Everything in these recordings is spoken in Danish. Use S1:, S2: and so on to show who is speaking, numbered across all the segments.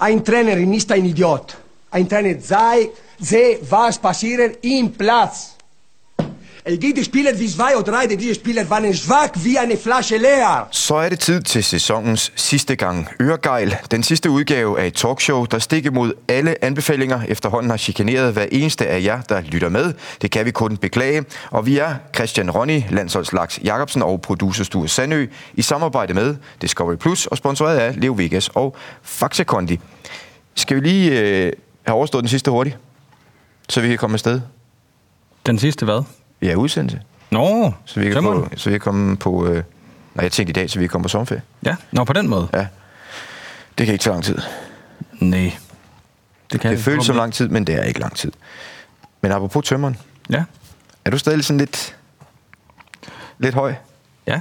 S1: Ein Trainer ist ein Idiot. Ein Trainer sei, sehe, was passiert im Platz. Es gibt Spieler wie zwei oder drei, die diese Spieler waren schwach wie eine Flasche leer.
S2: Så er det tid til sæsonens sidste gang Øregejl. Den sidste udgave af et talkshow, der stik imod alle anbefalinger efterhånden har chikaneret hver eneste af jer, der lytter med. Det kan vi kun beklage. Og vi er Christian Ronny, landsholdslaks Jacobsen og producerstue Sandø i samarbejde med Discovery Plus og sponsoreret af Leo Vegas og Faxe Kondi. Skal vi lige øh, have overstået den sidste hurtigt, så vi kan komme afsted?
S3: Den sidste hvad?
S2: Ja, udsendelse.
S3: Nå,
S2: Så vi kan,
S3: tømmeren.
S2: på, så vi kan komme på... Øh, nej, jeg tænkte i dag, så vi kan komme på sommerferie.
S3: Ja, nå på den måde.
S2: Ja. Det kan ikke tage lang tid.
S3: Nej. Det kan
S2: Det føles som
S3: forhåbentlig
S2: lang tid, men det er ikke lang tid. Men apropos tømmeren,
S3: ikke. Ja,
S2: er du stadig sådan lidt, lidt høj?
S3: ja.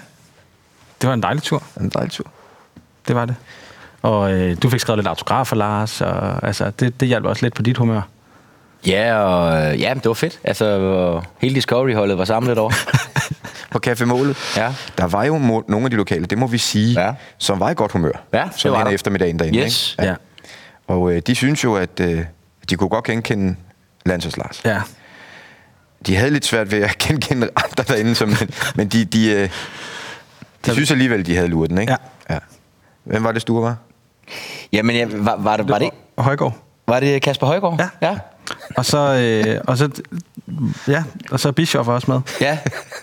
S3: Det var en dejlig tur.
S2: Er En dejlig tur.
S3: Det var det. Og øh, du fik skrevet lidt autografer, Lars, og altså, det, det hjalp også lidt på dit humør.
S4: Ja, og, øh, ja, men det var fedt. Altså, og hele Discovery-holdet var samlet over.
S2: På Café Målet.
S4: Ja.
S2: Der var jo må- nogle af de lokale, det må vi sige,
S4: Ja.
S2: som var i godt humør.
S4: Ja, det
S2: som
S4: var
S2: hen
S4: der.
S2: eftermiddagen derinde.
S4: Yes.
S2: Ikke?
S3: Ja.
S2: Og øh, de synes jo, at øh, de kunne godt genkende Landsholds Lars.
S3: Ja.
S2: De havde lidt svært ved at genkende andre derinde, som, men, men de, de, øh, de synes alligevel, de havde luret den, ikke?
S3: Ja.
S2: ja. Hvem var det, Sture var?
S4: Jamen, ja, var, var, det, var, det,
S3: Og Højgaard.
S4: var det Kasper Højgaard?
S3: Ja.
S4: Ja,
S3: Og så, øh, og så, ja, og så er Bischof også med.
S4: ja.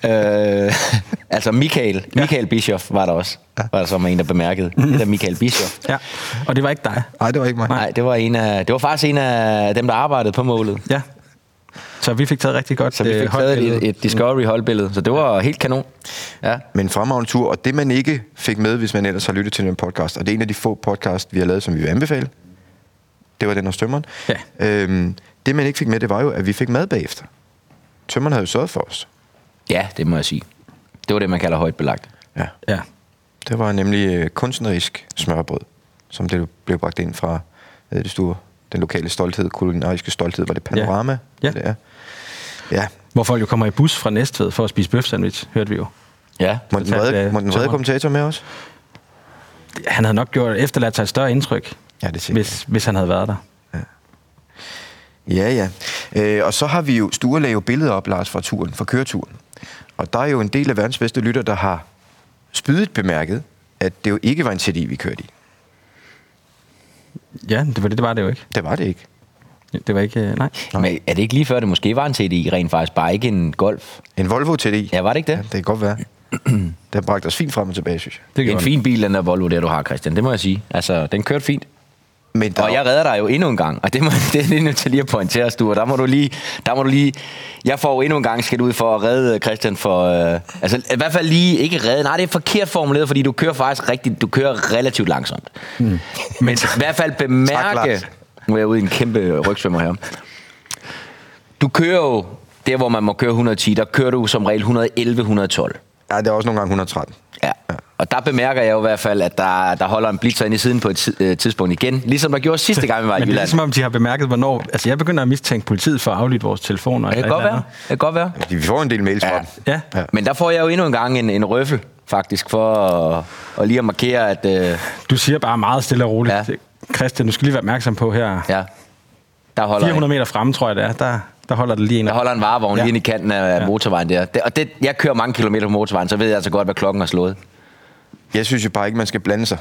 S4: Øh, altså, Michael, Michael Bischoff var der også. Var der som en, der bemærkede. Det er Michael Bischoff.
S3: Ja. Og det var ikke dig.
S2: Nej, det var ikke mig.
S4: Nej, det var, en af, det var faktisk en af dem, der arbejdede på målet.
S3: Ja. Så vi fik taget rigtig godt øh,
S4: Så vi fik taget et,
S3: holdbillede.
S4: et Discovery-holdbillede, så det var helt kanon. Ja.
S2: Men fremragende tur, og det man ikke fik med, hvis man ellers har lyttet til den podcast, og det er en af de få podcast, vi har lavet, som vi vil anbefale, det var den hos tømmeren.
S3: Ja.
S2: Øhm, det man ikke fik med, det var jo, at vi fik mad bagefter. Tømmeren havde jo sørget for os.
S4: ja, det må jeg sige. Det var det, man kalder højt belagt.
S2: Ja.
S3: Ja.
S2: Det var nemlig øh, kunstnerisk smørbrød, som det blev bragt ind fra øh, det store, den lokale stolthed, kulinariske stolthed, var det panorama?
S3: Ja.
S2: Det er. ja.
S3: Hvor folk jo kommer i bus fra Næstved for at spise bøf sandwich, hørte vi jo.
S4: Ja.
S2: Må den
S3: Fortalte,
S2: vrede,
S3: øh,
S2: må den vrede
S3: tømmeren.
S2: kommentator med os?
S3: Han havde nok gjort efterladt sig et større indtryk,
S2: Ja, det tænker
S3: hvis, hvis han havde været der.
S2: Ja, ja. Øh, og så har vi jo, Sture lagde jo billeder op, Lars, fra turen, fra køreturen. Og der er jo en del af verdens bedste lytter, der har spydigt bemærket, at det jo ikke var en CD, vi kørte i.
S3: Ja, det var det, det var det jo ikke.
S2: Det var det ikke.
S3: Det var ikke, øh, nej.
S4: Men er det ikke lige før, det måske var en TDI rent faktisk, bare ikke en golf?
S2: En Volvo TDI.
S4: Ja, var det ikke
S2: Ja,
S4: det?
S2: det kan godt være. Den bragte os fint frem og tilbage, synes jeg.
S4: Det er en
S3: den.
S4: fin bil, den der Volvo, der du har, Christian. Det må jeg sige. Altså, den kørte fint.
S2: Men der,
S4: Og jeg redder dig jo endnu en gang, og det, må, det er lige nødt til lige at pointere, Sture. Der må du lige... Der må du lige jeg får jo endnu en gang skal ud for at redde Christian for... Øh, altså, i hvert fald lige ikke redde. Nej, det er forkert formuleret, fordi du kører faktisk rigtigt. Du kører relativt langsomt. Mm. Men i hvert fald bemærke...
S2: Lars.
S4: nu er jeg ude i en kæmpe rygsvømmer her. Du kører jo... Der, hvor man må køre 110, der kører du som regel 111-112.
S2: ja, det er også nogle gange 113.
S4: Ja. Og der bemærker jeg jo i hvert fald, at der, der holder en blitzer ind i siden på et ti- øh, tidspunkt igen. Ligesom der gjorde sidste gang, vi var i
S3: Men det er
S4: Jylland.
S3: ligesom om, de har bemærket, hvornår... Altså, jeg begynder at mistænke politiet for at aflytte vores telefoner.
S4: Det kan godt være. Det kan godt være.
S2: Fordi Altså, Vi får en del mails fra
S4: Ja.
S2: dem.
S3: Ja.
S2: Ja.
S4: Men der får jeg jo endnu en gang en, en røffel, faktisk, for at, at lige at markere, at... Øh,
S3: Du siger bare meget stille og roligt. Ja.
S4: Ja.
S3: Christian, du skal lige være opmærksom på her. Ja.
S4: ja, der holder,
S3: 400 meter fremme, tror jeg det er. Der, der holder det lige en.
S4: der holder en varevogn
S3: Ja.
S4: ja. lige inde i kanten af
S3: Ja.
S4: ja. motorvejen der. Det, og det, jeg kører mange kilometer på motorvejen, så ved jeg altså godt, hvad klokken har slået.
S2: Jeg synes jo bare ikke, man skal blande sig.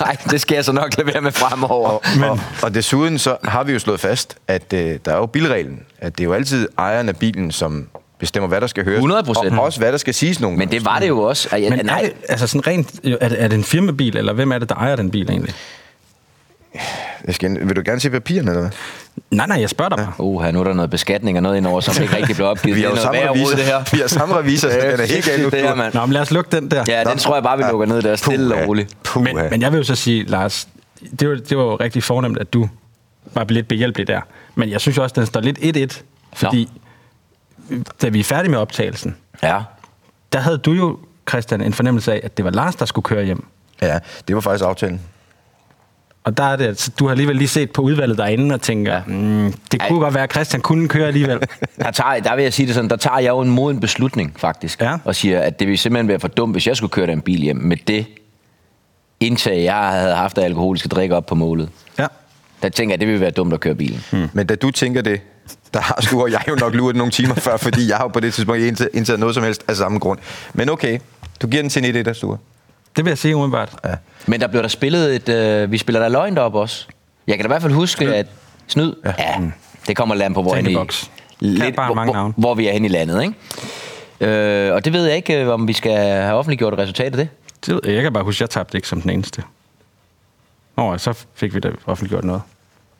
S4: Nej, det skal jeg så nok lade være med fremover.
S2: Men... Og, og desuden så har vi jo slået fast, at øh, der er jo bilreglen. At det er jo altid ejeren af bilen, som bestemmer, hvad der skal høres.
S4: 100%.
S2: Og også, hvad der skal siges nogle
S4: Men det var det jo også. Og jeg,
S3: Men er
S4: nej,
S3: det, altså sådan rent, er det, er det en firmabil, eller hvem er det, der ejer den bil egentlig?
S2: Jeg skal, vil du gerne se papirerne, eller hvad?
S3: Nej, nej, jeg spørger dig bare.
S4: Uha, nu er der noget beskatning og noget indover, som ikke rigtig blev opgivet.
S2: Vi har jo
S4: Det er
S2: samme
S4: noget værre rod,
S2: revisor.
S4: det her.
S2: Vi har samme revisor, så
S4: Ja,
S2: den er helt galt.
S4: det her, mand.
S3: Nå, men lad os lukke den der.
S4: Ja, den tror jeg bare, vi lukker ned der stille og roligt.
S2: Puh,
S3: men, men jeg vil jo så sige, Lars, det var, det var jo rigtig fornemt, at du var lidt behjælpelig der. Men jeg synes jo også, at den står lidt 1-1, fordi da vi er færdige med optagelsen,
S4: Ja.
S3: der havde du jo, Christian, en fornemmelse af, at det var Lars, der skulle køre hjem.
S2: Ja, det var faktisk aftalen.
S3: Og der er det, altså, du har alligevel lige set på udvalget derinde og tænker, ja. mm, det kunne
S4: Ej.
S3: godt være, at Christian kunne køre alligevel.
S4: Der, tager, der vil jeg sige det sådan, der tager jeg jo en moden beslutning, faktisk.
S3: Ja.
S4: Og siger, at det ville simpelthen være for dumt, hvis jeg skulle køre den bil hjem med det indtag, jeg havde haft af alkoholiske drikke op på målet.
S3: Ja.
S4: Der tænker jeg, det ville være dumt at køre bilen.
S3: Hmm.
S2: Mm. Men da du tænker det, der har du og jeg jo nok luret nogle timer før, fordi jeg har jo på det tidspunkt ikke indtaget- indtaget noget som helst af samme grund. Men okay, du giver den til en 1 der Sture.
S3: Det vil jeg sige umiddelbart. Ja.
S4: Men der blev der spillet et... Øh, vi spiller der løgn op også. Jeg kan da i hvert fald huske, at... Snyd? Ja. ja. Det kommer land på, hvor, end i,
S3: Tænkeboks. Kan
S4: lidt,
S3: bare
S4: hvor,
S3: mange
S4: hvor,
S3: navne.
S4: hvor vi er hen i landet, ikke? Øh, og det ved jeg ikke, øh, om vi skal have offentliggjort resultatet af det.
S3: Det ved jeg. jeg kan bare huske, at jeg tabte ikke som den eneste. Nå, og så fik vi da offentliggjort noget.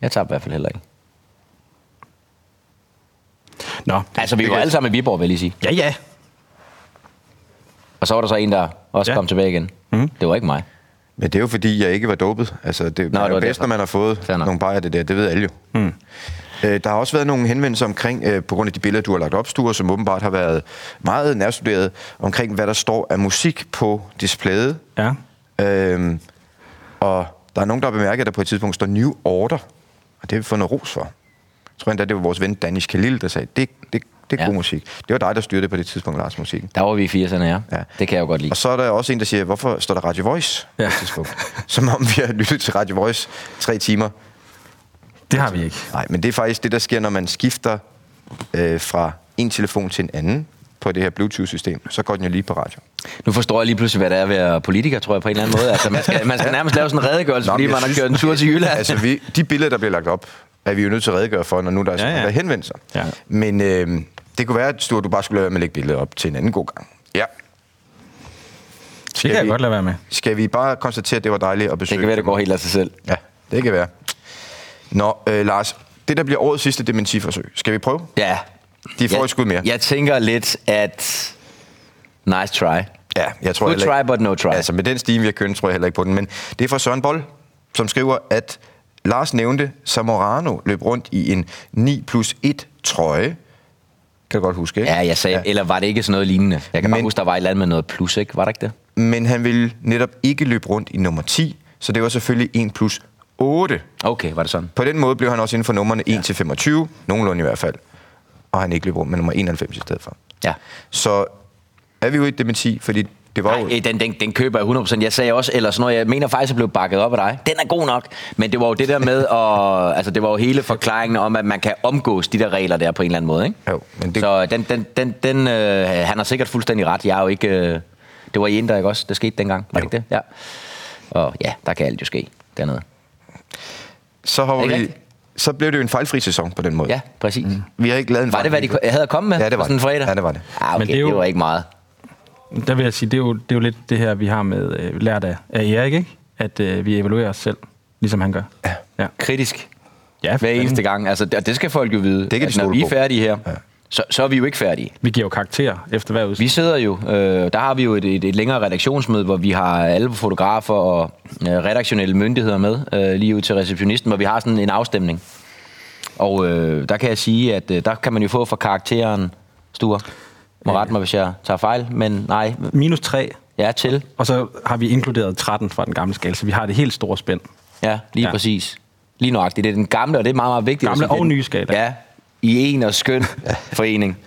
S4: Jeg tager i hvert fald heller ikke.
S3: Nå.
S4: Altså, vi var alle sammen i Viborg, vil jeg lige sige.
S3: Ja, ja.
S4: Og så var der så en, der også
S3: Ja.
S4: ja. kom tilbage igen.
S2: Mhm.
S4: Mm. Det var ikke mig.
S2: Men det er jo fordi, jeg ikke var dopet. Altså, det, Nå,
S4: det
S2: er jo
S4: var
S2: bedst,
S4: derfor.
S2: når man har fået
S4: Fair nok. Hmm.
S2: nogle bajer af det der. Det ved alle jo. Mm. Øh, der har også været nogle henvendelser omkring, øh, på grund af de billeder, du har lagt op, Sture, som åbenbart har været meget nærstuderet, omkring, hvad der står af musik på displayet.
S3: Ja.
S2: Øhm, og der er nogen, der har bemærket, at der på et tidspunkt står New Order. Og det har vi fået noget ros for. Jeg tror endda, det var vores ven Danish Khalil, der sagde, det, det, det er ja.
S4: Ja.
S2: god musik. Det var dig, der styrte det på det tidspunkt, Lars, musikken.
S4: Der var vi i 80'erne, ja.
S2: Ja.
S4: ja. Det kan jeg jo godt lide.
S2: Og så er der også en, der siger, hvorfor står der Radio Voice? på
S3: Ja.
S2: et tidspunkt? Som om vi har lyttet til Radio Voice tre timer.
S3: Det har vi ikke.
S2: Nej, men det er faktisk det, der sker, når man skifter øh, fra en telefon til en anden på det her Bluetooth-system. Så går den jo lige på radio.
S4: Nu forstår jeg lige pludselig, hvad det er at være politiker, tror jeg, på en eller anden måde. Altså, man skal, man skal nærmest lave sådan en redegørelse,
S2: Nå,
S4: fordi
S2: men jeg
S4: man har
S2: synes-
S4: kørt en tur til Jylland.
S2: altså, vi, de billeder, der bliver lagt op, er vi jo nødt til at redegøre for, når nu der er så
S3: Ja,
S2: ja,
S3: ja.
S2: ja. der henvender sig.
S3: Ja.
S2: Men øh, det kunne være, at Sture, du bare skulle lade være med at lægge billedet op til en anden god gang. Ja.
S3: Det kan jeg
S2: vi-
S3: godt lade være med.
S2: Skal vi bare konstatere, at det var dejligt at besøge?
S4: det kan være, det går helt af sig selv.
S2: Ja, det kan være. Nå, øh, Lars, det der bliver årets sidste dementiforsøg, skal vi prøve?
S4: Ja.
S2: De får
S4: Jeg-
S2: et skud mere.
S4: Jeg tænker lidt, at... Nice try.
S2: Ja, jeg tror
S4: Good
S2: heller ikke-
S4: try, but no try.
S2: Altså med den stime, vi har kørt, tror jeg heller ikke på den. Men det er fra Søren Bold, som skriver, at Lars nævnte, Samorano løb rundt i en 9 plus 1 trøje. Kan du godt huske, ikke?
S4: Ja, jeg sagde, ja. eller var det ikke sådan noget lignende? Jeg kan Men... bare
S2: Men-
S4: huske, der var et eller andet med noget plus, ikke? Var der ikke det?
S2: Men han ville netop ikke løbe rundt i nummer 10, så det var selvfølgelig 1 plus 8.
S4: Okay, var det sådan?
S2: På den måde blev han også inden for nummerne 1 til 25, nogenlunde i hvert fald. Og han ikke løb rundt med nummer 91 i stedet for.
S4: Ja.
S2: Så er vi jo i et dementi, fordi det var jo...
S4: Nej, øh, den, den, den køber jeg 100%. Jeg sagde også, eller sådan noget, jeg mener faktisk, at jeg blev bakket op af dig. Den er god nok. Men det var jo det der med, at, altså det var jo hele forklaringen om, at man kan omgås de der regler der på en eller anden måde, ikke?
S2: Jo, men det-
S4: Så den, den, den, den øh, han har sikkert fuldstændig ret. Jeg er jo ikke... Øh, det var i Indre, ikke også? Det skete dengang, var det ikke det? Ja. Og ja, der kan alt jo ske dernede.
S2: Så,
S4: Er
S2: hopper
S4: det
S2: vi,
S4: rigtigt?
S2: så blev det jo en fejlfri sæson på den måde.
S4: Ja, præcis. Mm.
S2: Vi har ikke lavet en
S4: Var det, hvad de
S2: fejlfri-
S4: ko- havde at komme med
S2: Ja, det
S4: på
S2: var
S4: sådan en
S2: det.
S4: fredag?
S2: Ja, det var det.
S4: Ah, okay,
S3: Men det
S4: Men det,
S3: er jo-
S4: det var ikke meget.
S3: Der vil jeg sige, det er jo, det er jo lidt det her, vi har med øh, lært af, af Erik, ikke? At øh, vi evaluerer os selv, ligesom han gør. Ja. Ja,
S4: Kritisk.
S3: ja
S4: Hver eneste gang. Altså, det- og det skal folk jo vide.
S2: kan de
S4: at når
S2: stole
S4: vi
S2: på.
S4: er færdige her, ja. så, så er vi jo ikke færdige.
S3: Vi giver jo karakterer efter hver udsigt.
S4: Vi sidder jo, øh, der har vi jo et, et, et længere redaktionsmøde, hvor vi har alle fotografer og øh, redaktionelle myndigheder med, øh, lige ud til receptionisten, hvor vi har sådan en afstemning. Og øh, der kan jeg sige, at øh, der kan man jo få for karakteren, Sture, må rette mig, hvis jeg tager fejl, men nej,
S3: Minus 3,
S4: ja til,
S3: og så har vi inkluderet 13 fra den gamle skala, så vi har det helt store spænd.
S4: ja, lige
S3: Ja.
S4: ja. præcis. Lige nøjagtigt, det er den gamle, og det er meget, meget vigtigt. at
S3: Gamle
S4: sige, det er
S3: og
S4: den-
S3: nye skala.
S4: Ja, i en og skøn forening.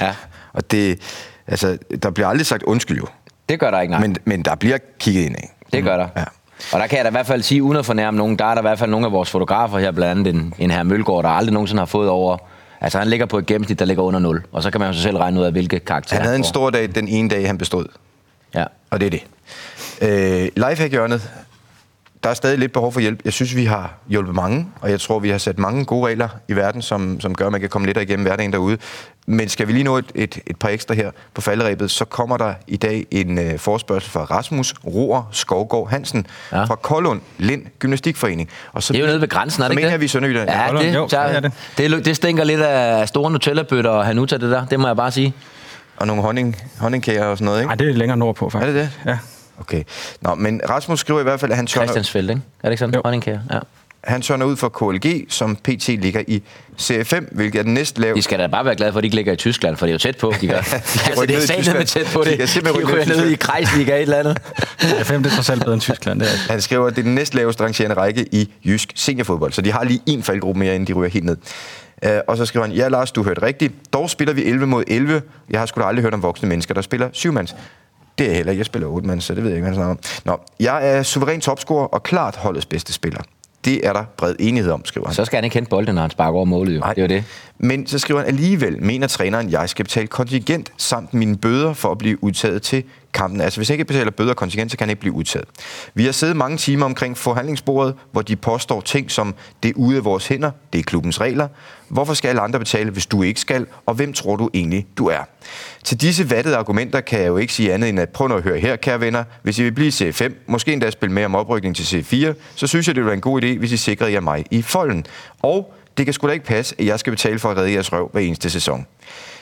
S4: Ja,
S2: Og det, altså, der bliver aldrig sagt undskyld jo,
S4: det gør der ikke, nej.
S2: men, men der bliver kigget ind af.
S4: Det gør der.
S2: Ja.
S4: Ja. Og der kan jeg da i hvert fald sige, uden at fornærme nogen, der er der i hvert fald nogle af vores fotografer her, blandt andet en, en her Mølgaard, der aldrig nogensinde har fået over... Altså han ligger på et gennemsnit, der ligger under 0, og så kan man jo så selv regne ud af, hvilke karakterer
S2: Han havde en
S4: får.
S2: stor dag den ene dag, han bestod.
S4: Ja.
S2: Og det er det. Øh, Lifehack-hjørnet, der er stadig lidt behov for hjælp. Jeg synes, vi har hjulpet mange, og jeg tror, vi har sat mange gode regler i verden, som, som gør, at man kan komme lidt igennem hverdagen derude. Men skal vi lige nå et, et, et par ekstra her på falderæbet, så kommer der i dag en øh, forspørgsel fra Rasmus Roer Skovgård Hansen ja.
S4: Ja.
S2: fra Kollund Lind Gymnastikforening. Og så,
S4: Det er jo nede ved grænsen, er det
S2: Som
S4: ikke
S2: en af vi i Sønderjylland.
S4: Ja,
S3: Hold
S4: det,
S3: da op, jo,
S4: så,
S3: det er
S4: det,
S3: det.
S4: det, lu- det stinker lidt af store Nutella-bøtter og Hanuta, det der. Det må jeg bare sige.
S2: Og nogle honning, honningkager og sådan noget, ikke?
S3: Nej, det er længere nordpå,
S2: Er
S3: faktisk.
S2: det det?
S3: Ja.
S2: Okay. Nå, men Rasmus skriver i hvert fald, at han tørner,
S4: Christiansfeldt, ikke? Er det ikke sådan?
S3: Jo.
S4: Honningkære. Ja.
S2: han tørner ud for KLG, som PT ligger i Serie 5, hvilket er den næst
S4: De
S2: laveste.
S4: skal da bare være glade for, at de ikke ligger i Tyskland, for det er jo tæt på, de gør. altså,
S2: rykke
S4: det
S2: ned i
S4: er sat med
S2: Tyskland.
S4: tæt på
S2: De
S4: det.
S2: kan
S4: De
S2: simpelthen rykke ned i
S4: ryger ned i Kreisliga et eller andet.
S3: Ja, fem, det er trods alt bedre end Tyskland. Det er. det.
S2: Han skriver, at det er den næst laveste rangerende række i jysk seniorfodbold, så de har lige en faldgruppe mere, inden de ryger helt ned. Øh, og så skriver han, ja Lars, du hørte rigtigt. Dog spiller vi 11 mod 11. Jeg har sgu da aldrig hørt om voksne mennesker, der spiller syvmands. Det er jeg heller ikke. Jeg spiller 8 mand, så det ved jeg ikke, hvad han snakker om. Nå, jeg er suveræn topscorer og klart holdets bedste spiller. Det er der bred enighed om, skriver han.
S4: Så skal han ikke hente bolden, når han sparker over målet, jo. Nej. Det er jo det.
S2: Men så skriver han alligevel, mener træneren, jeg skal betale kontingent samt mine bøder for at blive udtaget til kampen. Altså hvis jeg ikke betaler bøder og kontingent, så kan han ikke blive udtaget. Vi har siddet mange timer omkring forhandlingsbordet, hvor de påstår ting som, det er ude af vores hænder, det er klubbens regler. Hvorfor skal alle andre betale, hvis du ikke skal? Og hvem tror du egentlig, du er? Til disse vattede argumenter kan jeg jo ikke sige andet end at prøv nu at høre her, kære venner. Hvis I vil blive i C5, måske endda spille med om oprykning til C4, så synes jeg, det ville være en god idé, hvis I sikrede jer mig i folden. Og det kan sgu da ikke passe, at jeg skal betale for at redde jeres røv hver eneste sæson.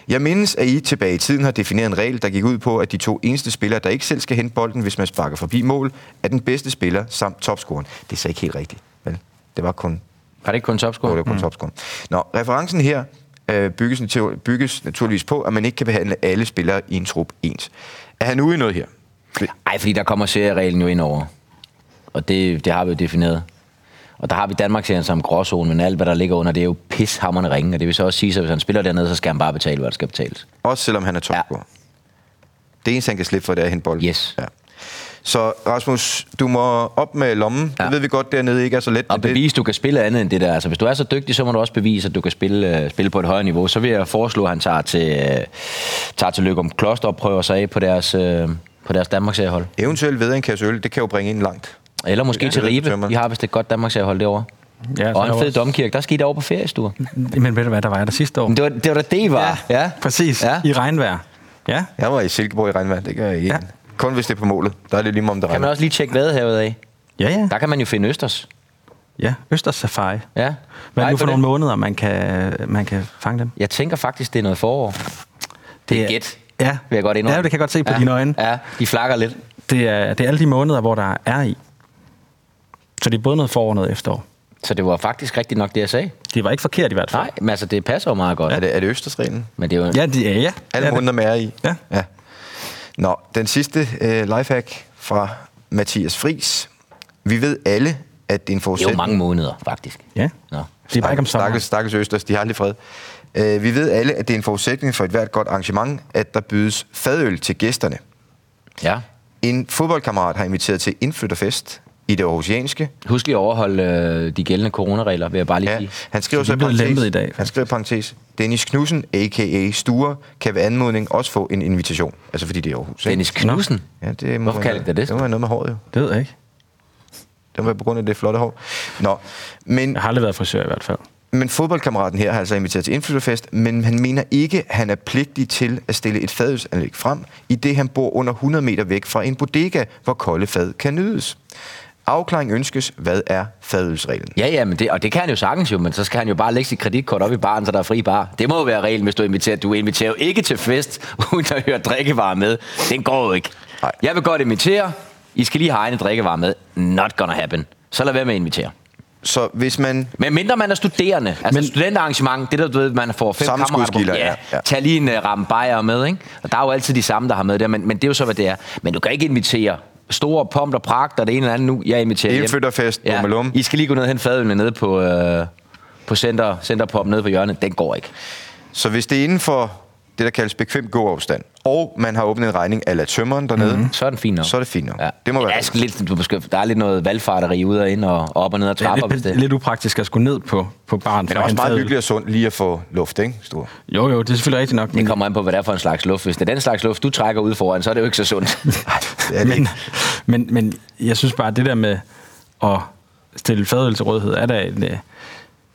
S2: Jeg mindes, at I tilbage i tiden har defineret en regel, der gik ud på, at de to eneste spillere, der ikke selv skal hente bolden, hvis man sparker forbi mål, er den bedste spiller samt topscoren. Det er så ikke helt rigtigt, vel? Det var kun
S4: Var det ikke kun
S2: Jo,
S4: topscore?
S2: det var kun topscoren. Nå, referencen her øh, bygges, natu- bygges naturligvis på, at man ikke kan behandle alle spillere i en trup ens. Er han ude i noget her?
S4: Nej, fordi der kommer seriereglen jo ind over. Og det, det har vi jo defineret. Og der har vi Danmarksserien som gråzone, men alt, hvad der ligger under, det er jo pishammerne ringe. Og det vil så også sige, at hvis han spiller dernede, så skal han bare betale, hvad der skal betales.
S2: Også selvom han er topscorer. Ja. Det eneste, han kan slippe for, det er at hente bolden.
S4: Yes.
S2: Ja. Så Rasmus, du må op med lommen. Ja.
S4: Ja.
S2: Det ved vi godt, dernede ikke er så let.
S4: Og
S2: men det-
S4: bevise, Altså, du kan spille andet end det der. Altså, hvis du er så dygtig, så må du også bevise, at du kan spille, øh, spille på et højere niveau. Så vil jeg foreslå, at han tager til, øh, tager til Løgum Kloster og prøver sig af på deres, øh, på deres Danmarks hold.
S2: Eventuelt ved en kasse øl, det kan jo bringe en langt.
S4: Eller måske
S2: Ja,
S4: ja, til
S2: det er lidt
S4: Ribe.
S2: bekymrende.
S4: Vi har vist et godt Danmarks hold derovre.
S3: Ja,
S4: Ja,
S3: så er
S4: og en
S3: der
S4: fed
S3: også-
S4: domkirke. Der skete over på feriestuer.
S3: Men ved du hvad, der var jeg der sidste år?
S4: Men det var det, var, da det var. Ja,
S3: Præcis,
S4: Ja.
S3: ja. i regnvejr. Ja,
S2: Jeg var i Silkeborg i regnvejr, det gør jeg ikke. Ja.
S3: Ja.
S2: Kun hvis det er på målet. Der er det lige meget, om det
S4: Kan man
S2: regner.
S4: også lige tjekke vadehavet af?
S3: ja, ja.
S4: Der kan man jo finde Østers.
S3: ja. Østers Safari.
S4: Ja.
S3: Hvad er
S4: Nej,
S3: det nu for
S4: på
S3: nogle
S4: den.
S3: måneder, man kan, man kan fange dem?
S4: Jeg tænker faktisk, det er noget forår. Det er gæt.
S3: Ja.
S4: Vil jeg godt indrømme.
S3: Ja, det kan jeg godt se på
S4: ja.
S3: dine øjne.
S4: Ja, de flakker lidt.
S3: Det er, det er alle de måneder, hvor der er i. Så det er både noget forår og noget efterår.
S4: Så det var faktisk rigtigt nok det, jeg sagde.
S3: Det var ikke forkert i hvert fald.
S4: Nej, men altså, det passer jo meget godt.
S2: Er det, er det Østersreglen?
S4: Men det er jo...
S3: Ja, det er ja.
S2: Alle
S3: ja,
S2: måneder med er i.
S3: Ja.
S2: ja. Nå, den sidste øh, lifehack fra Mathias Fris. Vi ved alle, at det er en
S4: Det er jo
S2: forudsætning...
S4: mange måneder, faktisk.
S3: Ja.
S4: Nå.
S3: Det er bare ikke om sommeren.
S2: Stakkels, stakkels Østers, de har aldrig fred. Øh, vi ved alle, at det er en forudsætning for et hvert godt arrangement, at der bydes fadøl til gæsterne.
S4: Ja.
S2: En fodboldkammerat har inviteret til indflytterfest i det aarhusianske.
S4: Husk lige at overholde øh, de gældende coronaregler, vil jeg bare lige
S2: Ja,
S4: sige.
S2: han skriver
S3: Så
S2: så,
S3: de
S2: i
S3: er blevet
S2: parentes-
S3: lempet i dag,
S2: Han
S3: faktisk.
S2: skriver i parentes, Dennis Knudsen, a.k.a. Sture, kan ved anmodning også få en invitation. Altså fordi det er Aarhus. ikke?
S4: Dennis Knudsen.
S2: Ja, det må
S4: Hvorfor
S2: man-
S4: kalder de det det?
S2: Det må være noget med håret jo.
S3: Det ved jeg ikke.
S2: Det må være på grund af det flotte hår. Nå, men,
S3: Jeg har aldrig været frisør i hvert fald.
S2: men fodboldkammeraten her har altså inviteret til indflytterfest, men han mener ikke, at han er pligtig til at stille et fadølsanlæg frem, i det han bor under 100 meter væk fra en bodega, hvor kolde fad kan nydes. Afklaring ønskes, hvad er fadølsreglen?
S4: Ja, ja, men det, og det kan han jo sagtens jo, men så skal han jo bare lægge sit kreditkort op i baren, så der er fri bar. Det må jo være reglen, hvis du inviterer. Du inviterer jo ikke til fest, uden at høre drikkevarer med. Den går jo ikke.
S2: Nej.
S4: Jeg vil godt invitere. I skal lige have egne drikkevarer med. Not gonna happen. Så lad være med at invitere.
S2: Så hvis man
S4: Men mindre man er studerende, altså
S3: Men-
S4: men, studenterarrangement, det der, du ved, man får fem kammerater på,
S2: Sammenskudskilder,
S4: ja,
S2: ja, ja.
S4: ja. tag lige en uh, ramme bajer med, ikke? Og der er jo altid de samme, der har med det, men, men det er jo så, hvad det er. Men du kan ikke invitere store pomp og pragt, og det ene eller andet nu, jeg inviterer hjem.
S2: Indflytterfest,
S4: ja.
S2: bummelum.
S4: I skal lige gå ned og hente fadølene nede på, øh, på center, centerpop nede på hjørnet. Den går ikke.
S2: Mm. Så hvis det er inden for det, der kaldes bekvem gåafstand, og man har åbnet en regning af tømmeren dernede, mm-hmm.
S4: Så er den fint nok.
S2: så er det fint nok.
S4: Ja.
S2: Det må være
S4: Ja,
S2: rigtigt.
S4: skal lidt, du måske, der er lidt noget valgfarteri ude og ind og op og ned og
S3: Det er
S4: trapper. hvis
S3: lidt, lidt upraktisk at skulle ned på, på baren.
S2: Men det er også meget hyggeligt og sundt lige at få luft, ikke? Stor.
S3: Jo, jo, det er selvfølgelig rigtigt nok.
S4: Det
S3: Men,
S4: kommer an på, hvad det er for en slags luft. Hvis det er den slags luft, du trækker ud foran, så er det jo ikke så sundt.
S2: Det er det
S3: men,
S2: ikke.
S3: men, men jeg synes bare, at det der med at stille fadøl til rådighed, er da en, øh, det er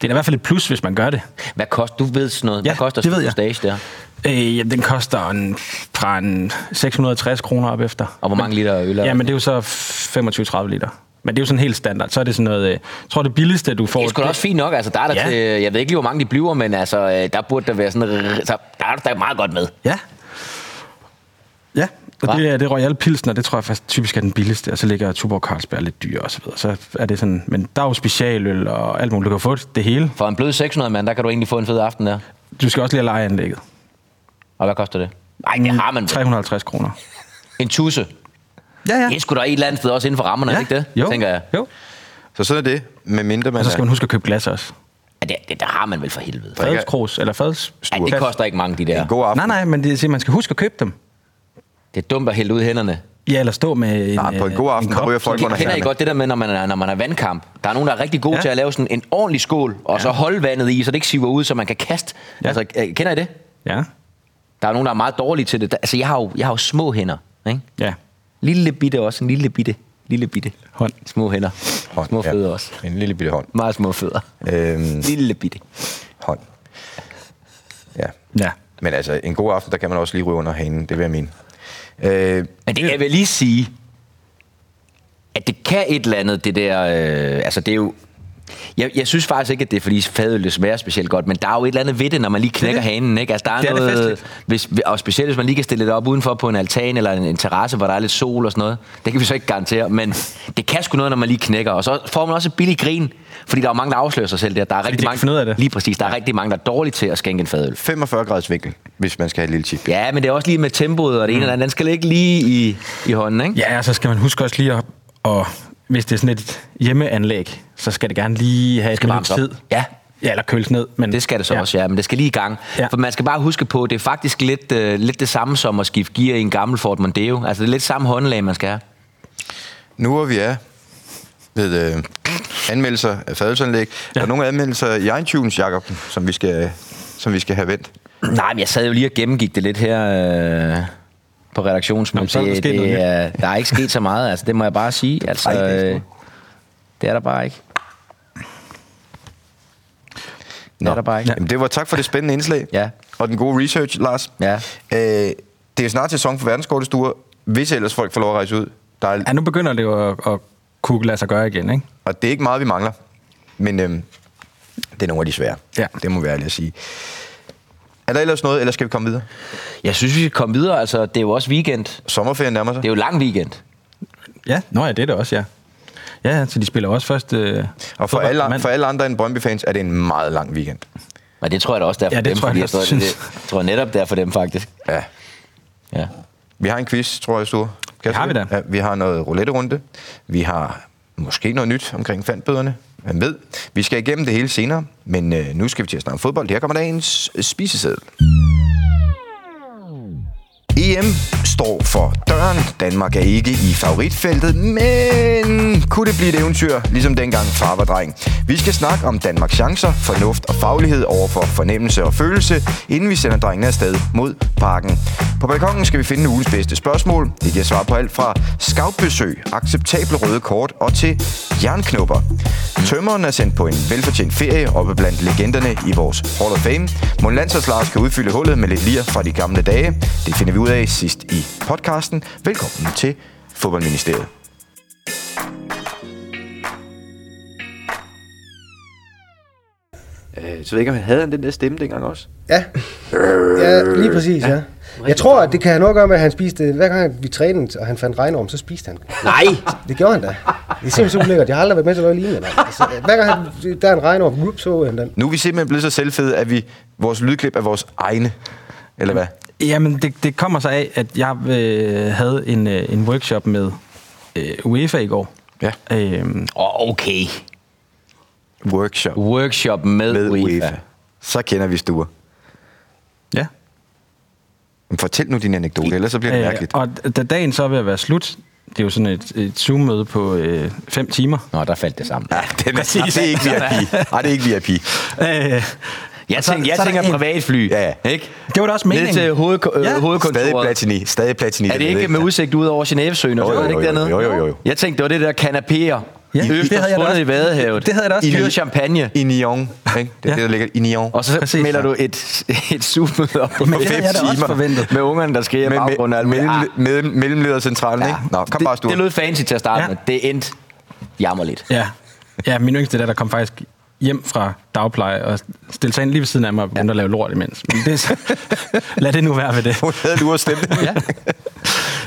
S3: da i hvert fald et plus, hvis man gør det.
S4: Hvad koster, du ved sådan noget,
S3: Ja,
S4: hvad koster
S3: det ved
S4: sådan en
S3: jeg.
S4: stage der?
S3: Øh, ja, den koster en, fra en 660 kroner op efter.
S4: Og hvor mange liter øl er der?
S3: Ja, men det er jo så 25-30 liter. Men det er jo sådan helt standard. Så er det sådan noget... øh, Jeg tror, det billigste, du får...
S4: Det er sgu da også fint nok, altså der er der
S3: Ja.
S4: ja. til, jeg ved ikke lige, hvor mange de bliver, men altså, øh, der burde der være sådan, r- så der er der meget godt med.
S3: Ja. Ja, og det, er- det er Royal Pilsner, det tror jeg faktisk typisk er den billigste, og så ligger Tuborg Carlsberg lidt dyr og så videre. Så er det sådan, men der er jo specialøl og alt muligt, du kan få det hele.
S4: For en blød 600 mand, der kan du egentlig få en fed aften der.
S3: Du skal også lige have lejeanlægget.
S4: Og hvad koster det? Nej, det har man. vel.
S3: 350 kroner.
S4: En tusse.
S3: Ja, ja.
S4: Det er sgu da et eller andet sted også inden for rammerne, ja. ikke det?
S3: Jo,
S4: Tænker jeg. øh,
S3: jo.
S2: Så sådan er det, med mindre man,
S3: Og så skal man
S2: er
S3: huske at købe glas også.
S4: Ja, det, det, der har man vel for helvede.
S2: Drikker-
S3: Fadelskrus eller fads.
S4: Ja, det koster ikke mange, de der.
S2: en god aften.
S3: Nej, nej, men det er, at man skal huske at købe dem.
S4: Det er dumt at hælde ud i hænderne.
S3: Ja, eller stå med en,
S2: Nej, på en
S3: øh,
S2: god aften, der
S3: kop.
S2: ryger folk under
S4: Kender I
S2: hænderne.
S4: godt det der med, når man, er, når man er vandkamp? Der er nogen, der er rigtig gode
S3: Ja.
S4: ja. til at lave sådan en ordentlig skål, og ja. så holde vandet i, så det ikke siver ud, så man kan kaste.
S3: Ja.
S4: Ja. Altså, øh, kender I det?
S3: Ja,
S4: Der er nogen, der er meget dårlige til det. Der- Altså, jeg har jo, jeg har jo små hænder. Ikke?
S3: ja.
S4: Lille bitte også. En lille bitte. Lille bitte.
S3: Hånd.
S4: Små hænder.
S2: Hånd,
S4: små
S2: ja.
S4: fødder ja. også. Mm.
S2: En lille bitte hånd.
S4: Meget små fødder.
S2: Øhm,
S4: Lille bitte.
S2: hånd. Ja.
S3: Ja.
S2: Men altså, en god aften, der kan man også lige ryge under hanen. Det vil jeg mene. Øh,
S4: Men det kan jeg vel lige sige, at det kan et eller andet, det der... Øh, altså, det er jo... Jeg, jeg synes faktisk ikke, at det er, fordi fadøl det smager specielt godt, men der er jo et eller andet ved det, når man lige knækker
S3: det.
S4: hanen, ikke? Altså, der er,
S3: Det er det
S4: noget,
S3: festligt.
S4: hvis, og specielt hvis man lige kan stille det op udenfor på en altan eller en, en terrasse, hvor der er lidt sol og sådan noget. Det kan vi så ikke garantere, men det kan sgu noget, når man lige knækker. Og så får man også et billigt grin, fordi der er jo mange, der afslører sig selv der. Der er rigtig
S3: de ikke
S4: mange,
S3: finder ud af det.
S4: Lige præcis, der er rigtig mange, der er dårlige til at skænke en fadøl.
S2: 45 graders vinkel, hvis man skal have et lille chip.
S4: Ja, men det er også lige med tempoet og
S3: Mm.
S4: det ene eller andet. Den skal ligge lige i, i hånden, ikke?
S3: Ja, og så skal man huske også lige at... Og hvis det er sådan et hjemmeanlæg, så skal det gerne lige have et
S4: skal
S3: minuts
S4: varmes op.
S3: tid.
S4: Ja.
S3: Ja, eller køles ned. Men,
S4: Det skal det så ja. også, ja, men det skal lige i gang.
S3: Ja.
S4: Ja. For man skal bare huske på, at det er faktisk lidt, øh, lidt det samme som at skifte gear i en gammel Ford Mondeo. Altså, det er lidt samme håndlag, man skal have.
S2: Nu hvor vi er ved øh, anmeldelser af fadelsanlæg, ja. er der nogle anmeldelser i iTunes, Jacob, som vi skal, som vi skal have vendt?
S4: Nej, men jeg sad jo lige og gennemgik det lidt her øh, på
S3: Nå, men så er
S4: redaktionsmødet.
S3: der
S4: Det,
S3: sket
S4: det,
S3: noget
S4: er, der er ikke sket så meget, altså, det må jeg bare sige. Altså,
S2: Ej, det er sgu.
S4: øh, det er der bare ikke.
S2: Nå.
S4: er der bare ikke.
S2: Ja. Jamen, det var tak for det spændende indslag.
S4: Ja.
S2: Og den gode research, Lars.
S4: Ja.
S2: Øh, det er jo snart sæson for verdenskortestuer, hvis ellers folk får lov at rejse ud. Der er,
S3: Ja, nu begynder det jo at, at kunne lade sig gøre igen, ikke?
S2: og det er ikke meget, vi mangler. Men øhm, det er nogle af de svære.
S3: Ja.
S2: Det må vi ærligt at sige. Er der ellers noget, eller skal vi komme videre?
S4: Jeg synes, vi skal komme videre. Altså, det er jo også weekend.
S2: Sommerferien nærmer sig.
S4: Det er jo lang weekend.
S3: Ja, nå ja, det er det også, ja. Ja, ja, så de spiller også først... Øh,
S2: Og for
S3: fodbold på
S2: alle,
S3: mandag.
S2: for alle andre end Brøndby-fans er det en meget lang weekend.
S4: Men det tror jeg da også, der er for
S3: Ja, det
S4: dem.
S3: tror jeg
S4: fordi
S3: også,
S4: tror, det,
S3: synes.
S4: det, tror netop, det er for dem, faktisk.
S2: Ja.
S4: Ja.
S2: Vi har en quiz, tror jeg, Sture. Kan jeg
S3: Det har
S2: se?
S3: vi da.
S2: Ja, vi har noget roulette-runde. Vi har måske noget nyt omkring fandbøderne. Man ved. Vi skal igennem det hele senere, men øh, nu skal vi til at snakke om fodbold. Her kommer dagens spiseseddel. EM E står for døren. Danmark er ikke i favoritfeltet, men kunne det blive et eventyr, ligesom dengang far var dreng? Vi skal snakke om Danmarks chancer, fornuft og faglighed over for fornemmelse og følelse, inden vi sender drengene afsted mod parken. På balkongen skal vi finde ugens bedste spørgsmål. Det giver svar på alt fra skavbesøg, acceptable røde kort og til jernknopper. Tømmeren er sendt på en velfortjent ferie oppe blandt legenderne i vores Hall of Fame. Mon Lansers Lars kan udfylde hullet med lidt lir fra de gamle dage. Det finder vi ud af sidst i podcasten. Velkommen til Fodboldministeriet.
S5: Så ved jeg ikke, om han havde han den der stemme dengang også?
S6: Ja. ja, lige præcis, ja. Jeg tror, at det kan have noget at gøre med, at han spiste... Hver gang vi trænede, og han fandt regnorm, så spiste han.
S4: Nej!
S6: Det gjorde han da. Det er simpelthen så ulækkert. Jeg har aldrig været med til noget lignende. mand. Altså, hver gang han, der er en regnorm, whoop, så han den.
S2: Nu er vi simpelthen blevet så selvfede, at vi, vores lydklip er vores egne. Eller hvad?
S3: Jamen, det, det kommer sig af, at jeg øh, havde en, øh, en workshop med øh, UEFA i går.
S2: Ja.
S3: Øhm,
S4: Åh, oh, okay.
S2: Workshop
S4: Workshop med,
S2: med
S4: UEFA.
S2: UEFA. Så kender vi stuer.
S3: ja.
S2: Men Fortæl nu din anekdote, ellers så bliver det mærkeligt.
S3: Øh, og d- da dagen så er ved at være slut, det er jo sådan et, et Zoom-møde på øh, fem timer.
S4: Nå, der faldt det sammen.
S2: Ja, den er, det er ikke VIP. Nej, det er ikke VIP.
S3: Øh, Så-
S4: Jeg tænker, jeg
S3: så er der
S4: tænker
S3: en-
S4: privatfly,
S2: Ja, ja.
S4: ikke?
S3: det var da også meningen.
S4: Ned til hovedko- øh,
S3: Ja.
S2: Stadig
S4: hovedkontoret.
S2: Platini. Stadig Platini.
S4: Er det ikke med udsigt ud over Genèvesøen?
S2: Jo, jo,
S4: Jo, jo,
S2: jo,
S4: ikke
S2: jo,
S4: dernede?
S2: jo, jo, jo, jo.
S4: Jeg tænkte, det var det der kanapéer.
S3: Ja,
S4: Ja,
S3: det
S4: Øst
S3: havde jeg da
S4: fundet
S3: også.
S4: i Vadehavet.
S3: Det havde jeg da også
S4: I dyre
S3: tænkt.
S4: champagne.
S2: I Nyon. Ikke? Det er
S3: Ja.
S2: det, der ligger i Nyon.
S4: Og så
S3: Præcis.
S4: Præcis, melder du et, et supermøde op på
S3: Men det
S4: fem
S3: havde jeg da også
S4: timer
S3: forventet.
S4: med ungerne, der skriger i baggrunden. og alt muligt. Ah,
S2: mellem, mellem, mellemledercentralen, ja. ikke? Nå, kom bare,
S4: det,
S2: Sture.
S4: det lød fancy til at starte
S3: Ja.
S4: ja. med. Det endte jammerligt.
S3: Ja. ja, min yngste der, der kom faktisk hjem fra dagpleje og stillede sig ind lige ved siden af mig og begyndte ja. at lave lort imens. Men det, er så- lad det nu være ved det.
S2: Hun havde luret stemme.
S3: Ja.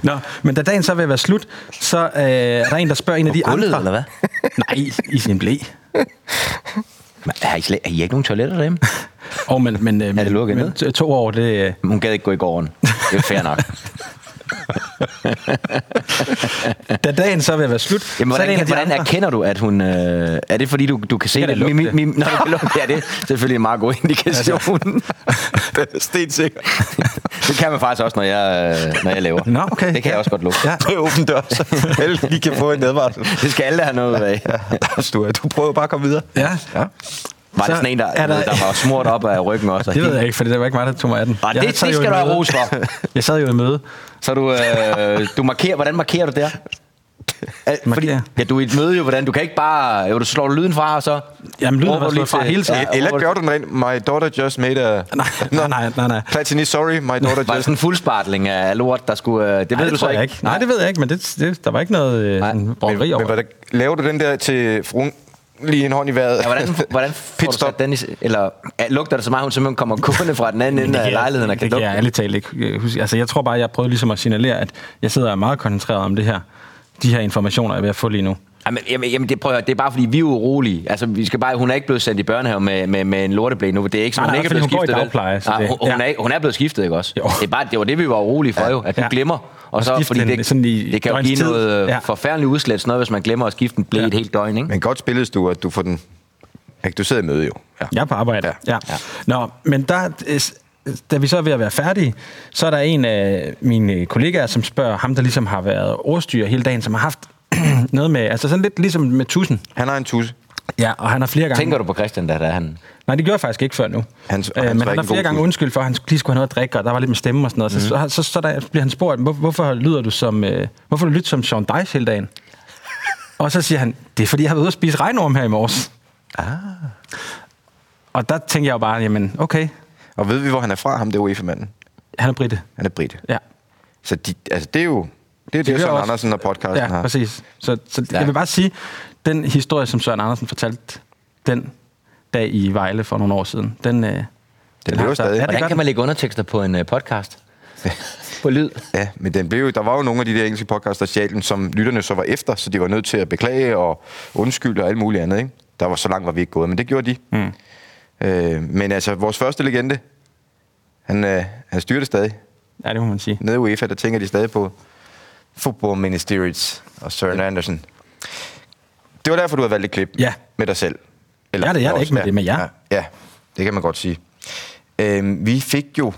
S3: Nå, men da dagen så vil være slut, så øh, er der en, der spørger en af de
S4: gulvet,
S3: andre.
S4: eller hvad?
S3: Nej, i sin blæ.
S4: Men, har, I slet, har I ikke nogen toiletter derhjemme?
S3: Og men, men, øh,
S4: det lukket
S3: men,
S4: ned?
S3: to- To år, det... øh,
S4: Hun gad ikke gå i gården. Det er fair nok.
S3: Da dagen så vil være slut,
S4: Jamen,
S3: så er det
S4: hvordan,
S3: en af de
S4: hvordan
S3: andre.
S4: erkender du, at hun... Øh, er det, fordi du, du kan se...
S3: Kan det
S4: at
S3: lugte?
S4: nå, det kan lugte. Ja, det er selvfølgelig en meget god indikation.
S3: Altså.
S2: Det er stensikker.
S4: det kan man faktisk også, når jeg, øh, når jeg laver.
S3: Nå, okay.
S4: Det kan jeg også godt lugte.
S3: Ja.
S2: Prøv at åbne dør, så alle lige kan få en advarsel.
S4: Det skal alle have noget ud af.
S2: Ja, Lars, du, er- du prøver bare at komme videre.
S3: Ja. ja.
S4: Var det
S3: Så
S4: sådan en, der,
S3: er
S4: der,
S3: der-
S4: der var smurt op af ryggen også?
S3: Det ved jeg ikke, for det var ikke mig, der tog mig af den.
S4: Og
S3: Jeg
S4: det, Altså, det
S3: sad jo i
S4: skal du have
S3: møde.
S4: ros for.
S3: Jeg sad jo i møde.
S4: Så du, øh, du markerer, hvordan markerer du der? Al- Fordi,
S3: Markerer?
S4: ja, du er i et møde jo, hvordan du kan ikke bare... Jo, du slår lyden fra, og så...
S3: Jamen, lyden
S4: råber
S3: var
S4: du
S3: slået
S4: til-
S3: fra hele tiden.
S4: Ja,
S2: E- Eller
S4: råber du-
S2: gør du den rent? My daughter just made a...
S3: Nej, nej, nej, nej, nej.
S2: Platini, sorry, my daughter
S4: Var det
S2: just...
S4: sådan en fuldspartling af lort, der skulle... øh, Det ved
S3: Nej, det
S4: du så
S3: tror jeg
S4: ikke.
S3: ikke. Nej, det ved jeg ikke, men det, det, der var ikke noget øh, sådan broveri
S2: Men, men
S3: over.
S2: hvordan, laver du den der til fruen? Lige en hånd i vejret.
S4: Ja, hvordan, hvordan får du
S2: Pitstop.
S4: sat den i, eller ja, lugter det så meget, at hun simpelthen kommer gående fra den anden ende af lejligheden og kan
S3: det kan
S4: lugte?
S3: jeg ærligt talt ikke øh, huske. Altså, jeg tror bare, jeg prøvede ligesom at signalere, at jeg sidder og er meget koncentreret om det her. De her informationer, jeg er ved at få lige nu.
S4: Jamen, jamen, jamen det, prøver, det er bare fordi, vi er urolige. Altså, vi skal bare, hun er ikke blevet sendt i børnehave med, med, med en lorteblæ nu. Det er ikke sådan,
S3: Nej,
S4: hun
S3: nej,
S4: ikke er
S3: fordi
S4: blevet
S3: hun går i
S4: skiftet. vel?
S3: dagpleje, så
S4: Nej,
S3: det-
S4: hun, hun,
S3: ja.
S4: er, ikke- hun er blevet skiftet, ikke også?
S3: Jo.
S4: Det, er bare, det var det, vi var urolige for jo, at hun
S3: Ja.
S4: glemmer.
S3: Og
S4: Og så,
S3: skifte
S4: fordi
S3: den
S4: det,
S3: sådan i
S4: det kan jo give
S3: døgnstid.
S4: noget
S3: Ja.
S4: ja. forfærdeligt udslæt, sådan noget, hvis man glemmer at skifte en blæ
S3: Ja.
S4: ja. et helt
S3: Mm.
S4: døgn, ikke?
S2: Men godt spilles du, at du får den... Ikke, du sidder i møde jo. Ja.
S3: Jeg er på arbejde.
S2: Ja.
S3: Ja. ja. Nå, men der, øh, s- da vi så er ved at være færdige, så er der en af mine kollegaer, som spørger ham, der ligesom har været ordstyr hele dagen, som har haft noget med, altså sådan lidt ligesom med tusen.
S2: Han har en tusse.
S3: Ja, og han har flere gange...
S4: Tænker du på Christian, da, da han...
S3: Nej, det gjorde jeg faktisk ikke før nu.
S2: Hans-
S3: øh,
S2: hans var ikke
S3: men han har
S2: en god
S3: flere gange
S2: bud.
S3: undskyld for, at han skulle- lige skulle have noget at drikke, og der var lidt med stemme og sådan noget.
S2: Mhm.
S3: Mm. Så, så, så, så der bliver han spurgt, "Hvor- hvorfor lyder du som, øh, hvorfor lyder du som Sean Dice hele dagen? og så siger han, det er fordi, jeg har været ude at spise regnorm her i morges. Ah. Og der tænker jeg jo bare, jamen okay,
S2: Og ved vi, hvor han er fra, ham der UEFA-manden?
S3: han er britte.
S2: Han er brite.
S3: Ja.
S2: Så de, altså, det er jo... Det er det,
S3: hører
S2: det Søren
S3: også-
S2: Andersen og podcasten
S3: Ja,
S2: har.
S3: præcis. Så, så ja.
S4: Ja.
S3: jeg vil bare sige, den historie, som Søren Andersen fortalte den dag i Vejle for nogle år siden, den... Øh, den, den
S2: lever stadig.
S3: Ja, det
S4: Hvordan
S3: gør
S4: kan
S3: den.
S4: man lægge undertekster på en øh, podcast? på lyd?
S2: Ja, men den blev, jo- der var jo nogle af de der engelske podcasts, der stjal den, som lytterne så var efter, så de var nødt til at beklage og undskylde og alt muligt andet. Ikke? Der var så langt, var vi ikke gået, men det gjorde de. Mm. Øh, men altså, vores første legende, han, øh, han styrer det stadig.
S3: Ja, det må man sige.
S2: Nede i UEFA, der tænker de stadig på Football Ministeriets og Søren ja. Andersen. Det var derfor, du havde valgt et klip
S3: Ja.
S2: med dig selv. Eller,
S3: Ja, det er jeg da
S2: også,
S3: ikke med det, men jeg.
S2: Ja, ja, det kan man godt sige. Øh, vi fik jo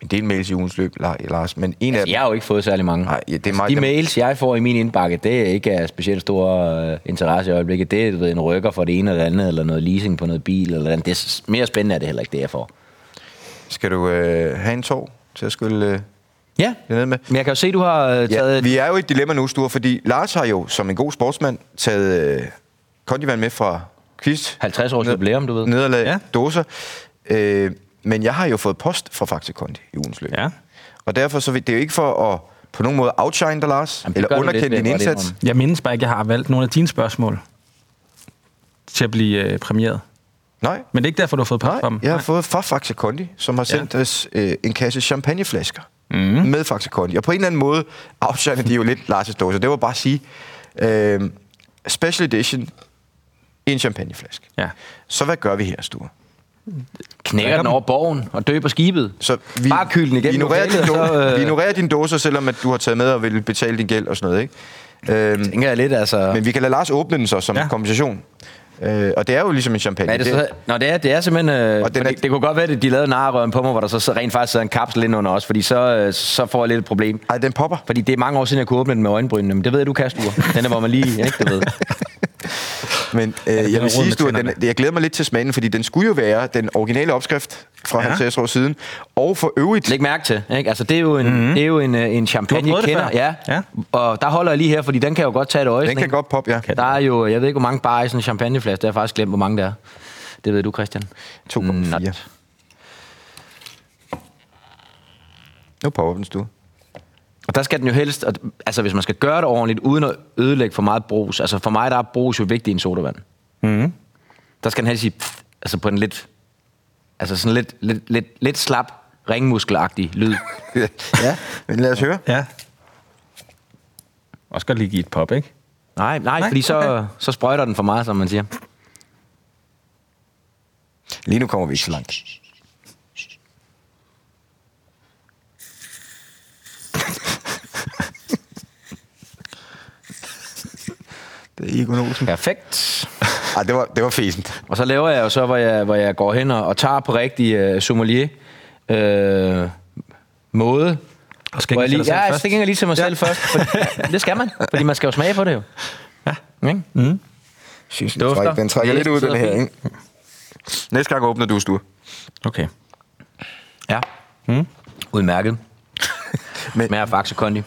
S2: en del mails i ugens løb, Lars, men en af
S4: Altså,
S2: dem...
S4: jeg har jo ikke fået særlig mange.
S2: Nej, ja, det er
S4: Altså,
S2: meget-
S4: de mails, jeg får i min indbakke, det er ikke af specielt stor øh, interesse i øjeblikket. Det er du ved, en rykker for det ene eller det andet, eller noget leasing på noget bil. Eller andet. Det er s- mere spændende er det heller ikke, det jeg får.
S2: Skal du øh, have en tår til at skylle øh,
S4: Ja,
S2: det ned med?
S4: men jeg kan jo se, du har øh,
S2: Ja,
S4: taget...
S2: vi er jo i et dilemma nu, Sture, fordi Lars har jo som en god sportsmand taget øh, kondivand med fra quiz.
S4: 50 års jubilæum, du ved.
S2: Nederlag, ja.
S3: Ja.
S2: dåser. Øh, men jeg har jo fået post fra Faxe Kondi i ugens løb.
S3: Ja.
S2: Og derfor så vil- det er jo ikke for at på nogen måde outshine dig, Lars,
S4: Jamen, det gør
S2: eller
S4: du lidt,
S2: underkende
S4: vil jeg
S2: din
S4: godt
S2: indsats.
S4: indrømme.
S3: Jeg mindes bare ikke, at jeg har valgt nogle af dine spørgsmål til at blive øh, præmieret.
S2: Nej,
S3: Men det er ikke derfor, du har fået post fra
S2: nej,
S3: dem.
S2: jeg har fået fra Faxe Kondi, som har sendt ja. os øh, en kasse champagneflasker mm. med Faxe Kondi. Og på en eller anden måde outshiner de jo lidt Lars' dåser. Det var bare at sige, øh, special edition i en champagneflaske.
S3: Ja.
S2: Så hvad gør vi her, Sture?
S4: knækker den over borgen og døber skibet.
S2: Så
S4: vi, Bare kyl den
S2: vi
S4: igennem.
S2: ignorerer, din
S4: lokalet, og
S2: dåser,
S4: så, øh-
S2: vi ignorerer dine dåser, selvom at du har taget med og vil betale din gæld og sådan noget, ikke? Øhm,
S4: Tænker jeg lidt, altså...
S2: men vi kan lade Lars åbne den så som ja.
S3: Ja.
S2: kompensation. Øh, og det er jo ligesom en champagne.
S4: Hvad er det, så? Nå, det er, det er simpelthen... Øh,
S2: Og den
S4: fordi
S2: er-
S4: Det kunne godt være, at de lavede narrøven på mig, hvor der så, så rent faktisk sidder en kapsel ind under os, fordi så, øh, så får jeg lidt et problem.
S2: Ej, den popper.
S4: Fordi det er mange år siden, jeg kunne åbne den med øjenbrynene, men det ved jeg, du kan, Sture. Den er, hvor man lige, ikke, du ved.
S2: Men øh, jeg
S3: den
S2: vil
S3: rød
S2: sige,
S3: med
S2: Stuart, den,
S3: tænderne.
S2: jeg glæder mig lidt til smagen, fordi den skulle jo være den originale opskrift fra
S3: Ja.
S2: ja. 50 år siden. Og for øvrigt,
S4: Læg mærke til, ikke? Altså, det er jo en,
S2: Mhm.
S4: mm-hmm. det er jo en, øh, en champagne, jeg
S3: prøvet det
S4: kender.
S3: før?
S4: Ja.
S3: Ja.
S4: Og der holder jeg lige her, fordi den kan jo godt tage et øje.
S2: den
S4: sådan
S2: kan
S4: en.
S2: godt poppe, ja.
S4: Der er jo, jeg ved ikke, hvor mange bare i sådan en champagneflaske. Det har jeg faktisk glemt, hvor mange der er. Det ved du, Christian.
S2: 2,4.
S4: Not.
S2: Nu popper den, Stuart.
S4: Og der skal den jo helst, og, altså hvis man skal gøre det ordentligt, uden at ødelægge for meget brus. Altså for mig, der er brus jo vigtigt i en sodavand. Mm.
S3: Mhm.
S4: Der skal den helst sige, pff, altså på en lidt, altså sådan lidt, lidt, lidt, lidt slap, ringmuskelagtig lyd.
S2: ja, men lad os høre.
S3: Ja. Også godt lige give et pop, ikke?
S4: nej, nej,
S3: Nej,
S4: nej, fordi så,
S3: okay.
S4: så sprøjter den for meget, som man siger.
S2: Lige nu kommer vi ikke så langt. Det er Egon Olsen.
S4: Perfekt.
S2: Ej, det var, det var fesen.
S4: Og så laver jeg jo så, hvor jeg, hvor jeg går hen og, og tager på rigtig øh, sommelier øh, måde.
S3: Og
S4: Hvor jeg
S3: ikke
S4: lige,
S3: sætte dig
S4: ja,
S3: selv
S4: jeg
S3: først.
S4: stikker lige til mig selv først. For, det skal man, fordi man skal jo smage på det jo. Ja. Ikke?
S2: Synes, den,
S4: Dufter.
S2: trækker, den trækker lidt ud,
S4: Næsen
S2: den her,
S4: sidder
S2: ikke? Næste gang åbner du, Sture.
S3: Okay.
S4: Ja. Mm. Udmærket.
S2: Men-
S4: Men, Smager af Faxe Kondi.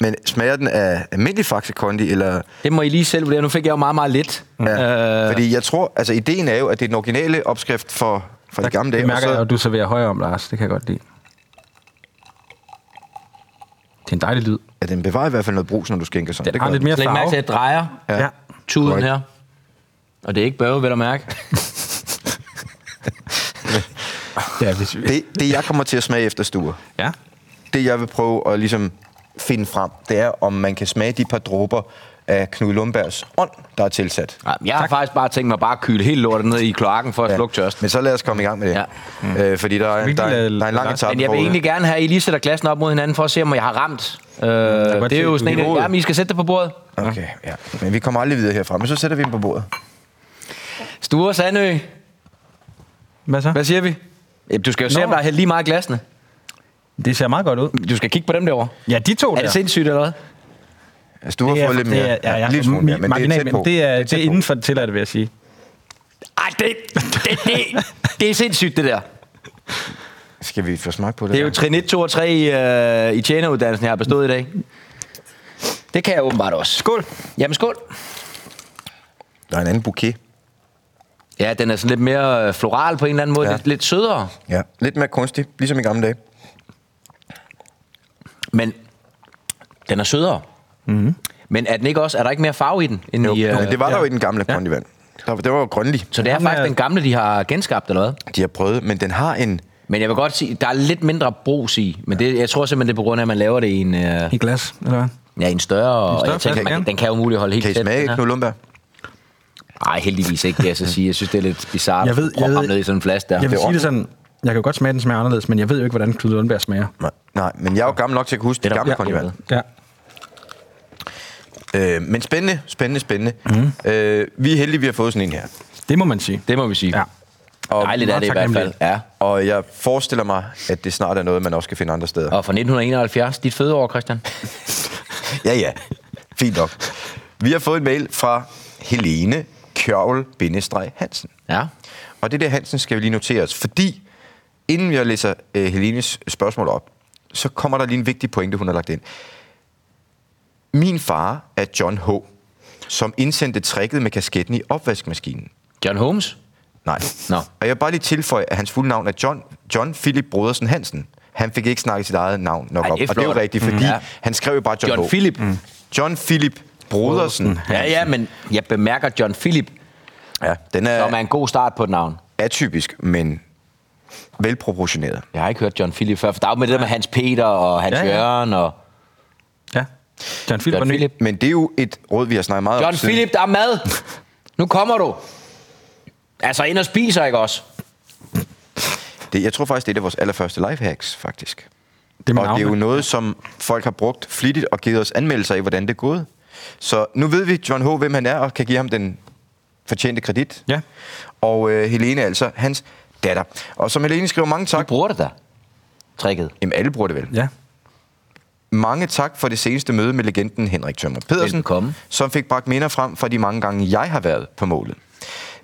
S2: Men smager den af almindelig Faxe Kondi, eller...
S3: Mm.
S4: Det må I lige selv vurdere. Nu fik jeg jo meget, meget lidt.
S3: Øh.
S2: Ja. Fordi jeg tror, altså ideen er jo, at det er den originale opskrift for, for de gamle dage.
S3: Det
S2: og
S3: mærker
S2: så-
S3: jeg, at du serverer højere om, Lars. Det kan jeg godt lide. Det er en dejlig lyd.
S2: Ja, den bevarer i hvert fald noget brus, når du skænker sådan.
S3: Den har
S2: gør
S3: lidt
S2: den.
S3: mere
S4: Læg mærke
S3: farve.
S4: til, at jeg drejer
S2: Ja.
S3: Ja.
S4: tuden
S2: Korrekt.
S4: her. Og det er ikke bøve, vil du mærke.
S3: ja, hvis vi...
S2: Det, det, jeg kommer til at smage efter stuer,
S3: ja.
S2: det jeg vil prøve at ligesom finde frem, det er, om man kan smage de par dråber af Knud Lundbergs ånd, der er tilsat.
S4: Nej, Jeg har tak. faktisk bare tænkt mig bare at kyle hele lortet ned i kloakken for at slukke tørsten.
S2: Men så lad os komme i gang med det.
S4: Ah, Ja.
S2: Mm. Øh, fordi der er,
S3: vi
S2: der,
S3: ikke
S2: er, der er
S3: lade-
S2: en lang
S3: lade-
S2: etape
S4: Men jeg vil
S2: forud.
S4: egentlig gerne have, at I lige sætter glassen op mod hinanden for at se, om jeg har ramt. Øh, det
S3: godt
S4: er
S3: se
S4: jo sådan en,
S3: niveauet.
S4: ja, men I skal sætte det på bordet.
S2: Okay, ja. Men vi kommer aldrig videre herfra, men så sætter vi dem på bordet.
S4: Sture Sandø,
S3: Hvad så?
S4: hvad siger vi? Ja, Du skal jo se, om
S3: Nå.
S4: der er hældt lige meget i glasene.
S3: Det ser meget godt ud.
S4: Du skal kigge på dem derovre.
S3: Ja, de to
S4: Er
S3: der.
S4: det sindssygt eller hvad?
S2: Altså, du har fået lidt mere.
S3: Det er, ja, ja,
S2: lidt smule mere, men det er tæt på.
S3: Det er, det
S2: tæt
S3: er
S2: på.
S3: inden for det tilladte, vil jeg sige.
S4: Ej, det, det, det, det er sindssygt, det der.
S2: Skal vi få smag på det?
S4: Det er jo trin 1, 2 og 3 i, øh, i tjeneruddannelsen, jeg har bestået i dag. Det kan jeg åbenbart også.
S3: Skål.
S4: Jamen skål.
S2: Der er en anden bouquet.
S4: Ja, den er sådan lidt mere øh, floral på en eller anden måde.
S2: Ja.
S4: Ja. Lidt, lidt sødere.
S2: Ja, lidt mere kunstig, ligesom i gamle dage.
S4: Men den er sødere. Mm-hmm. Men er den ikke også, er der ikke mere farve i den? End
S2: Jo,
S4: i, øh,
S2: yeah. men det var der jo i den gamle
S3: Ja.
S2: ja. kondivand. Der, var- det var jo grønlig,
S4: Så det er
S3: Jamen,
S4: faktisk
S3: øh,
S4: den gamle, de har genskabt, eller hvad?
S2: de har prøvet, men den har en...
S4: Men jeg vil godt sige, der er lidt mindre brus i. Men det, jeg tror simpelthen, det er på grund af, at man laver det i en, øh, ja,
S3: I glas, eller hvad? større
S4: en større... En større jeg tænker,
S3: flaske,
S4: man,
S3: ja.
S4: den kan jo muligt holde helt
S2: Kan I smage Knud Lundberg?
S4: Nej, heldigvis ikke, kan jeg så sige. Jeg synes, det er lidt bizarrt
S3: Jeg ved,
S4: at
S3: jeg
S4: proppe ham ned i
S3: ved,
S4: sådan en flaske der.
S3: jeg vil
S2: Det er
S3: sige det sådan, jeg kan jo godt smage, at den smager anderledes, men jeg ved jo ikke, hvordan Knud Lundberg smager.
S2: Nej. Nej, men jeg er jo gammel nok til at kunne huske det
S4: der-
S2: gamle
S4: ja.
S2: kondivand.
S3: Ja.
S2: Øh, men spændende, spændende, spændende. Mm. Øh, vi er heldige, vi har fået sådan en her.
S3: Det må man sige.
S4: Det må vi sige.
S3: Ja.
S2: Og,
S4: Dejligt er
S3: meget
S4: det i hvert fald.
S3: taknemmeligt.
S4: Ja.
S2: Og jeg forestiller mig, at det snart er noget, man også kan finde andre steder.
S4: Og fra 1971, dit fødeår, Christian.
S2: Ja, ja. Fint nok. Vi har fået en mail fra Helene Kjørvel-Hansen.
S4: Ja.
S2: Og det der Hansen skal vi lige notere os, fordi inden jeg læser øh, Helenes spørgsmål op, så kommer der lige en vigtig pointe, hun har lagt ind. Min far er John H., som indsendte tricket med kasketten i opvaskemaskinen.
S4: John Holmes?
S2: Nej.
S4: Nå.
S2: Og jeg vil bare lige tilføje, at hans fulde navn er John, John Philip Brodersen Hansen. Han fik ikke snakket sit eget navn nok
S4: Ej, det er
S2: op. Og det er jo
S4: flot.
S2: rigtigt,
S4: Mm.
S2: fordi
S4: Ja.
S2: han skrev jo bare John,
S4: John
S2: H.
S4: Philip. Mm.
S2: John Philip Brodersen.
S4: Ja, ja, men jeg bemærker John Philip,
S2: Ja, den
S4: som er
S2: er
S4: en god start på et navn.
S2: atypisk, men velproportioneret.
S4: Jeg har ikke hørt John Philip før, for der er jo med det der med Hans Peter og Hans
S3: Ja,
S4: ja,
S3: ja.
S4: ja. Jørgen og
S3: ja. John Philip
S4: John
S3: var ny.
S4: Philip.
S2: Men det er jo et råd, vi har snakket meget om.
S4: John
S2: siden.
S4: Philip, der er mad! Nu kommer du! Altså, ind og spiser, ikke også?
S2: Det, jeg tror faktisk, det er et af vores allerførste lifehacks, faktisk.
S3: Det er min
S2: og det er jo
S3: navn.
S2: noget, som folk har brugt flittigt og givet os anmeldelser i, hvordan det er gået. Så nu ved vi, John H., hvem han er, og kan give ham den fortjente kredit.
S3: Ja.
S2: Og øh, Helene er altså hans datter. Og som Helene skriver, mange
S4: Du
S2: tak.
S4: bruger det da. Tricket.
S2: Jamen, alle bruger det vel.
S3: Ja.
S2: Mange tak for det seneste møde med legenden Henrik Tømmer Pedersen,
S4: Velbekomme.
S2: som fik bragt minder frem fra de mange gange, jeg har været på målet.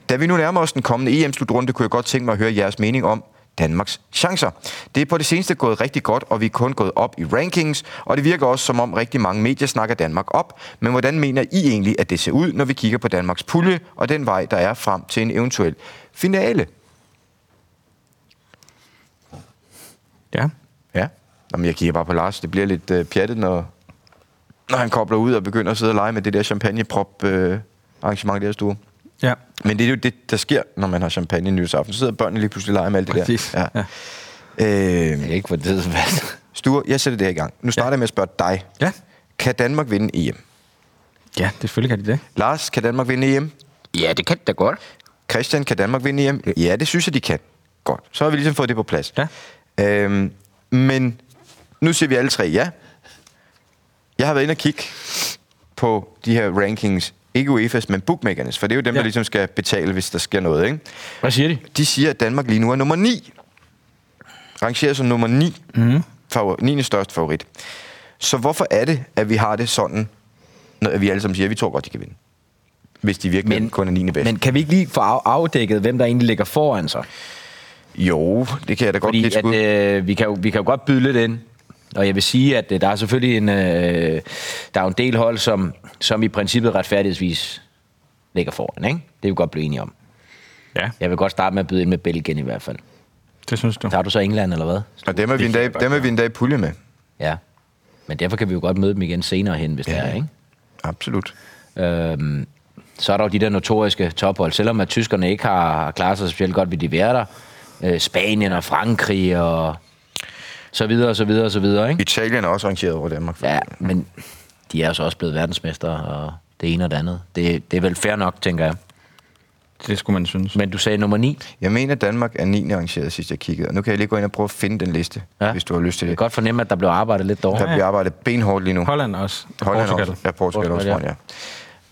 S2: Da vi nu nærmer os den kommende EM-slutrunde, kunne jeg godt tænke mig at høre jeres mening om Danmarks chancer. Det er på det seneste gået rigtig godt, og vi er kun gået op i rankings, og det virker også som om rigtig mange medier snakker Danmark op. Men hvordan mener I egentlig, at det ser ud, når vi kigger på Danmarks pulje og den vej, der er frem til en eventuel finale?
S3: Ja.
S2: Ja. Jamen, jeg kigger bare på Lars. Det bliver lidt øh, pjattet, når, når han kobler ud og begynder at sidde og lege med det der champagneprop øh, arrangement der stue.
S3: Ja.
S2: Men det er jo det, der sker, når man har champagne nytårsaften. Så sidder børnene lige pludselig og leger med alt det
S3: Præcis.
S2: der.
S3: Ja.
S2: Ja.
S4: Jeg
S2: Øh,
S4: kan ikke få det til at passe.
S2: Sture, jeg sætter det her i gang. Nu starter jeg med at spørge dig.
S3: Ja.
S2: Kan Danmark vinde EM?
S3: Ja, det selvfølgelig kan de det.
S2: Lars, kan Danmark vinde EM?
S4: Ja, det kan det da godt.
S2: Christian, kan Danmark vinde EM? Ja, det synes jeg, de kan. Godt. Så har vi ligesom fået det på plads.
S3: Ja.
S2: Øhm, men nu siger vi alle tre ja. Jeg har været inde og kigge på de her rankings Ikke UEFA's, men bookmakernes, for det er jo dem, ja. der ligesom skal betale, hvis der sker noget. Ikke?
S3: Hvad siger de?
S2: De siger, at Danmark lige nu er nummer 9. Rangerer som nummer 9. Mm. Favor- 9. største favorit. Så hvorfor er det, at vi har det sådan, når vi alle sammen siger, at vi tror godt, de kan vinde? Hvis de virkelig men, kun er 9. bedst.
S4: Men kan vi ikke lige få af- afdækket, hvem der egentlig ligger foran sig?
S2: Jo, det kan jeg da godt
S4: Fordi
S2: give et
S4: at,
S2: skud.
S4: øh, vi, kan jo, vi kan jo godt byde lidt ind. Og jeg vil sige, at øh, der er selvfølgelig en, øh, der er jo en del hold, som, som i princippet retfærdighedsvis ligger foran. Ikke? Det er vi godt blive enige om.
S3: Ja,
S4: Jeg vil godt starte med at byde ind med Belgien i hvert fald.
S3: det synes du.
S4: Tager du så England eller hvad?
S2: Og dem er vi
S3: Det kan
S2: endda,
S3: jeg godt
S2: dem er vi endda i pulje med.
S4: Ja. Men derfor kan vi jo godt møde dem igen senere hen, hvis ja. det er, ikke?
S2: Absolut.
S4: Øhm, så er der jo de der notoriske tophold. Selvom at tyskerne ikke har klaret sig specielt godt, vil de være der. Øh, Spanien og Frankrig og så videre, og så videre, og så videre, ikke?
S2: Italien er også rangeret over Danmark. for
S4: Ja, men de er jo så også blevet verdensmester og det ene og det andet. Det, det er vel fair nok, tænker jeg.
S3: Det skulle man synes.
S4: Men du sagde nummer 9.
S2: Jeg mener, Danmark er 9. rangeret, sidst jeg kiggede. Og nu kan jeg lige gå ind og prøve at finde den liste, ja. hvis du har lyst til
S4: Jeg
S2: det.
S4: kan godt fornemme, at der blev arbejdet lidt dårligt.
S2: Der bliver arbejdet benhårdt lige nu.
S3: Holland også. Og
S2: Holland
S3: Portugal.
S2: også. Ja, Portugal,
S4: Portugal,
S2: også,
S4: ja.
S2: tror jeg,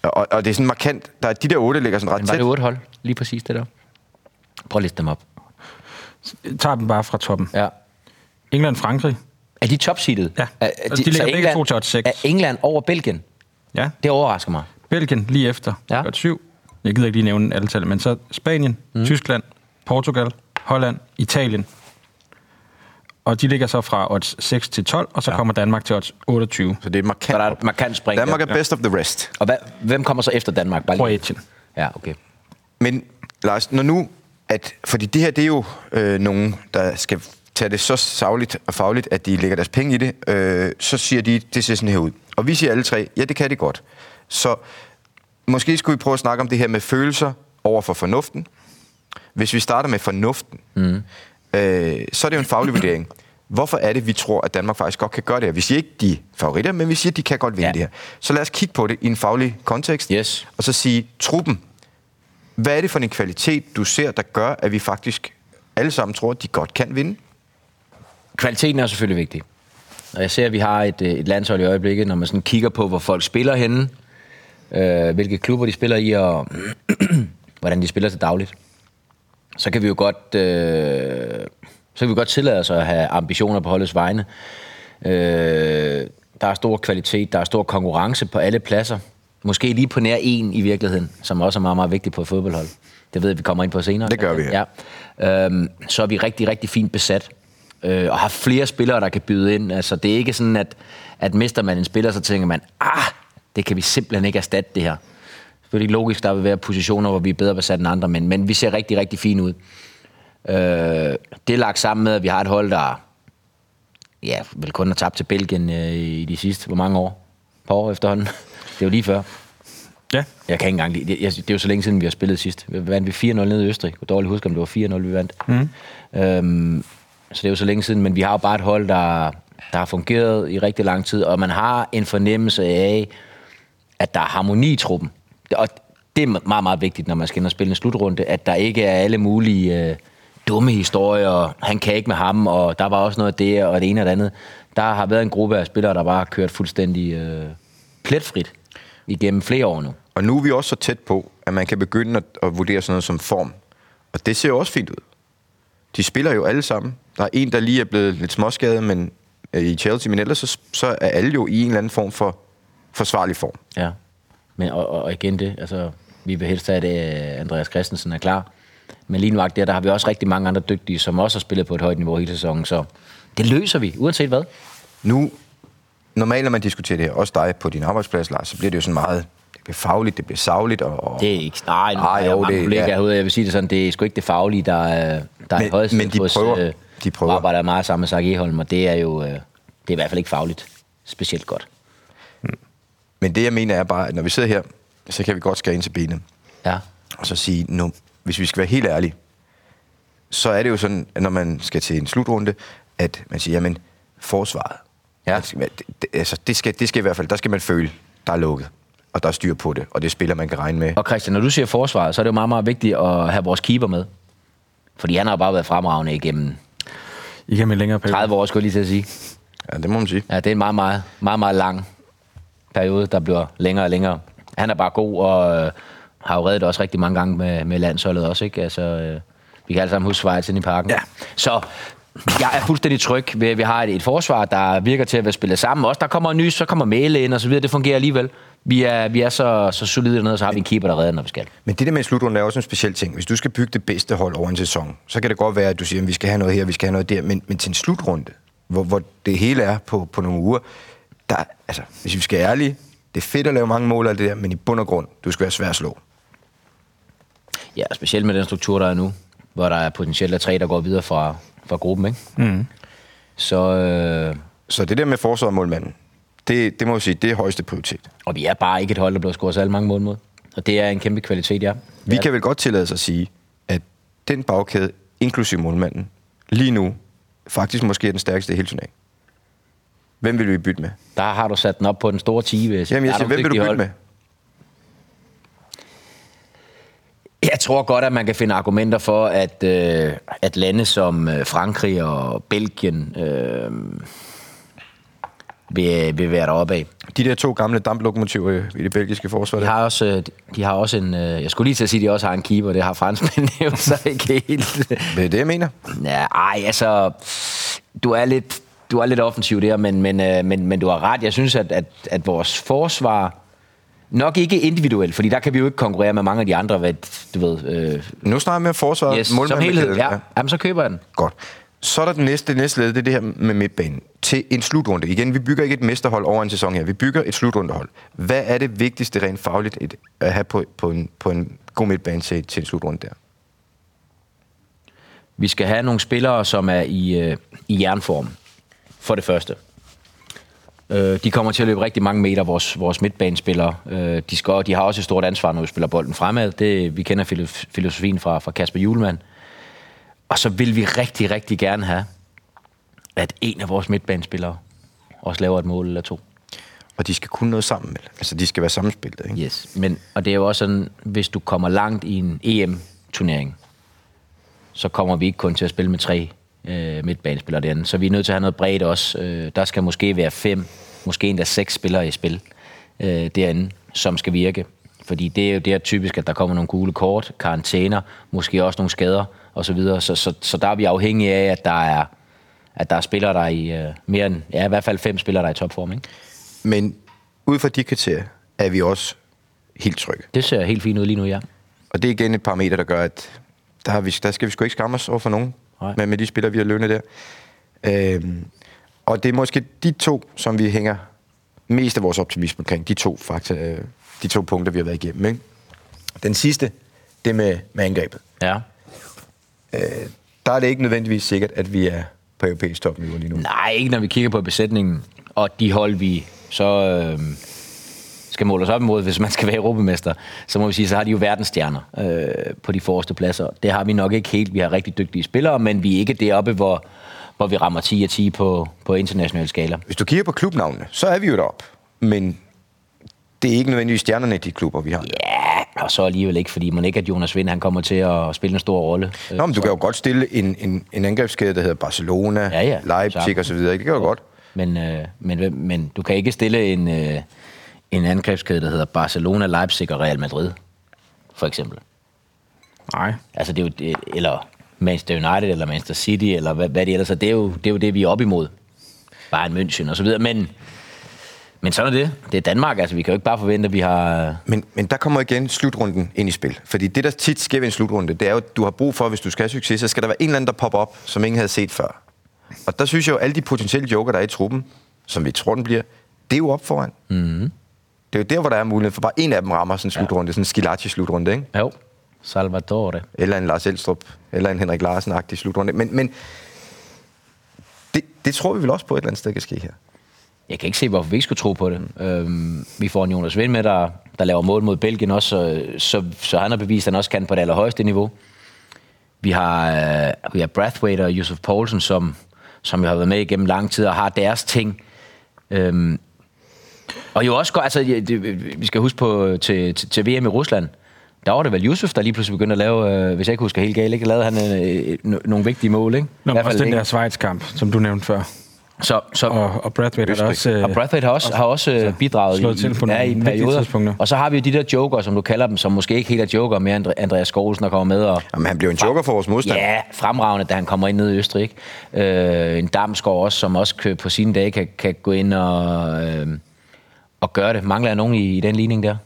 S2: ja. Og, og det er sådan markant. Der er, de der otte ligger sådan ret
S4: Men var
S2: tæt.
S4: det otte hold? Lige præcis det der. Prøv at liste dem op.
S3: Tager dem bare fra toppen.
S4: Ja.
S3: England, Frankrig.
S4: Er de topseedet?
S3: Ja.
S4: Er,
S3: Og de ligger
S4: så
S3: begge to til odds seks.
S4: Er England over Belgien?
S3: Ja.
S4: Det overrasker mig.
S3: Belgien lige efter.
S4: Ja.
S3: Godt syv. Jeg gider ikke lige nævne alle tal, men så Spanien, mm. Tyskland, Portugal, Holland, Italien. Og de ligger så fra odds 6 til 12, og så ja. kommer Danmark til odds 28.
S2: Så det er
S4: Så
S2: markant.
S4: der er et markant spring. der.
S2: Danmark er best of the rest.
S4: Og hvad, hvem kommer så efter Danmark? Bare lige-
S3: Kroatien.
S4: Ja, okay.
S2: Men Lars, når nu, at, fordi det her, det er jo øh, nogen, der skal tage det så savligt og fagligt, at de lægger deres penge i det, øh, så siger de, det ser sådan her ud. Og vi siger alle tre, ja, det kan det godt. Så måske skulle vi prøve at snakke om det her med følelser over for fornuften. Hvis vi starter med fornuften, mm. øh, så er det jo en faglig vurdering. Hvorfor er det, vi tror, at Danmark faktisk godt kan gøre det her? Vi siger ikke, de er favoritter, men vi siger, at de kan godt vinde
S4: Ja.
S2: ja. det her. Så lad os kigge på det i en faglig kontekst,
S4: Yes.
S2: og så sige, truppen, hvad er det for en kvalitet, du ser, der gør, at vi faktisk alle sammen tror, at de godt kan vinde?
S4: Kvaliteten er selvfølgelig vigtig. Og jeg ser, at vi har et, øh, et landshold i øjeblikket, når man sådan kigger på, hvor folk spiller henne, øh, hvilke klubber de spiller i, og hvordan de spiller til dagligt. Så kan vi jo godt, øh, så kan vi godt tillade os at have ambitioner på holdets vegne. Øh, der er stor kvalitet, der er stor konkurrence på alle pladser. Måske lige på nær en i virkeligheden, som også er meget, meget vigtig på et fodboldhold. Det ved jeg, vi kommer ind på senere.
S2: Det gør vi, ja.
S4: ja. Øhm, så er vi rigtig, rigtig fint besat. Øh, og har flere spillere, der kan byde ind. Altså, det er ikke sådan, at, at mister man en spiller, så tænker man, ah, det kan vi simpelthen ikke erstatte det her. Selvfølgelig logisk, der vil være positioner, hvor vi er bedre besat end andre, men, men vi ser rigtig, rigtig fint ud. Øh, det er lagt sammen med, at vi har et hold, der ja, vel kun har tabt til Belgien øh, i de sidste, hvor mange år? Par år efterhånden. Det er jo lige før.
S3: Ja.
S4: Jeg kan ikke engang lide det. Jeg, det er jo så længe siden, vi har spillet sidst. Vi vandt vi 4-0 nede i Østrig. Jeg kunne dårligt huske, om det var 4-0, vi vandt. Mm. Øhm, så det er jo så længe siden, men vi har jo bare et hold, der, der har fungeret i rigtig lang tid, og man har en fornemmelse af, at der er harmoni i truppen. Og det er meget, meget vigtigt, når man skal ind og spille en slutrunde, at der ikke er alle mulige øh, dumme historier, og han kan ikke med ham, og der var også noget af det, og det ene og det andet. Der har været en gruppe af spillere, der bare har kørt fuldstændig øh, pletfrit igennem flere år nu.
S2: Og nu er vi også så tæt på, at man kan begynde at, at vurdere sådan noget som form. Og det ser jo også fint ud. De spiller jo alle sammen. Der er en, der lige er blevet lidt småskadet men, øh, i Chelsea, men ellers så, så er alle jo i en eller anden form for forsvarlig form.
S4: Ja, men og, og, og igen det, altså, vi vil helst have, at øh, Andreas Christensen er klar. Men lige nu der, der har vi også rigtig mange andre dygtige, som også har spillet på et højt niveau hele sæsonen, så det løser vi, uanset hvad.
S2: Nu, normalt når man diskuterer det her, også dig på din arbejdsplads, Lars, så bliver det jo sådan meget, det bliver fagligt, det bliver savligt, og, og
S4: Det er ikke... Nej, nu
S2: Ah,
S4: har jeg
S2: jo,
S4: jo, mange
S2: det-
S4: kollegaer
S2: ja.
S4: herude, og jeg vil sige det sådan, det er sgu ikke det faglige, der, er- der er
S2: Men-
S4: i højeste
S2: men de
S4: hos, øh,
S2: prøver. De prøver.
S4: arbejder meget sammen med Sark Eholm, og det er jo øh, det er i hvert fald ikke fagligt specielt godt.
S2: Men det, jeg mener, er bare, at når vi sidder her, så kan vi godt skære ind til benet.
S4: Ja.
S2: og så sige, nu, hvis vi skal være helt ærlige, så er det jo sådan, at når man skal til en slutrunde, at man siger, jamen, forsvaret,
S4: Ja.
S2: man skal, være- det, det, altså, det, skal, det skal i hvert fald, der skal man føle, der er lukket, og der er styr på det, og det spiller, man kan regne med.
S4: Og Christian, når du siger forsvaret, så er det jo meget, meget vigtigt at have vores keeper med. Fordi han har jo bare været fremragende igennem
S3: I kan med længere periode.
S4: 30 år, skulle jeg lige til at sige.
S2: Ja, det må man sige.
S4: Ja, det er en meget, meget, meget, meget lang periode, der bliver længere og længere. han er bare god, og øh, har jo reddet også rigtig mange gange med, med landsholdet også, ikke? Altså, øh, vi kan alle sammen huske Schweiz inde i parken.
S3: Ja.
S4: Så jeg er fuldstændig tryg ved, at vi har et, et forsvar, der virker til at være spillet sammen. Også der kommer en ny, så kommer Mæle ind og så videre. Det fungerer alligevel. Vi er, vi er så, så solide dernede, og så har vi en keeper, der redder, når vi skal.
S2: Men det der med en slutrunde er også en speciel ting. Hvis du skal bygge det bedste hold over en sæson, så kan det godt være, at du siger, at vi skal have noget her, vi skal have noget der. Men, men til en slutrunde, hvor, hvor det hele er på, på nogle uger, der, er- altså, hvis vi skal være ærlige, det er fedt at lave mange mål af det der, men i bund og grund, du skal være svær at slå.
S4: Ja, specielt med den struktur, der er nu, hvor der er potentielt er tre, der går videre fra, fra gruppen, ikke? Mm. Så, øh,
S2: Så det der med forsvaret og målmanden, det, det må jeg sige, det er højeste prioritet.
S4: og vi er bare ikke et hold, der bliver scoret særlig mange mål mod. Og det er en kæmpe kvalitet, ja.
S2: Vi kan vel godt tillade os at sige, at den bagkæde, inklusiv målmanden, lige nu, faktisk måske er den stærkeste i hele turneringen. Hvem vil vi bytte med?
S4: Der har du sat den op på den store tige. Hvis
S2: Jamen, jeg siger, hvem vil du bytte
S4: hold.
S2: med?
S4: Jeg tror godt, at man kan finde argumenter for, at, øh, at lande som øh, Frankrig og Belgien øh, vil, vil være deroppe af.
S2: De der to gamle damplokomotiver i- i det belgiske forsvar.
S4: De
S2: der.
S4: har også, øh, de har også en... Øh, jeg skulle lige til at sige, at de også har en keeper. Det har franskmændene jo så ikke helt.
S2: Det er det, jeg mener.
S4: Ja, ej, altså... Du er lidt, du er lidt offensiv der, men, men, øh, men, men du har ret. Jeg synes, at, at, at vores forsvar... Nok ikke individuelt, fordi der kan vi jo ikke konkurrere med mange af de andre, hvad, du ved... Øh,
S2: Nu snakker jeg med forsvaret.
S4: yes, som
S2: målmanden,
S4: helhed,
S2: kæden.
S4: ja. Jamen, så køber jeg den.
S2: Godt. Så er der den næste, det næste led, det er det her med midtbanen. Til en slutrunde. Igen, vi bygger ikke et mesterhold over en sæson her. Vi bygger et slutrundehold. Hvad er det vigtigste rent fagligt et- at have på, på, en, på en god midtbane til, til en slutrunde der?
S4: Vi skal have nogle spillere, som er i, øh, i jernform, for det første. Øh, de kommer til at løbe rigtig mange meter, vores, vores midtbanespillere. Øh, de, skal, de har også et stort ansvar, når vi spiller bolden fremad. Det, vi kender filo- filosofien fra, fra Kasper Julemand. Og så vil vi rigtig, rigtig gerne have, at en af vores midtbanespillere også laver et mål eller to.
S2: Og de skal kunne noget sammen. vel? Altså, de skal være sammenspillet, ikke?
S4: Yes. Men, og det er jo også sådan, hvis du kommer langt i en EM-turnering, så kommer vi ikke kun til at spille med tre øh, midtbanespillere derinde. Så vi er nødt til at have noget bredt også. Øh, der skal måske være fem, måske endda seks spillere i spil øh, derinde, som skal virke. Fordi det er jo der typisk, at der kommer nogle gule kort, karantæner, måske også nogle skader osv. Så, så, så der er vi afhængige af, at der er, at der er spillere, der er i øh, mere end, ja, i hvert fald fem spillere, der er i topform. Ikke?
S2: Men ud fra de kriterier er vi også helt trygge.
S4: Det ser helt fint ud lige nu, ja.
S2: Og det er igen et parameter, der gør, at der, har vi, der skal vi sgu ikke skamme os over for nogen
S4: Nej.
S2: med, med de spillere, vi har lønnet der. Øhm, og det er måske de to, som vi hænger mest af vores optimisme omkring. De to, fakta, øh, de to punkter, vi har været igennem. Ikke? Den sidste, det med, med angrebet.
S4: ja.
S2: Der er det ikke nødvendigvis sikkert, at vi er på europæisk topniveau lige nu.
S4: Nej, ikke når vi kigger på besætningen og de hold, vi så øh, skal måle os op imod, hvis man skal være europamester. Så må vi sige, så har de jo verdensstjerner øh, på de forreste pladser. Det har vi nok ikke helt. Vi har rigtig dygtige spillere, men vi er ikke deroppe, hvor, hvor vi rammer 10 af 10 på, på international skala.
S2: Hvis du kigger på klubnavnene, så er vi jo deroppe. Men det er ikke nødvendigvis stjernerne i de klubber, vi har. Yeah.
S4: Ja, og så alligevel ikke, fordi man ikke, at Jonas Vind han kommer til at spille en stor rolle. Øh,
S2: Nå, men du kan jo godt stille en, en, en angrebskæde, der hedder Barcelona,
S4: Ja, ja.
S2: Leipzig
S4: Sammen.
S2: osv. Det kan jo godt.
S4: Men, øh, men, hvem- men du kan ikke stille en, øh, en angrebskæde, der hedder Barcelona, Leipzig og Real Madrid, for eksempel.
S3: Nej.
S4: Altså, det er jo, det, eller Manchester United, eller Manchester City, eller hvad, hvad det ellers er. Det er, jo, det er jo det, vi er op imod. Bare en München og så videre. Men, men sådan er det. Det er Danmark, altså. Vi kan jo ikke bare forvente, at vi har...
S2: Men, men der kommer igen slutrunden ind i spil. Fordi det, der tit sker ved en slutrunde, det er jo, at du har brug for, hvis du skal have succes, så skal der være en eller anden, der popper op, som ingen havde set før. Og der synes jeg jo, at alle de potentielle joker, der er i truppen, som vi tror, den bliver, det er jo op foran. Mm-hmm.
S4: Mhm.
S2: Det er jo der, hvor der er mulighed for, bare en af dem rammer sådan en slutrunde, sådan en Skilacci-slutrunde, ikke?
S4: Jo, Salvatore.
S2: Eller en Lars Elstrup, eller en Henrik Larsen-agtig slutrunde. Men, men det, det tror vi vel også på, et eller andet sted kan ske her.
S4: Jeg kan ikke se, hvorfor vi ikke skulle tro på det. Øhm, vi får en Jonas Vind med, der, der laver mål mod Belgien også, så, så, så han har bevist, at han også kan på det allerhøjeste niveau. Vi har, øh, vi har Brathwaite og Yusuf Poulsen, som, som jo har været med igennem lang tid og har deres ting. Øhm, og jo også godt, altså, ja, det, vi skal huske på øh, til, til, til VM i Rusland, der var det vel Yusuf, der lige pludselig begyndte at lave, øh, hvis jeg ikke husker helt galt, ikke? lavede han øh, øh, no- nogle vigtige mål, ikke?
S3: Nå, men også den
S4: ikke?
S3: der Schweiz-kamp, som du nævnte før.
S4: Så, så,
S3: Og, og Brathwaite er der også... øh,
S4: og Brathwaite har også, har også øh, bidraget
S3: slået til på
S4: ja,
S3: nogle
S4: i
S3: vigtige tidspunkter.
S4: perioder. Og så har vi jo de der joker, som du kalder dem, som måske ikke helt er joker mere, Andre- Andreas Skovsen, der kommer med og...
S2: Jamen, han blev en joker for vores modstand.
S4: Ja, fremragende, da han kommer ind nede i Østrig. Ikke? Øh, en Damsgaard også, som også kø- på sine dage kan, kan gå ind og, øh, og gøre det. Mangler jeg nogen i, i den ligning der?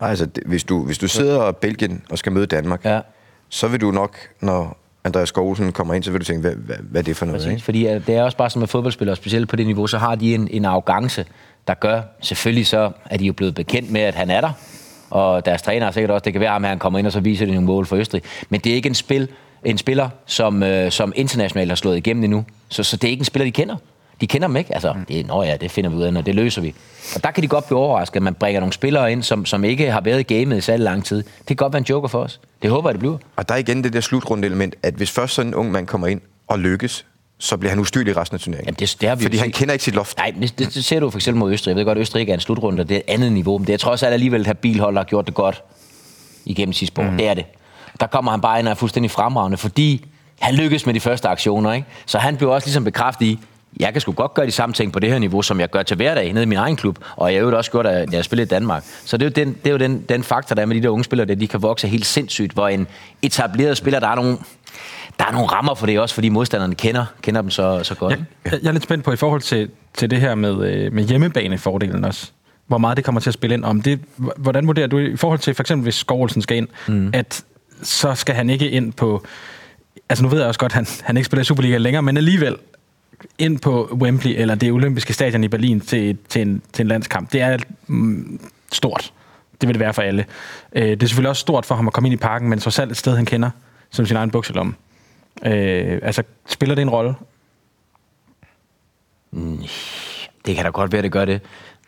S2: Nej, altså, det, hvis, du, hvis du sidder i Belgien og skal møde Danmark,
S4: Ja.
S2: så vil du nok, når Andreas Skovsen kommer ind, så vil du tænke, hvad, hvad, hvad er det for noget?
S4: Præcis,
S2: Ikke?
S4: fordi øh, det er også bare som med fodboldspillere, specielt på det niveau, så har de en, en arrogance, der gør, selvfølgelig så er de jo blevet bekendt med, at han er der, og deres træner er sikkert også, det kan være, at han kommer ind, og så viser det nogle mål for Østrig, men det er ikke en, spil, en spiller, som, øh, som internationalt har slået igennem endnu, så, så det er ikke en spiller, de kender. De kender dem ikke.
S2: Mm.
S4: Altså, det, nå ja, det finder vi ud af, når det løser vi. Og der kan de godt blive overrasket, at man bringer nogle spillere ind, som, som ikke har været i gamet i særlig lang tid. Det kan godt være en joker for os. Det håber jeg, det bliver.
S2: Og der er igen det der slutrundeelement, at hvis først sådan en ung mand kommer ind og lykkes, så bliver han ustyrlig resten af turneringen.
S4: Jamen, det- det har vi jo
S2: fordi han
S4: set.
S2: kender ikke sit loft.
S4: Nej, men det, det, det ser du for eksempel mod Østrig. Jeg ved godt, at Østrig ikke er en slutrunde, og det er et andet niveau. Men det er trods alt alligevel, at her bilholder har gjort det godt igennem sidste år. Mm. Det er det. Der kommer han bare ind og er fuldstændig fremragende, fordi han lykkes med de første aktioner. Ikke? Så han blev også ligesom bekræftet i, jeg kan sgu godt gøre de samme ting på det her niveau, som jeg gør til hverdag nede i min egen klub, og jeg har i øvrigt også gjort, da jeg spillede i Danmark. Så det er jo den, det er jo den, den faktor, der er med de der unge spillere, at de kan vokse helt sindssygt, hvor en etableret spiller, der er nogle, der er nogle rammer for det også, fordi modstanderne kender, kender dem så, så godt. ikke?
S3: Jeg, jeg er lidt spændt på i forhold til, til det her med, øh, med hjemmebanefordelen også. Hvor meget det kommer til at spille ind om. Det, h- hvordan vurderer du i forhold til, for eksempel hvis Skovlsen skal ind, mm. at så skal han ikke ind på... Altså nu ved jeg også godt, at han, han ikke spiller i Superliga længere, men alligevel ind på Wembley eller det olympiske stadion i Berlin til, til, en, til en landskamp. Det er mm, stort. Det vil det være for alle. Øh, det er selvfølgelig også stort for ham at komme ind i parken, men trods alt et sted, han kender, som sin egen bukselomme. Øh, altså, spiller det en rolle?
S4: Det kan da godt være, det gør det.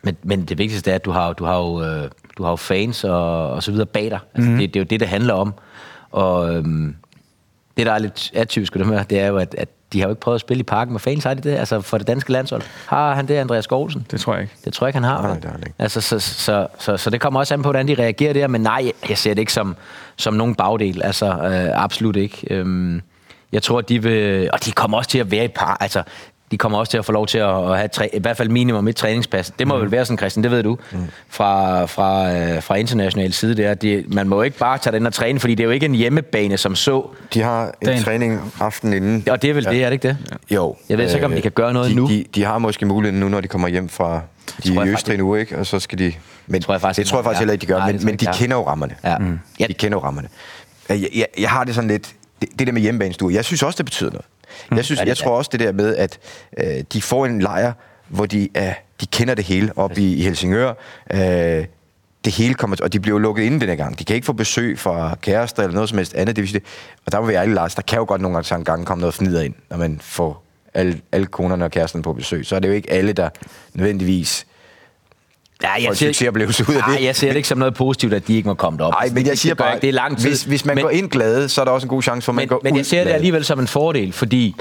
S4: Men, men det vigtigste er, at du har, du har, jo, øh, du har jo fans og, og så videre bag dig. Altså, mm. det, det er jo det, det handler om. Og øhm, det, der er lidt atypisk ved dem her, det er jo, at, at de har jo ikke prøvet at spille i parken med fans. Har de det? Altså for det danske landshold. Har han det, Andreas Skovlsen?
S3: Det tror jeg ikke.
S4: Det tror jeg ikke, han har.
S2: Nej,
S4: vel?
S2: det har han ikke.
S4: Altså, så, så, så, så det kommer også an på, hvordan de reagerer der, men nej, jeg ser det ikke som, som nogen bagdel, altså øh, absolut ikke. Øhm, jeg tror, de vil, og de kommer også til at være i par, altså de kommer også til at få lov til at, at have træ, i hvert fald minimum et træningspas. Det
S2: Mhm.
S4: må mm. vel være sådan, Christian, det ved du, mm. fra, fra, øh, fra international side der. Det, man må jo ikke bare tage den og træne, fordi det er jo ikke en hjemmebane som så,
S2: De har en
S3: Dagen.
S2: træning aftenen inden.
S4: og det er vel ja. det, er det ikke det?
S2: Jo. Øh,
S4: Jeg ved så ikke, om de kan gøre noget
S2: de,
S4: nu.
S2: De, de har måske muligheden nu, når de kommer hjem fra de er
S4: tror jeg
S2: i
S4: faktisk-
S2: Østrig nu, ikke? Og så skal de... Men
S4: tror jeg faktisk
S2: det
S4: ikke,
S2: tror jeg
S4: de
S2: faktisk
S4: har.
S2: heller ikke, de gør.
S4: Nej, det
S2: men
S4: tror jeg
S2: men
S4: ikke,
S2: de
S4: de har.
S2: kender jo rammerne.
S4: Ja. Mm. Ja.
S2: De kender jo rammerne. Jeg, jeg, jeg har det sådan lidt... Det, det der med hjemmebanestuer, jeg synes også, det betyder noget. Jeg, synes,
S4: Mm. Ja, det-
S2: jeg tror også det der med, at øh, de får en lejr, hvor de, er, de kender det hele op i, i Helsingør. Øh, det hele kommer, og de bliver jo lukket inde den her gang. De kan ikke få besøg fra kærester eller noget som helst andet. Det vil sige, det- og der må vi ærlig, Lars, der kan jo godt nogle gange, gange komme noget fnider ind, når man får alle, alle konerne og kæresten på besøg. Så er det jo ikke alle, der nødvendigvis
S4: Ja,
S2: får en succesoplevelse ud af det.
S4: Nej, jeg ser det ikke som noget positivt, at de ikke må komme derop.
S2: Nej,
S4: Altså,
S2: men
S4: det-
S2: jeg siger
S4: det gør
S2: bare,
S4: ikke, det er lang tid.
S2: Hvis, hvis man men,
S4: men,
S2: går ind glade, så er der også en god chance for, at man
S4: men,
S2: går
S4: men
S2: ud
S4: jeg ser det
S2: glade.
S4: alligevel som en fordel, fordi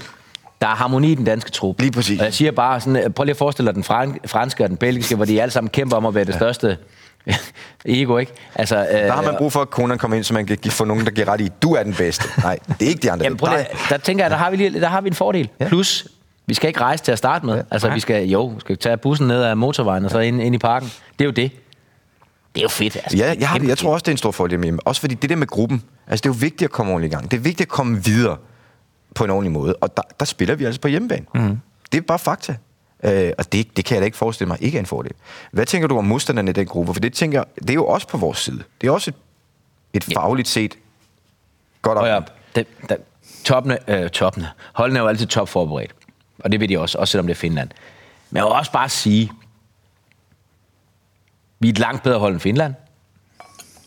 S4: der er harmoni i den danske trup.
S2: Lige præcis.
S4: Og jeg siger bare, sådan, øh, prøv lige at forestille dig den fran- franske og den belgiske, hvor de alle sammen kæmper om at være det største ego, ikke? Altså,
S2: Der har man brug for, at konerne kommer ind, så man kan give- få nogen, der giver ret i, du er den bedste. Nej, det er ikke de andre.
S4: Jamen,
S2: det er
S4: prøv lige,
S2: dig.
S4: der tænker jeg, der har vi, lige, der har vi en fordel. Ja. Plus, vi skal ikke rejse til at starte med. Ja. Altså, vi skal, jo, vi skal tage bussen ned ad motorvejen og så ind, ind i parken. Det er jo det. Det er jo fedt. Altså,
S2: Ja, jeg, har, det.
S4: Kæmpe
S2: jeg tror også, det er en stor fordel med hjemme. Også fordi det der med gruppen, altså det er jo vigtigt at komme ordentligt i gang. Det er vigtigt at komme videre på en ordentlig måde. Og der, der spiller vi altså på hjemmebane.
S4: Mhm.
S2: Mm. Det er bare fakta. Øh, og det, det kan jeg da ikke forestille mig ikke er en fordel. Hvad tænker du om modstanderne i den gruppe? For det, tænker, det er jo også på vores side. Det er også et, et fagligt set godt op.
S4: Prøv at, det, der, toppene, øh, toppene. Holdene er jo altid topforberedt. Og det vil de også, også selvom det er Finland. Men jeg vil også bare sige, vi er et langt bedre hold end Finland.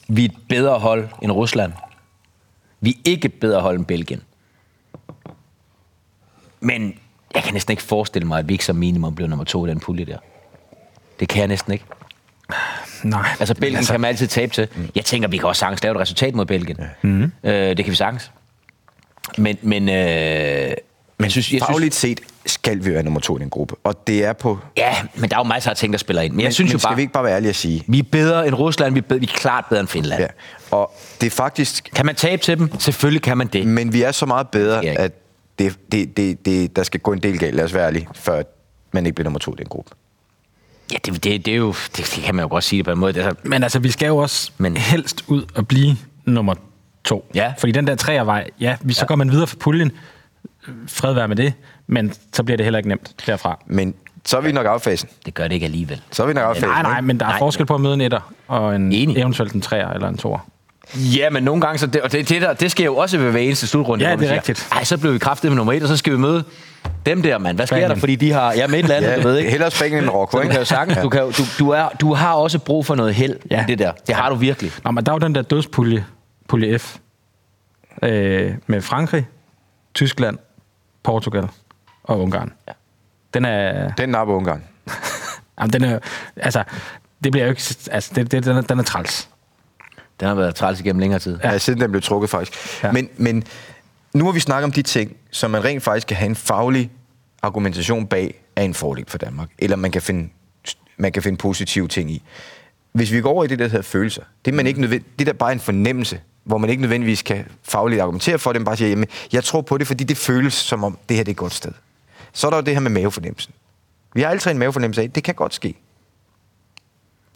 S4: Vi er et bedre hold end Rusland. Vi er ikke et bedre hold end Belgien. Men jeg kan næsten ikke forestille mig, at vi ikke som minimum blev nummer to i den pulje der. Det kan jeg næsten ikke.
S3: Nej.
S4: Altså, Belgien altså, kan man altid tabe til. Jeg tænker, vi kan også sagtens lave et resultat mod Belgien. Mm. Øh, det kan vi sagtens. Men, men, øh, men jeg synes, jeg synes,
S2: Fagligt set skal vi være nummer to i den gruppe. Og det er på...
S4: ja, men der er jo masser af ting, der spiller ind. Men, men jeg synes
S2: men
S4: jo
S2: skal
S4: bare,
S2: vi
S4: vi,
S2: ikke bare være ærlige og sige...
S4: vi er bedre end Rusland, vi er, bedre, vi er klart bedre end Finland.
S2: Ja.
S4: Ja.
S2: Og det er faktisk...
S4: Kan man tabe til dem? Selvfølgelig kan man det.
S2: Men vi er så meget bedre,
S4: Det sker ikke.
S2: at det, det, det, det, der skal gå en del galt, lad os være ærlige, før man ikke bliver nummer to i den gruppe.
S4: Ja, det, det, det er jo... Det, det kan man jo godt sige det på en måde. Det er, så-
S3: Men altså, vi skal jo også
S4: Men-
S3: Men. helst ud og blive nummer to.
S4: Ja.
S3: Fordi den der treervej, ja, vi, så går man videre fra puljen. øh, Fred være med det. Men så bliver det heller ikke nemt derfra.
S2: Men så er vi nok affasen.
S4: det gør det ikke alligevel.
S2: Så er vi nok affasen.
S3: Nej, nej,
S2: ikke?
S3: men der er
S4: Nej.
S3: forskel på at møde en etter og en
S4: Enig.
S3: eventuelt en treer eller en toer.
S4: Ja, men nogle gange, så det, og det, det, der, det sker jo også ved hver eneste slutrunde.
S3: Ja,
S4: hvor man
S3: det er
S4: siger,
S3: rigtigt.
S4: Ej, så blev vi kraftet med nummer et, og så skal vi møde dem der, mand. Hvad sker
S3: Spanien.
S4: der? Fordi de har... Ja, med et eller andet,
S2: Ja,
S4: du ved ikke.
S2: Hellere Spanien end Marokko,
S4: Så du
S2: ikke?
S4: kan jo sagtens, du, kan jo, du, du, er, du har også brug for noget held ja.
S3: Ja.
S4: i det der. Det har du virkelig.
S3: Nå, men der er jo den der dødspulje, pulje F, øh, med Frankrig, Tyskland, Portugal og Ungarn. Ja. Den er...
S2: Den napper Ungarn.
S3: Jamen, den er altså, det bliver jo ikke... Altså, det, det, den, er, den er træls.
S4: Den har været træls igennem længere tid.
S2: Ja. Ja, siden den blev trukket faktisk. Ja.
S3: Ja.
S2: Men, men nu må vi snakke om de ting, som man rent faktisk kan have en faglig argumentation bag af en fordel for Danmark. Eller man kan finde, man kan finde positive ting i. Hvis vi går over i det, der hedder følelser, det er, man ikke nødvend- det er der bare en fornemmelse, hvor man ikke nødvendigvis kan fagligt argumentere for det, men bare siger, jamen, jeg tror på det, fordi det føles som om, det her det er et godt sted. Så er der jo det her med mavefornemmelsen. Vi har alle tre en mavefornemmelse af, det kan godt ske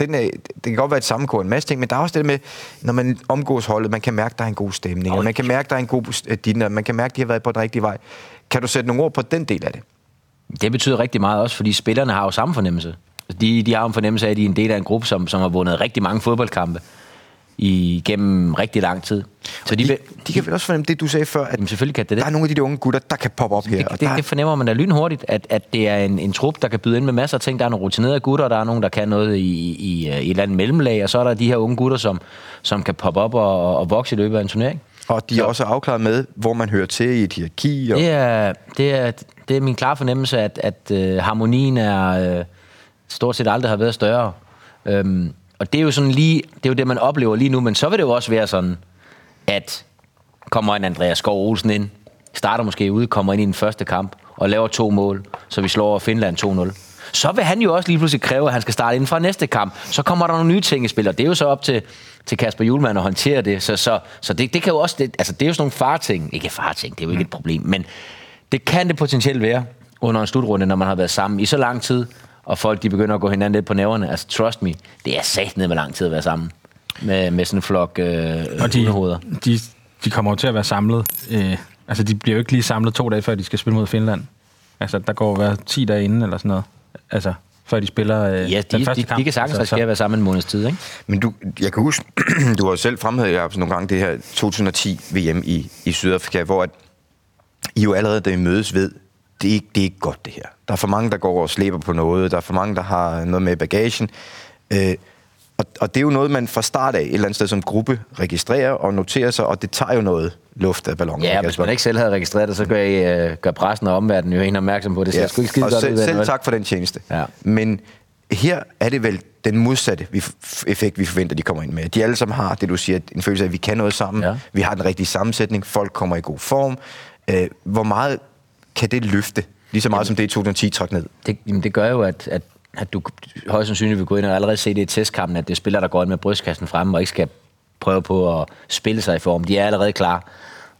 S2: den, er, det kan godt være et sammenkog af en masse ting, men der er også det med, når man omgås holdet, man kan mærke, der er en god stemning, og man kan mærke, der er en god øh, dinner, man kan mærke, de har været på den rigtige vej. Kan du sætte nogle ord på den del af det?
S4: Det betyder rigtig meget også, fordi spillerne har jo samme fornemmelse. De, de har jo en fornemmelse af, at de er en del af en gruppe, som, som har vundet rigtig mange fodboldkampe igennem rigtig lang tid. Så de,
S2: De,
S4: vil-
S2: de kan vel også fornemme det, du sagde før, at
S4: Jamen, selvfølgelig kan det det.
S2: der er nogle af de der unge gutter, der kan poppe op her.
S4: Det,
S2: og
S4: det,
S2: der,
S4: det fornemmer man da lynhurtigt, at, at det er en, en trup, der kan byde ind med masser af ting. Der er nogle rutinerede gutter, og der er nogen, der kan noget i, i, i et eller andet mellemlag, og så er der de her unge gutter, som, som kan poppe op og, og- og vokse i løbet af en turnering.
S2: og de er også afklaret med, hvor man hører til i et hierarki. Og,
S4: Det er, det er, det er min klare fornemmelse, at, at øh, harmonien er øh, stort set aldrig har været større. Øhm, og det er jo sådan lige, det er jo det, man oplever lige nu, men så vil det jo også være sådan, at kommer en Andreas Skov Olsen ind, starter måske ude, kommer ind i den første kamp og laver to mål, så vi slår Finland 2-0. Så vil han jo også lige pludselig kræve, at han skal starte inden fra næste kamp. Så kommer der nogle nye ting i spil, og det er jo så op til, til Kasper Julemand at håndtere det. Så, så, så det, det, kan jo også, det, altså det er jo sådan nogle farting. Ikke farting, det er jo ikke et problem, men det kan det potentielt være under en slutrunde, når man har været sammen i så lang tid, og folk de begynder at gå hinanden lidt på næverne. Altså trust me, det er sat ned med lang tid at være sammen med, med sådan en flok øh,
S3: Og de,
S4: hundehoveder.
S3: de, de kommer jo til at være samlet. Øh, altså, de bliver jo ikke lige samlet to dage, før de skal spille mod Finland. Altså, der går jo være 10 dage inden eller sådan noget. Altså, før de spiller øh,
S4: Ja, de,
S3: den første
S4: de,
S3: kamp.
S4: de kan sagtens
S3: altså,
S4: altså,
S3: så-
S4: være sammen en måneds tid, ikke?
S2: Men du, jeg kan huske, du har jo selv fremhævet Jacobsen, nogle gange det her 2010 VM i, i Sydafrika, hvor at I jo allerede, da I mødes, ved, det er, ikke, det er ikke godt det her. Der er for mange, der går og slæber på noget, der er for mange, der har noget med i bagagen. Øh, og, og det er jo noget, man fra start af et eller andet sted som gruppe registrerer og noterer sig, og det tager jo noget luft af ballonen.
S4: Ja,
S2: ikke,
S4: hvis
S2: Kasper?
S4: man ikke selv havde registreret det, så gør, I, øh, gør pressen og omverdenen jo en opmærksom på det. Så ja. det skulle ikke skide
S2: og
S4: godt
S2: selv,
S4: ud af det,
S2: selv
S4: vel?
S2: tak for den tjeneste.
S4: Ja.
S2: Men her er det vel den modsatte vi f- effekt, vi forventer, de kommer ind med. De alle sammen har det, du siger, en følelse af, at vi kan noget sammen.
S4: Ja.
S2: Vi har den rigtige sammensætning. Folk kommer i god form. Øh, hvor meget kan det løfte? Lige så meget som det i 2010 trak ned.
S4: det, jamen, det gør jo, at, at, at du højst sandsynligt vil gå ind og allerede se det i testkampen, at det er spillere, der går ind med brystkassen fremme og ikke skal prøve på at spille sig i form. De er allerede klar.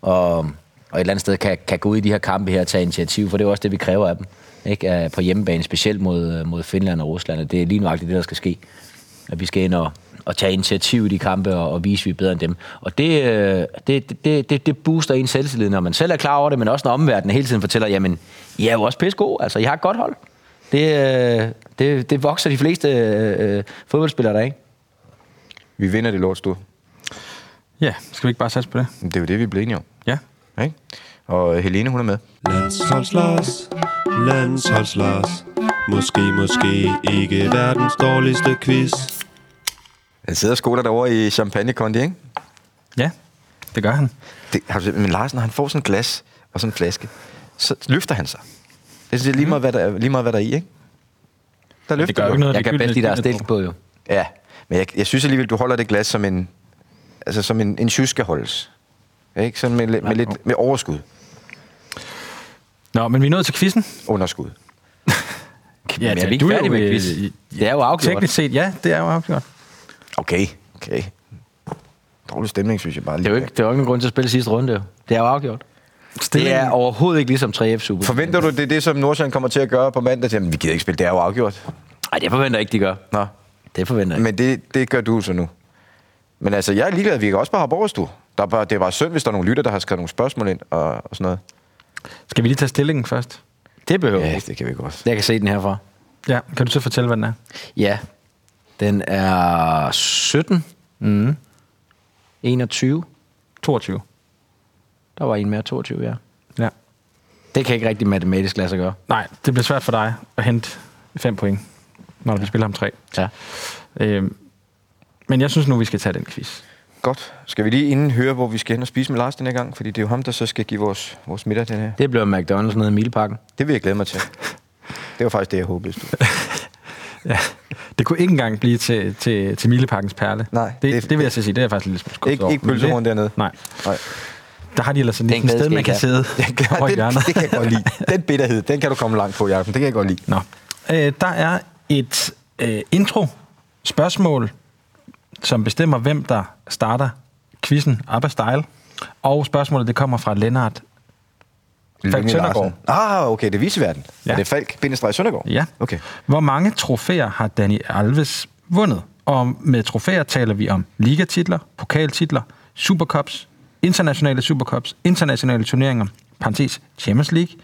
S4: Og, og et eller andet sted kan, kan gå ud i de her kampe her og tage initiativ, for det er jo også det, vi kræver af dem. Ikke? At På hjemmebane, specielt mod, mod Finland og Rusland, at det er lige nøjagtigt det, der skal ske. At vi skal ind og, og tage initiativ i de kampe og, og vise, at vi er bedre end dem. Og det, øh, det, det, det, det booster ens selvtillid, når man selv er klar over det, men også når omverdenen hele tiden fortæller, jamen, I er jo også pisse gode, altså, I har et godt hold. Det, øh, det, det vokser de fleste øh, øh, fodboldspillere der, ikke?
S2: Vi vinder det lort, du.
S3: Ja, skal vi ikke bare satse på det?
S2: Det er jo det, vi blev enige om.
S3: Ja.
S2: Ikke? Og Helene, hun er med.
S7: Landsholdslars, landsholdslars Måske, måske ikke verdens dårligste quiz
S2: Han sidder og skoler derovre i champagnekondi, ikke?
S3: Ja, det gør han.
S2: Det, har du, set- men Larsen, når han får sådan et glas og sådan en flaske, så løfter han sig. Det er sådan set lige meget, hvad der, er- lige meget, hvad der er i, ikke? Der løfter
S3: Mhm. det gør jo
S2: du.
S3: ikke noget.
S4: Jeg kan bedst lide deres stilling på, jo.
S2: Ja, men jeg, jeg synes alligevel, du holder det glas som en, altså som en, en shoe skal holdes. Ikke? Sådan med, lidt- med, lidt, med overskud,
S3: Nå, men vi er nået til quizzen.
S2: underskud.
S4: Ja, men er øh, vi ikke færdige med quiz? Det er jo afgjort.
S3: Teknisk set, ja, det er jo afgjort.
S2: Okay, okay. Dårlig stemning, synes jeg bare.
S4: Det er jo ikke, det er jo ikke nogen grund til at spille sidste runde, jo. Det er jo afgjort. Det er overhovedet ikke ligesom 3F Super.
S2: Forventer du, det er det, som Nordsjælland kommer til at gøre på mandag? Jamen, vi gider ikke spille, det er jo afgjort.
S4: Nej, det forventer jeg ikke, de gør.
S2: Nå,
S4: Det forventer jeg ikke.
S2: men det, det gør du så nu. Men altså, jeg er ligeglad, vi kan også bare have borgerstue. Der er bare, det er bare synd, hvis der er nogle lytter, der har skrevet nogle spørgsmål ind og, og sådan noget.
S3: Skal vi lige tage stillingen først?
S4: Det behøver ja.
S2: det kan vi godt.
S4: Jeg kan se den herfra.
S3: Ja, kan du så fortælle, hvad den er?
S4: Ja. Den er 17. Mm. 21.
S3: 22.
S4: Der var en mere 22, ja.
S3: Ja.
S4: Det kan ikke rigtig matematisk lade sig gøre.
S3: Nej, det bliver svært for dig at hente fem point, når ja. vi spiller om tre.
S4: Ja.
S3: Øhm, men jeg synes nu, vi skal tage den quiz.
S2: Godt. Skal vi lige inden høre, hvor vi skal hen og spise med Lars den her gang? Fordi det er jo ham, der så skal give vores, vores middag den her.
S4: Det blev McDonald's nede i Mileparken.
S2: Det vil jeg glæde mig til. Det var faktisk det, jeg håbede. Stu.
S3: Ja. Det kunne ikke engang blive til, til, til Mileparkens Perle.
S2: Nej,
S3: det,
S2: det-
S3: det, det vil jeg så sige. Det er jeg faktisk lidt smule skuffet
S2: Ikke-
S3: over.
S2: ikke
S3: Men
S2: pølsehorn
S3: det-
S2: dernede.
S3: Nej.
S2: Nej.
S3: Der har de ellers sådan
S4: Den
S3: et sted,
S4: glæde
S3: man kan
S4: skal
S3: sidde over i
S2: det,
S3: hjørnet.
S2: det kan jeg godt lide. Den bitterhed, den kan du komme langt på, Jacob. Det kan jeg godt lide.
S3: Nå. Øh, der er et øh, intro-spørgsmål, som bestemmer, hvem der starter quizzen Abba Style. Og spørgsmålet, det kommer fra Lennart. Falk
S2: Lønge Larsen.
S3: Søndergaard.
S2: Ah, okay, det er viseverden. Ja.
S3: Ja.
S2: Er det Falk Bindestreg Søndergaard?
S3: Ja.
S2: Okay.
S3: Hvor mange trofæer har Dani Alves vundet? Og med trofæer taler vi om ligatitler, pokaltitler, supercups, internationale supercups, internationale turneringer, parentes Champions League,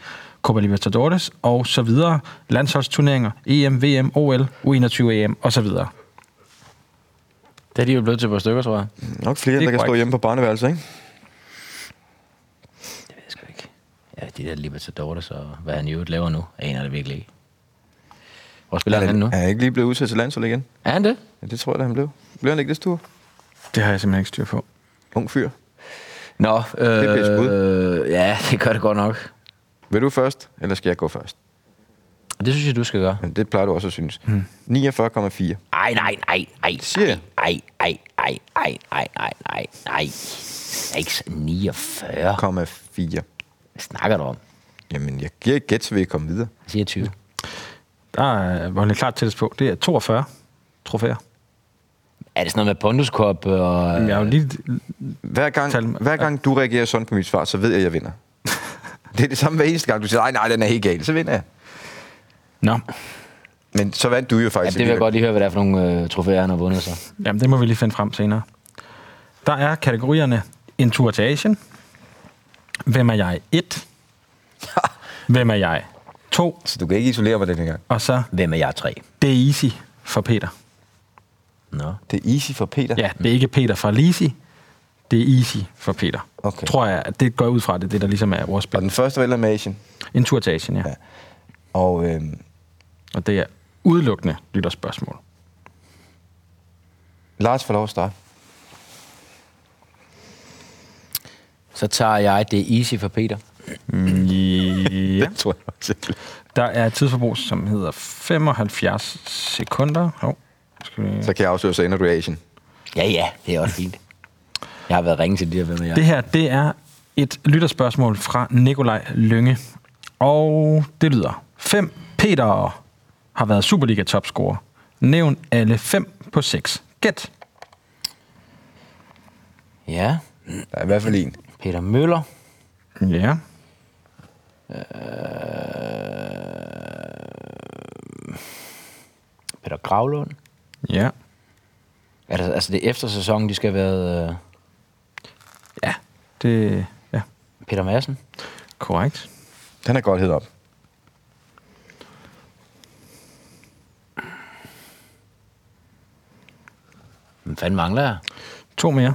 S3: Copa Libertadores og så videre, landsholdsturneringer, E EM, VM, OL, U21 EM og så videre.
S4: Det er de jo blevet til på stykker, tror jeg.
S2: Nok flere,
S3: Det er
S2: der kan stå
S3: korrekt.
S2: hjemme på barneværelset, ikke?
S4: Det ved jeg sgu ikke. Ja, de der Libertadores og hvad han i øvrigt laver nu, aner det virkelig ikke. Hvor spiller han
S2: er,
S4: nu?
S2: er han ikke lige blevet udsat til landshold igen?
S4: Er han det?
S2: Ja, det tror jeg, da han blev. Blev han ikke det store?
S3: Det har jeg simpelthen ikke styr på.
S2: Ung fyr.
S4: Nå, øh,
S2: er bedst bud.
S4: øh, ja, det gør det godt nok.
S2: Vil du først, eller skal jeg gå først?
S4: Og det synes jeg, du skal gøre.
S2: Jamen, det plejer du også at synes. Hmm. 49,4.
S4: Ej, nej, nej, nej,
S2: Siger jeg.
S4: nej, nej, nej, nej, nej, nej, nej, nej. Det er Ikke så 49.
S2: 4.
S4: Hvad snakker du om?
S2: Jamen, jeg giver et gæt, så vi kan komme videre.
S4: Jeg siger 20.
S3: Der er, hvor han er klart tættest på. Det er 42 trofæer.
S4: Er det sådan noget med Ponduskop og...
S3: Jamen, jeg er jo lige...
S2: Hver
S3: Tal-
S2: gang, hver gang du reagerer sådan på mit svar, så ved jeg, at jeg vinder. Det er det samme hver eneste gang, du siger, nej, nej, den er helt gal, så vinder jeg.
S3: Nå,
S2: Men så vandt du jo
S4: Ja,
S2: faktisk.
S4: altså, det vil jeg
S2: alligevel.
S4: godt lige høre, hvad det er for nogle øh, trofæer, han har vundet så.
S3: Jamen, det må vi lige finde frem senere. Der er kategorierne En tur til Asien. Hvem er jeg? 1. Hvem er jeg? 2.
S2: Så du kan ikke isolere mig den her gang.
S3: Og så
S4: Hvem er jeg tre?
S3: Det er easy for Peter.
S4: Nå.
S2: Det er easy for Peter.
S3: Ja, det er ikke Peter fra Lisi. Det er easy for Peter.
S2: Okay.
S3: Tror jeg, at det går jeg ud fra, det er det, der ligesom er
S2: Og
S3: ordspil.
S2: den første var med Asien.
S3: En tur til Asien, ja.
S2: Ja. Og øhm,
S3: Og det er udelukkende lytterspørgsmål.
S2: Lars får lov at starte.
S4: Så tager jeg det er easy for Peter.
S3: Ja.
S2: tror jeg også.
S3: Der er et tidsforbrug, som hedder 75 sekunder. Hov, skal vi...
S2: Så kan jeg afsløre, så ender du i Asien.
S4: Ja, ja, det er også fint. Jeg har været ringe til de her, hvem er jeg?
S3: Det her, det er et lytterspørgsmål fra Nikolaj Lønge. Og det lyder, 5 Peter har været Superliga-topscorer. Nævn alle 5 på 6. Gæt.
S4: Ja,
S2: Der er i hvert fald en.
S4: Peter Møller.
S3: Ja.
S4: Peter Gravlund.
S3: Ja.
S4: Er det, altså, det er efter sæsonen, de skal have været... Øh,
S3: Ja. Det ja,
S4: Peter Madsen.
S3: korrekt.
S2: Den er godt hed op.
S4: Hvem fanden mangler jeg?
S3: To mere.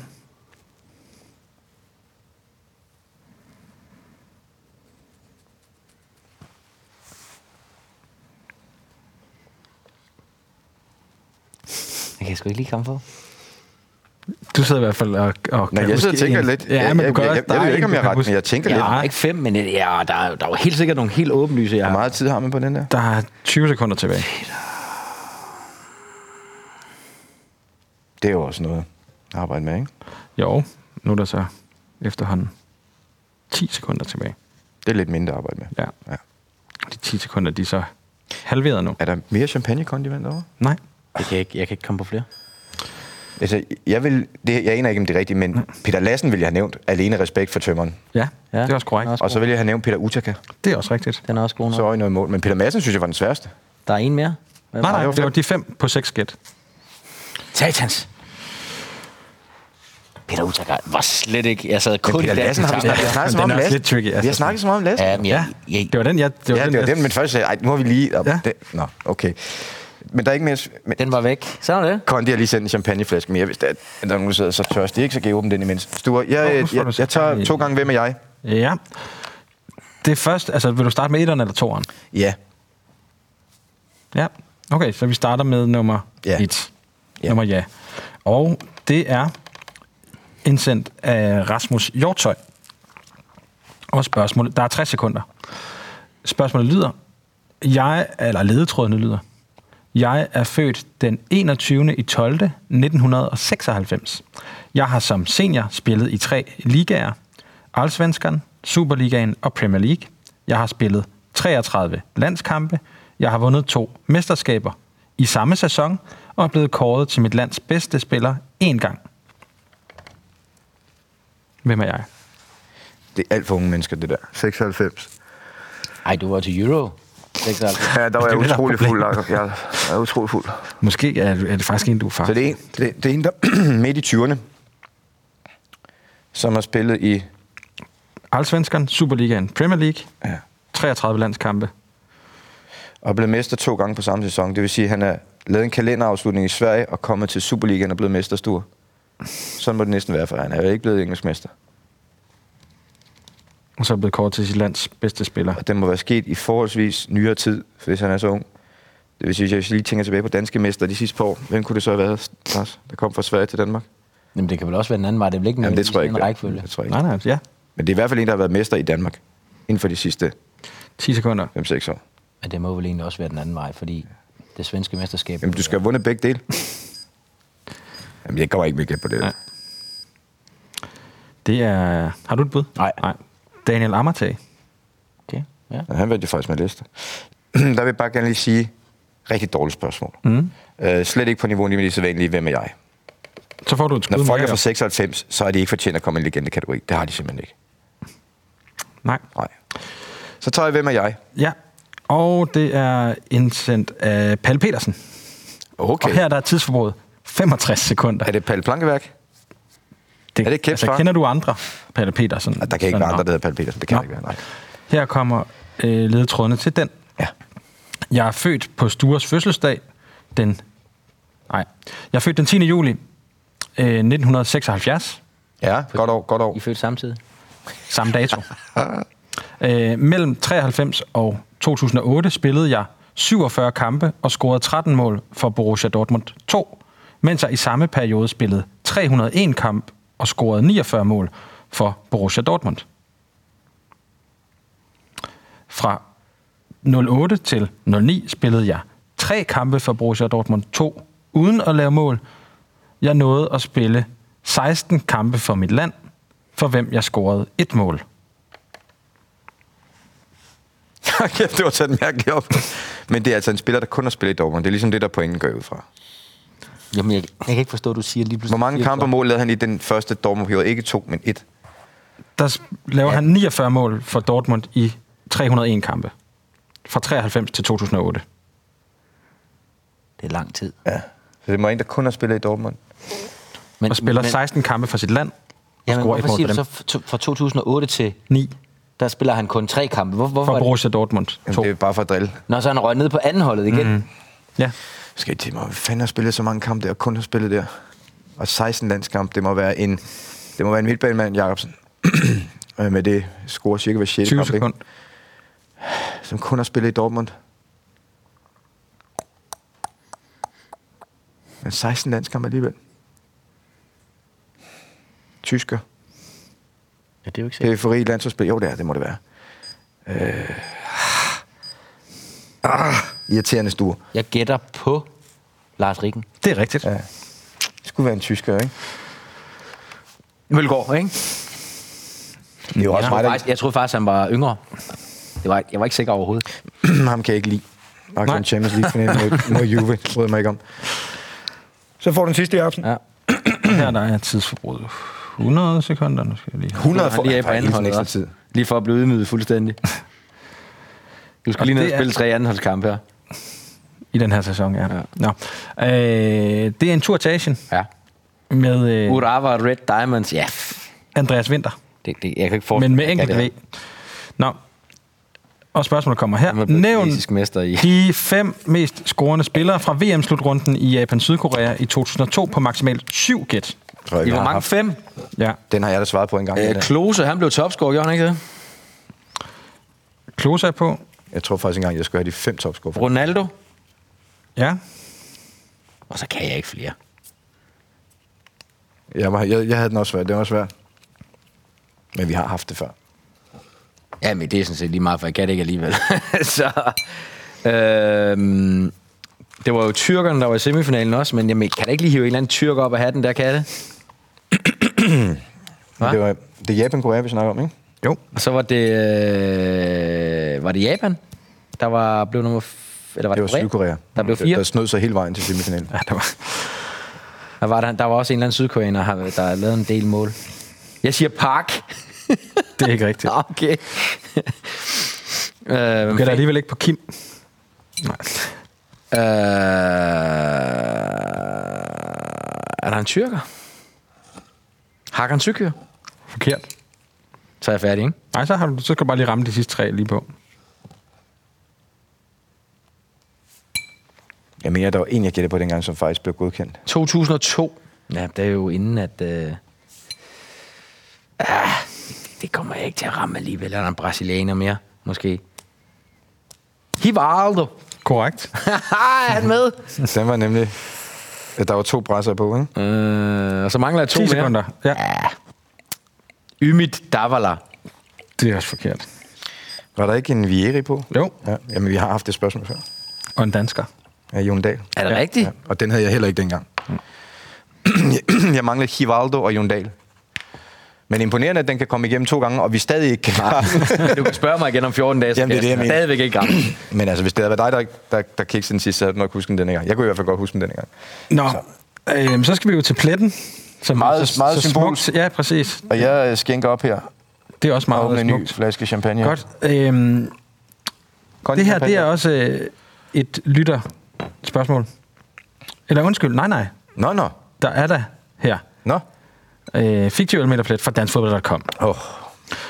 S4: Det kan jeg sgu ikke lige komme på.
S3: Du sidder i hvert fald og, og
S2: Nej,
S3: kan
S2: jeg sidder og
S3: huske
S2: tænker
S3: en.
S2: lidt.
S3: Ja,
S2: Jeg-
S3: men
S2: jeg-
S3: du kan
S2: jeg-
S3: også-
S2: jeg
S3: der er
S2: ved ikke,
S3: en,
S2: om
S3: du
S2: jeg
S3: kan
S2: har ret,
S3: huske.
S2: men jeg tænker
S4: Jeg
S2: lidt.
S4: har ikke fem, men øh, ja, der, er- der er jo helt sikkert nogle helt åbenlyse, jeg
S2: Hvor
S4: har.
S2: meget tid har man på den der?
S3: Der er 20 sekunder tilbage.
S2: Det er jo også noget at arbejde med, ikke?
S3: Jo, nu er der så efterhånden 10 sekunder tilbage.
S2: Det er lidt mindre at arbejde med.
S3: Ja.
S2: ja.
S3: De 10 sekunder, de er så halveret nu.
S2: Er der mere champagne-kondivand over?
S3: Nej.
S4: Det kan jeg, ikke, jeg kan ikke komme på flere.
S2: Altså, jeg, vil, det, jeg aner ikke, om det er rigtigt,
S3: Mm.
S2: men Peter Lassen ville jeg have nævnt alene respekt for tømmeren.
S3: Ja,
S8: Ja.
S3: ja, det er også korrekt.
S8: Den er også,
S2: Og så ville jeg have nævnt Peter Utaka.
S3: Det er også rigtigt.
S8: den er også god nok.
S2: Så er I noget i mål. Men Peter Madsen synes jeg var den sværeste.
S8: Der er en mere. Hvad
S3: Nej,
S8: var
S3: nej,
S8: det?
S3: det var de fem på seks gæt.
S4: Satans. Peter Utager var slet ikke... Jeg sad kun
S2: Men Peter
S4: i dansk
S2: Lassen har vi
S4: guitar.
S2: snakket, snakket så
S3: men
S2: meget om
S3: den er også
S2: Lassen.
S3: lidt tricky,
S2: Vi
S3: altså.
S2: har snakket så meget om Lassen.
S4: Ja, men jeg, jeg,
S3: Det var den, jeg... Det var
S2: Ja, det var
S3: jeg-
S2: den, men først sagde jeg, "Ej, nu har vi lige... Ja.
S3: Ja.
S2: Det, nå, okay. Men der er ikke mere... Men
S4: den var væk. Så er det.
S2: Kondi har lige sendt en champagneflaske mere, hvis der, er- at der er nogen, der sidder så tørst. Det er ikke så kan jeg åbne den imens. Sture, jeg,
S3: Åh, nu
S2: jeg,
S3: får du
S2: jeg, jeg tager
S3: champagne.
S2: to gange, hvem er jeg?
S3: Ja. Det er først... Altså, vil du starte med etteren eller toeren?
S2: Ja.
S3: Ja. Okay, så vi starter med nummer
S2: Ja.
S3: et.
S2: Ja.
S3: Nummer ja. Og det er indsendt af Rasmus Hjortøj. Og spørgsmålet... Der er 60 sekunder. Spørgsmålet lyder... Jeg... Eller ledetrådene lyder... Jeg er født den 21. i 12. 1996. Jeg har som senior spillet i tre ligaer. Allsvenskan, Superligaen og Premier League. Jeg har spillet 33 landskampe. Jeg har vundet to mesterskaber i samme sæson og er blevet kåret til mit lands bedste spiller én gang. Hvem er jeg?
S2: Det er alt for unge mennesker, det der. 96.
S4: Ej, du var til Euro.
S2: Ja, der var jeg
S3: Altså, det, der er
S2: utrolig
S3: problemet.
S2: fuld, Jacob. Jeg er- jeg er utrolig fuld.
S3: Måske er, er det faktisk en, du er far.
S2: Så det er en, det, det er en der er midt i 20'erne, som har spillet i...
S3: Allsvenskan, Superligaen, Premier League,
S2: Ja.
S3: 33 landskampe.
S2: Og blev mester to gange på samme sæson. Det vil sige, at han har lavet en kalenderafslutning i Sverige og kommet til Superligaen og blevet mesterstor. Sådan må det næsten være for han. Han er jo ikke blevet engelsk mester.
S3: Og så er blevet kåret til sit lands bedste spiller.
S2: Og det må være sket i forholdsvis nyere tid, hvis han er så ung. Det vil sige, at hvis jeg lige tænker tilbage på danske mester de sidste par år. Hvem kunne det så have været, Lars, der kom fra Sverige til Danmark?
S4: Jamen, det kan vel også være den anden vej. Det er vel ikke
S2: Jamen, det tror jeg
S4: en
S2: ikke.
S4: rækkefølge.
S2: Det tror jeg ikke.
S3: Nej, nej, ja.
S2: Men det er i hvert fald en, der har været mester i Danmark inden for de sidste
S3: 10 sekunder.
S2: 5-6 år.
S4: Men det må vel egentlig også være den anden vej, fordi det svenske mesterskab...
S2: Jamen, du skal have vundet begge dele. Jamen, jeg kommer ikke med gæt på det.
S3: Nej. Det er... Har du et bud?
S4: Nej.
S3: Nej. Daniel Amartey.
S4: Okay, ja.
S2: Men Han vandt jo faktisk med liste. der vil jeg bare gerne lige sige, rigtig dårligt spørgsmål. Mm. Øh, slet ikke på niveau med de sædvanlige, hvem er jeg?
S3: Så får du et skud.
S2: Når
S3: med
S2: folk er
S3: her.
S2: fra 96, så er de ikke fortjent at komme i en legendekategori. Det har de simpelthen ikke.
S3: Nej.
S2: Nej. Så tager jeg, hvem er jeg?
S3: Ja. Og det er indsendt af Palle Petersen.
S2: Okay.
S3: Og her der er tidsforbruget 65 sekunder.
S2: Er det Palle Plankeværk? er det kendt
S3: altså,
S2: fra?
S3: kender du andre Palle Petersen?
S2: Ah, Der kan ikke
S3: Sådan,
S2: være andre,
S3: nå.
S2: der hedder Palle Petersen. Det kan
S3: Nå.
S2: der ikke være, nej.
S3: Her kommer øh, ledetrådene til den.
S2: Ja.
S3: Jeg er født på Stures fødselsdag den... Nej. Jeg er født den 10. juli øh, 1976.
S2: Ja, godt år, godt år.
S4: I er født samtidig.
S3: Samme dato. øh, mellem 93 og 2008 spillede jeg 47 kampe og scorede 13 mål for Borussia Dortmund 2, mens jeg i samme periode spillede 301 kamp og scorede 49 mål for Borussia Dortmund. Fra 08 til 09 spillede jeg tre kampe for Borussia Dortmund 2 uden at lave mål. Jeg nåede at spille 16 kampe for mit land, for hvem jeg scorede et mål.
S2: Kæft, det var sat mærkeligt op. Men det er altså en spiller, der kun har spillet i Dortmund. Det er ligesom det, der pointen går ud fra.
S4: Jamen, jeg, jeg kan ikke forstå, at du siger lige pludselig...
S2: Hvor mange kampe og mål lavede han i den første Dortmund-periode? Ikke to, men et.
S3: Der s- laver han 49 mål for Dortmund i 301 kampe. Fra 93 til 2008.
S4: Det er lang tid.
S2: Ja. Så det må en, der kun har spillet i Dortmund.
S4: Men,
S3: Og spiller 16 kampe for sit land. Og
S4: Jamen,
S3: scorer et mål
S4: hvorfor siger
S3: for
S4: du så
S3: dem.
S4: f- to- fra 2008 til...
S3: 9
S4: Der spiller han kun tre kampe. Hvor, hvorfor
S3: for
S4: er det?
S3: Borussia Dortmund
S2: Jamen,
S3: 2.
S2: det er bare for at drille.
S4: Nå, så er han røget ned på andenholdet igen. Mm.
S3: Ja.
S2: Skal I til mig? Hvad fanden har spillet så mange kampe der, og kun har spillet der? Og 16 landskampe, det må være en, det må være en midtbanemand, Jacobsen. Øh, med det scorer cirka hver 6.
S3: 20
S2: kamp, ikke?
S3: sekunder.
S2: som kun har spillet i Dortmund. Men 16 landskampe alligevel. Tysker.
S4: Ja, det er jo ikke
S2: Periferi landsholdsspil. Jo, det er, det må det være. Øh. Ah, irriterende stue.
S4: Jeg gætter på Lars Rikken.
S3: Det er rigtigt.
S2: Ja. Det skulle være en tysker, ikke?
S4: Mølgaard, ikke?
S2: Det er jo også mig,
S4: Jeg troede,
S2: der
S4: faktisk, jeg troede faktisk, han var yngre. Det var, ikke- jeg var ikke sikker overhovedet.
S2: ham kan jeg ikke lide. Og
S3: Nej.
S2: kan Champions League finalen mod, mod Juve, bryder jeg mig ikke om. Så får du den sidste, Jacobsen.
S4: Ja.
S3: her, der er tidsforbruget. 100 sekunder, nu skal jeg lige...
S2: 100 for...
S4: lige
S2: Ja,
S4: af på
S2: der er
S4: anden
S2: lige
S4: hold,
S2: ekstra
S4: hva'?
S2: tid.
S4: Lige for at blive ydmyget fuldstændig. Du skal
S3: Og
S4: lige ned og
S3: det er-
S4: spille tre andenholdskampe her.
S3: I den her sæson, ja.
S4: Ja.
S3: ja. Nå. Øh, det er en tur til Asien
S4: Ja.
S3: med øh,
S4: Urava Red Diamonds, ja. pff,
S3: Andreas Winter,
S4: Det, det, jeg kan ikke forestille
S3: men med
S4: mig,
S3: enkelt
S4: at
S3: V.
S4: det
S3: Nå. Og spørgsmålet kommer her.
S4: er. Han er blevet
S3: Nævn
S4: kinesisk mester i.
S3: de fem mest scorende spillere fra VM-slutrunden i Japan-Sydkorea i 2002 på maksimalt syv gæt.
S2: Tror jeg,
S4: I
S2: vi
S4: hvor
S2: har
S4: mange?
S2: haft.
S4: Fem?
S3: Ja.
S2: Den har jeg da svaret på en gang.
S4: Øh,
S2: Øh,
S4: Klose, han blev topscorer, gjorde han ikke det?
S3: Klose er på.
S2: jeg tror faktisk engang, jeg skulle have de fem topscore.
S4: Ronaldo?
S3: Ja.
S4: Og så kan jeg ikke flere.
S2: Jeg, var, jeg, jeg havde den også svært. Den var svær. Men vi har haft det før.
S4: Ja, men det er sådan set lige meget, for jeg kan det ikke alligevel. så, øhm, det var jo tyrkerne, der var i semifinalen også, men jamen, kan da ikke lige hive en eller anden tyrker op af hatten, der kan det? Hva?
S2: Men Det, var, det er Japan-Korea, vi snakker om, ikke? Jo.
S4: Og så var det, øh, var det Japan, der var, blev nummer... F- eller var
S2: Det
S4: det,
S2: var Sydkorea.
S4: Der blev
S2: Der
S4: fire.
S2: snød sig hele vejen til semifinalen.
S3: ja der var.
S4: Der var, der, der var også en eller anden sydkoreaner, der har- der har lavet en del mål. Jeg siger Park.
S3: Det er ikke rigtigt.
S4: Nå, okay. øh,
S3: Du
S4: hvem
S3: gætter
S4: fanden-
S3: alligevel ikke på Kim. Nej.
S4: Øh, er der en tyrker? Hakan Tyrkyr?
S3: Forkert.
S4: Så er jeg færdig, ikke?
S3: Nej, så, har du, så skal du bare lige ramme de sidste tre lige på.
S2: Jeg mener, der var en, jeg gættede på dengang, som faktisk blev godkendt.
S4: 2002. Ja, det er jo inden, at... Øh... Ah, det kommer jeg ikke til at ramme alligevel. Er der en brasilianer mere, måske? Hivaldo.
S3: Korrekt.
S4: er han med?
S2: Den var nemlig... at Der var to brasser på, ikke?
S4: øh, og så mangler jeg to
S3: 10
S4: mere.
S3: sekunder. Ja,
S4: Ymit Davala.
S3: det er også forkert.
S2: Var der ikke en Vieri på?
S3: Jo.
S2: Ja, jamen, vi har haft det spørgsmål før.
S3: Og en dansker.
S2: Ja, Jon Dahl.
S4: Er det ja. rigtigt?
S2: Ja, og den havde jeg heller ikke dengang. jeg manglede Hivaldo og Jon Dahl. Men imponerende, at den kan komme igennem to gange, og vi stadig ikke kan
S4: Ja. du kan spørge mig igen om 14 dage, så
S2: Jamen, det er
S4: skal
S2: det, jeg mener.
S4: stadigvæk ikke ramme.
S2: Men altså, hvis det havde været dig, der, der, der kiggede den sidste, så havde man ikke husket den denne gang. Jeg kunne i hvert fald godt huske den denne gang.
S3: Nå, øhm, så skal vi jo til pletten. Som
S2: Meget-
S3: så,
S2: meget
S3: så
S2: symbolsk.
S3: smukt. Ja, præcis.
S2: Og jeg øh, skænker op her
S3: Det er også
S2: og åbner
S3: meget
S2: en ny
S3: smukt.
S2: flaske champagne. her.
S3: Godt. Øhm,
S2: Kondi
S3: det her,
S2: champagne.
S3: det er også øh, et lytterspørgsmål. Eller undskyld, nej, nej.
S2: Nå, nå.
S3: Der er der her.
S2: Nå.
S3: Øh, fiktiv elmeterplet fra danskfodbold.com.
S2: Oh. Så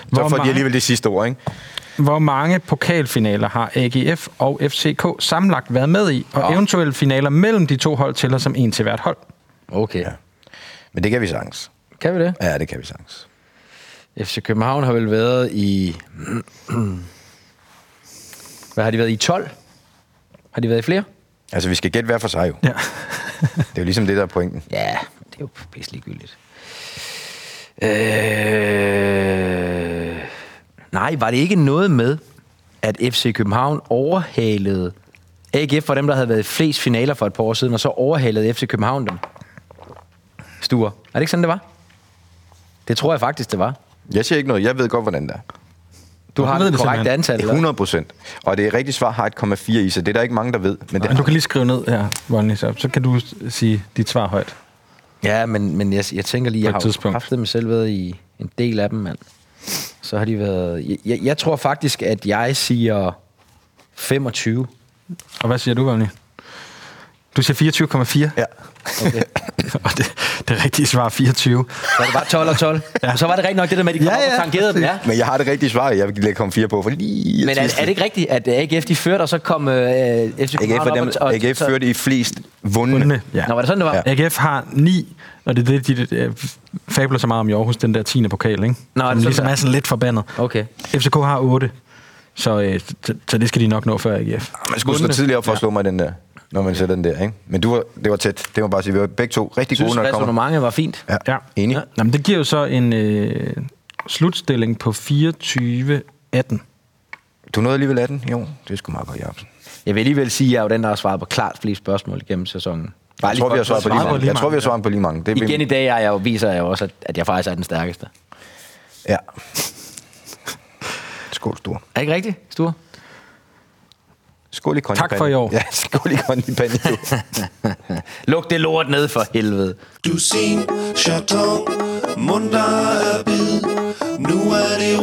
S3: Hvor
S2: får de
S3: mange-
S2: alligevel det sidste ord, ikke?
S3: Hvor mange pokalfinaler har AGF og FCK sammenlagt været med i, og
S4: Åh.
S3: eventuelle finaler mellem de to hold tæller som en til hvert hold?
S4: Okay.
S2: Men det kan vi sagtens.
S4: Kan vi det?
S2: Ja, det kan vi sagtens.
S4: FC København har vel været i... Hvad har de været i? 12? Har de været i flere?
S2: Altså, vi skal gætte hver for sig jo.
S3: Ja.
S2: Det er jo ligesom det, der er pointen.
S4: Ja, men det er jo pisse ligegyldigt. Øh... Nej, var det ikke noget med, at FC København overhalede AGF var dem, der havde været i flest finaler for et par år siden, og så overhalede FC København dem? Stuer. Er det ikke sådan, det var? Det tror jeg faktisk, det var.
S2: Jeg siger ikke noget. Jeg ved godt, hvordan det er.
S4: Du har
S3: ved
S4: det
S3: det
S4: korrekte
S3: simpelthen.
S4: antal. eller?
S2: 100 procent. Og det rigtige svar har et 1,4 i sig. Det er der ikke mange, der ved. Men det
S3: Men du
S2: har...
S3: kan lige skrive ned her, Vonley, så, så kan du s- sige dit svar højt.
S4: Ja, men, men jeg, jeg tænker lige,
S3: På
S4: jeg
S3: et
S4: har
S3: tidspunkt.
S4: tidspunkt. haft dem selv været i en del af dem, mand. Så har de været... Jeg, jeg, jeg tror faktisk, at jeg siger 25.
S3: Og hvad siger du, Vonley? Du siger 24,4.
S2: Ja.
S4: Okay.
S3: og det, det rigtige svar er 24.
S4: Så var det bare 12 og 12. ja. Så var det rigtig nok det der med, at de kom
S3: Ja,
S4: ja, op
S3: ja.
S4: og tangerede dem. Ja.
S2: Men jeg har det rigtige svar. Jeg vil lægge 1,4 på, for lige...
S4: Men er, er det ikke rigtigt, at øh, AGF de førte, og så kom øh, FC
S2: AGF,
S4: København
S2: var dem,
S4: op og...
S2: AGF
S4: så-
S2: førte i flest vundne.
S3: Vundne,
S4: Ja. Nå, var det sådan, det var?
S2: Ja.
S4: Ja.
S3: AGF har 9, og det er det, de øh, fabler så meget om i Aarhus, den der 10. pokal, ikke?
S4: Nå, er det
S3: Som ligesom
S4: sådan der?
S3: er sådan lidt forbandet.
S4: Okay.
S3: FCK har 8, så, øh, så, så det skal de nok nå før AGF.
S2: Man skulle stå
S3: Vundne.
S2: tidligere op for at slå mig i den der, når man sætter den der, ikke? Men du var, det var tæt. Det var bare at sige, vi var begge to rigtig
S4: Synes,
S2: gode, når det kommer.
S4: resonemanget var fint.
S2: Ja.
S3: Ja.
S2: Enig.
S3: Nå, men det giver jo så en øh, slutstilling på 24-18.
S2: Du nåede alligevel 18? Jo, det er sgu meget godt, Jacobsen.
S4: Jeg vil alligenvel sige, at jeg er jo den, der har svaret på klart flest spørgsmål gennem sæsonen. Bare
S2: Jeg
S4: lige
S2: tror, vi
S4: for-
S2: har svaret på lige
S3: Svaret på
S2: mange.
S3: lige
S2: Jeg tror, vi har
S3: mange,
S2: svaret på lige mange. Det er
S4: Igen i dag er jeg jo, viser jeg jo også, at, at jeg faktisk er den stærkeste.
S2: Ja. Skål, stor.
S4: Er ikke rigtigt, Sture?
S2: Skål i Conny
S3: Tak for
S2: Panjo.
S3: i år.
S2: Ja, skål i Conny Panjo.
S4: Luk det lort ned for helvede.
S7: Dusin, chaton, mundter er bid. Nu er det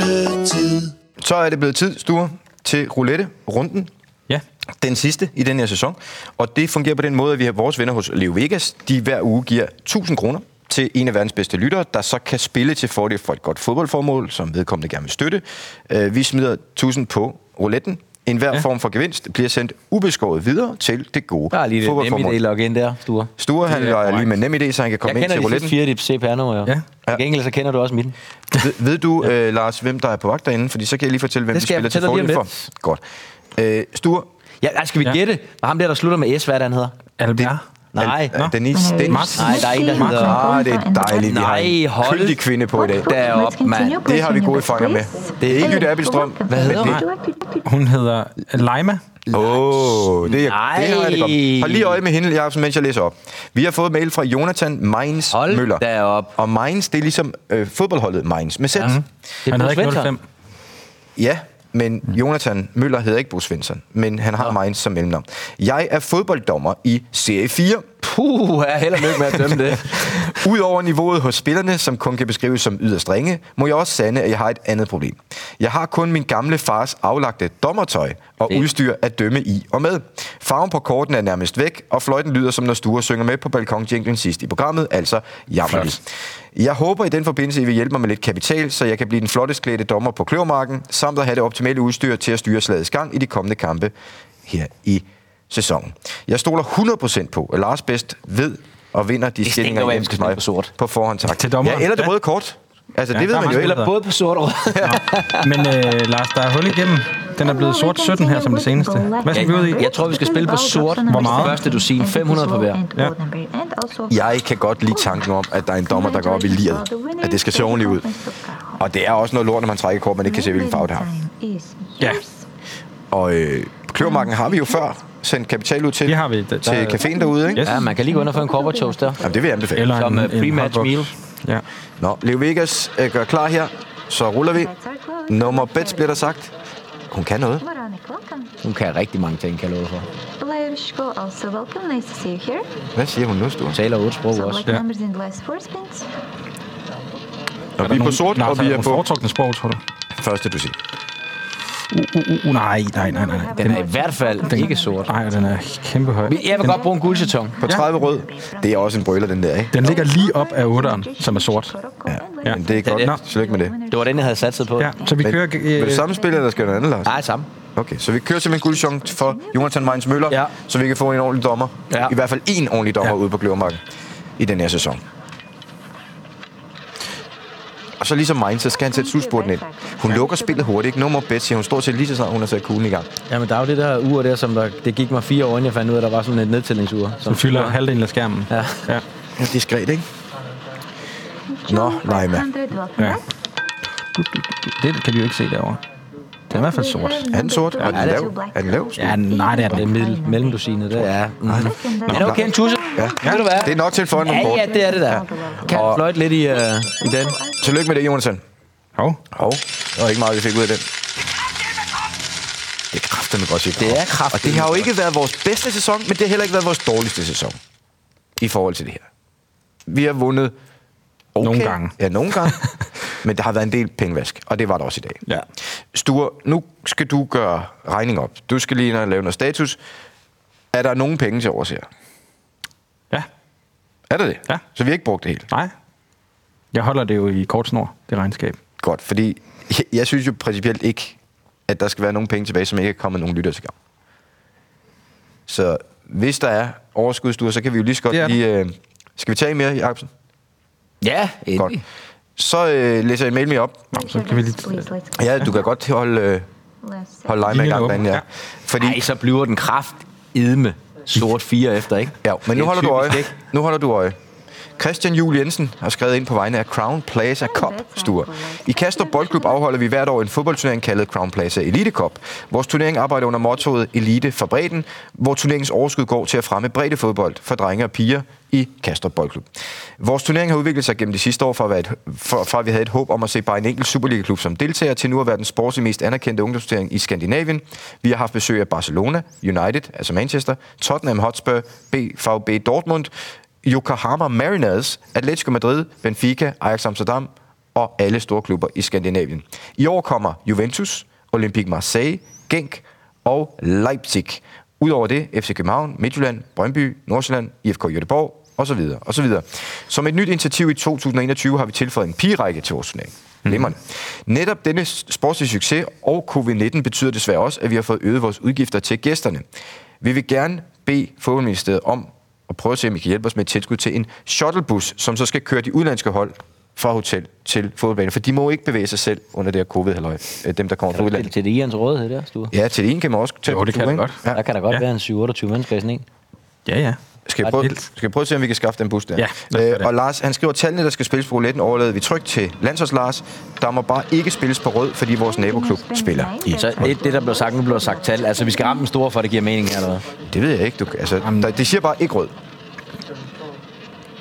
S7: roulette-tid.
S2: Så er det blevet tid, Sture, til roulette-runden.
S3: Ja.
S2: Den sidste i den her sæson. Og det fungerer på den måde, at vi har vores venner hos Leo Vegas. De hver uge giver 1000 kroner til en af verdens bedste lyttere, der så kan spille til fordel for et godt fodboldformål, som vedkommende gerne vil støtte. Øh, Vi smider 1000 på rouletten. En hver ja. form for gevinst bliver sendt ubeskåret videre til det gode
S4: Der er lige det nemme
S2: fodboldformål.
S4: idé login der, Sture.
S2: Sture, han er lige med nem idé, så han kan
S4: Jeg
S2: komme ind til
S4: kender de sidste
S2: rouletten.
S4: fire af dit CPR-nummer, jo.
S3: Ja.
S4: Til gengæld så kender du også mit.
S2: Ved, ved du, øh, Lars, hvem der er på vagt derinde? Fordi så kan jeg lige fortælle, hvem
S4: Det
S2: vi
S4: skal
S2: spiller
S4: jeg
S2: til
S4: fortælle
S2: fordel
S4: dig lige om
S2: for. Godt. Øh, Sture,
S4: Ja, altså, skal vi
S3: Ja.
S4: gætte? Var ham der, der slutter med S, hvad er det, han hedder?
S3: Albert.
S4: Nej.
S2: Al- øh, Denise,
S8: Nå.
S2: Denise.
S3: Martin.
S4: Nej, der er en, der hedder...
S2: Ah, det er dejligt. Vi har en
S4: Nej, hold
S2: kyndig kvinde på i dag.
S4: da op, mand.
S2: Det har vi gode erfaringer med. Det er ikke Jytte Abildstrøm.
S4: Hvad hedder
S2: men
S4: hun?
S3: Hun hedder
S4: Mm.
S3: Leima.
S2: det- Åh, det, er, det har jeg det godt.
S4: Nej.
S2: Hold lige øje med hende, Jacobsen, mens jeg læser op. Vi har fået mail fra Jonathan Mainz
S4: Hold
S2: Møller.
S4: da op. Mhm.
S2: Og Mainz, det er ligesom øh, fodboldholdet Mainz med sæt. Ja.
S4: Det er
S3: Han hedder ikke
S4: Bruce
S3: 05.
S4: Svensson.
S2: Ja, men Jonathan Møller hedder ikke Bo Svensson, men han har Mainz som mellemnavn. Jeg er fodbolddommer i Serie 4.
S4: Puh, jeg held og lykke med at dømme det.
S2: Udover niveauet hos spillerne, som kun kan beskrives som yderst ringe, må jeg også sande, at jeg har et andet problem. Jeg har kun min gamle fars aflagte dommertøj og
S4: Det-
S2: udstyr at dømme i og med. Farven på korten er nærmest væk, og fløjten lyder som når Sture synger med på balkonjinglen sidst i programmet, altså jammerlig. Jeg håber i den forbindelse, I vil hjælpe mig med lidt kapital, så jeg kan blive den flottest klædte dommer på kløvermarken, samt at have det optimale udstyr til at styre slagets gang i de kommende kampe her i sæsonen. Jeg stoler 100% på, at Lars bedst ved og vinder de
S4: Det stinker
S2: stillinger,
S4: jo af,
S2: hjemme
S4: hvis
S2: hos
S4: man
S2: mig
S4: er på sort.
S2: På forhånd, tak.
S3: Til dommeren.
S2: Ja, eller det
S3: Ja.
S2: røde kort. Altså,
S3: Ja,
S2: det ved
S3: der er
S2: man jo
S3: mange
S2: ikke.
S3: muligheder.
S4: Både på sort og rød.
S3: Men øh, Lars, der er hul igennem. Den er blevet sort 17 her som det seneste. Hvad skal vi ud i?
S4: Jeg tror, vi skal spille på sort.
S3: Hvor meget?
S4: Første dusin, 500 på hver.
S3: Ja.
S2: Jeg kan godt lide tanken om, at der er en dommer, der går op i liret. At det skal se ordentligt ud. Og det er også noget lort, når man trækker kort, man ikke kan se, hvilken farve det har.
S3: Ja.
S2: Og øh, kløvermarken har vi jo før sendt kapital ud til.
S3: Det har vi. Der-
S2: Til
S3: der-
S2: caféen derude, ikke?
S3: Yes.
S4: Ja, man kan lige gå ind og få en corporate toast der.
S2: Jamen, det vil jeg anbefale.
S3: Eller
S4: Som,
S3: en,
S4: øh,
S3: en
S4: pre-match
S3: hotbox.
S4: meal.
S3: Ja.
S2: Nå, Leo Vegas øh, gør klar her. Så ruller vi. Nummer bet bliver der sagt. Hun kan noget.
S4: Hun kan rigtig mange ting, kan jeg love for.
S8: Levishko, also welcome. Nice to see you here.
S2: Hvad siger hun nu, Sture?
S4: Hun taler otte sprog
S8: So
S4: også.
S8: like numbers in the last four spins.
S2: Og vi er på
S3: Nogle-
S2: sort,
S3: Lars,
S2: og
S3: er
S2: vi
S3: der
S2: er
S3: nogle
S2: på
S3: foretrukne sprog, tror du?
S2: første, du siger.
S3: Uh, uh, nej, nej, nej, nej.
S4: Den er i hvert fald ikke sort.
S3: Nej, den er kæmpe høj.
S4: Jeg vil godt bruge en guldsetong.
S2: På 30 rød. Det er også en brøler, den der, ikke?
S3: Den ligger lige op af 8'eren, som er sort.
S8: Ja.
S3: Ja.
S2: Men det er
S4: det.
S2: godt. Nå. Tillykke med det.
S4: Det var den, jeg havde satset på.
S3: Ja, så vi
S2: Men,
S3: kører...
S2: øh, vil det samme spil, eller skal der andet, Lars?
S4: Nej, samme.
S2: Okay, så vi kører simpelthen guldchance for Jonathan Mainz Møller,
S4: Ja.
S2: så vi kan få en ordentlig dommer.
S4: Ja.
S2: I hvert fald en ordentlig dommer
S3: Ja.
S2: ja. ude på Gløvermarken i den her sæson. Og så ligesom Mainz, så skal han sætte slutspurten ind. Hun lukker spillet hurtigt, ikke? No more bets, siger hun. Stort set lige så snart hun har sat kuglen i gang.
S4: Jamen, der er jo det der ur der, som der, det gik mig fire år, inden jeg fandt ud af, at der var sådan et nedtællingsur.
S3: Den fylder halvdelen af skærmen.
S4: Ja.
S3: ja.
S2: Ja, diskret, ikke? Nå, Leima.
S3: Ja. Det kan vi jo ikke se derovre. Den er i hvert fald sort.
S2: Er den sort? Er
S4: Ja,
S2: den
S4: det er
S2: lav? Er den lav?
S3: Ja, nej, det er den
S4: Det er
S3: ikke.
S4: middel, mellemdusinet, det er. Mm. Er det
S2: klar.
S4: okay en tusse?
S2: Ja.
S4: Ved du hvad?
S2: Det er nok til at få en
S4: Ja,
S2: kort.
S4: ja, det er det der. Kan
S2: Og-
S4: og... fløjte lidt i, øh, i den.
S2: Tillykke med det, Jonathan.
S3: Hov.
S2: Hov, der var ikke meget, vi fik ud af den. Det er kraftedeme godt set.
S4: Det er kraftedeme
S2: Og det har jo ikke været vores bedste sæson, men det har heller ikke været vores dårligste sæson. I forhold til det her. Vi har vundet... Okay.
S3: Nogle gange.
S2: Ja, nogle gange. men der har været en del pengevask, og det var der også i dag.
S3: Ja.
S2: Sture, nu skal du gøre regning op. Du skal lige ind og lave noget status. Er der nogen penge til overs her?
S3: Ja.
S2: Er der det?
S3: Ja.
S2: Så vi har ikke brugt det helt.
S3: Nej. Jeg holder det jo i kort snor, det regnskab.
S2: Godt, fordi jeg, jeg synes jo principielt ikke, at der skal være nogen penge tilbage, som ikke er kommet nogen lytter til gavn. Så hvis der er overskudsstuer, så kan vi jo lige så godt
S3: Det er
S2: ja.
S3: der.
S2: lige... Øh, skal vi tage mere, Jacobsen?
S4: Ja,
S2: Godt. Så øh, læser jeg mail mere op.
S3: så kan vi lige-
S2: Ja, du kan godt holde, øh, holde
S8: Hold
S2: lege med i
S3: Linjen er
S2: gang, derinde, ja.
S3: åben,
S2: Fordi,
S4: Nej, så bliver den kraft idme sort fire efter, ikke?
S2: ja, men nu
S4: Det er
S2: holder, du
S4: typisk,
S2: øje.
S4: ikke?
S2: nu holder du øje. Christian Juel Jensen har skrevet ind på vegne af Crown Plaza Cup Stur. I Kastrup Boldklub afholder vi hvert år en fodboldturnering kaldet Crown Plaza Elite Cup. Vores turnering arbejder under mottoet Elite for bredden, hvor turneringens overskud går til at fremme breddefodbold for drenge og piger i Kastrup Boldklub. Vores turnering har udviklet sig gennem de sidste år fra, at være et, fra, fra at vi havde et håb om at se bare en enkelt Superliga-klub som deltager til nu at være den sportslig mest anerkendte ungdomsturnering i Skandinavien. Vi har haft besøg af Barcelona, United, altså Manchester, Tottenham Hotspur, BVB Dortmund, Yokohama Mariners, Atletico Madrid, Benfica, Ajax Amsterdam og alle store klubber i Skandinavien. I år kommer Juventus, Olympique Marseille, Genk og Leipzig. Udover det, FC København, Midtjylland, Brøndby, Nordsjælland, IFK Göteborg osv. osv. Som et nyt initiativ i 2021 har vi tilføjet en pigerække til vores turnering. Glimmerne. Netop denne sportslige succes og covid-19 betyder desværre også, at vi har fået øget vores udgifter til gæsterne. Vi vil gerne bede Fodboldministeriet om at prøve at se, om I kan hjælpe os med et tilskud til en shuttlebus, som så skal køre de udlandske hold fra hotel til fodboldbanen, for de må ikke bevæge sig selv under det her covid-halløj, øh, dem der kommer fra
S4: Kan du stille
S2: udlandet.
S4: til det Ians rådighed der, Sture?
S2: Ja, til det ene kan man også tage
S3: Jo, det
S2: på
S3: kan
S2: tur,
S3: det
S2: ikke?
S3: godt.
S4: Der kan der godt
S3: Ja.
S4: være en 7-28 mennesker i sådan en.
S3: Ja, ja.
S2: Skal vi,
S4: Ret
S2: prøve,
S3: vildt.
S2: skal vi prøve at se, om vi kan skaffe den bus der?
S3: Ja, lad os gøre det.
S2: øh, og Lars, han skriver, tallene, der skal spilles på rouletten, overlader vi trygt til landsholds Lars. Der må bare ikke spilles på rød, fordi vores naboklub spiller.
S4: Så det, det, der blev sagt, nu blev der sagt tal. Altså, vi skal ramme den store, for at det giver mening her, eller hvad?
S2: Det ved jeg ikke. Du, altså, der, det siger bare ikke rød.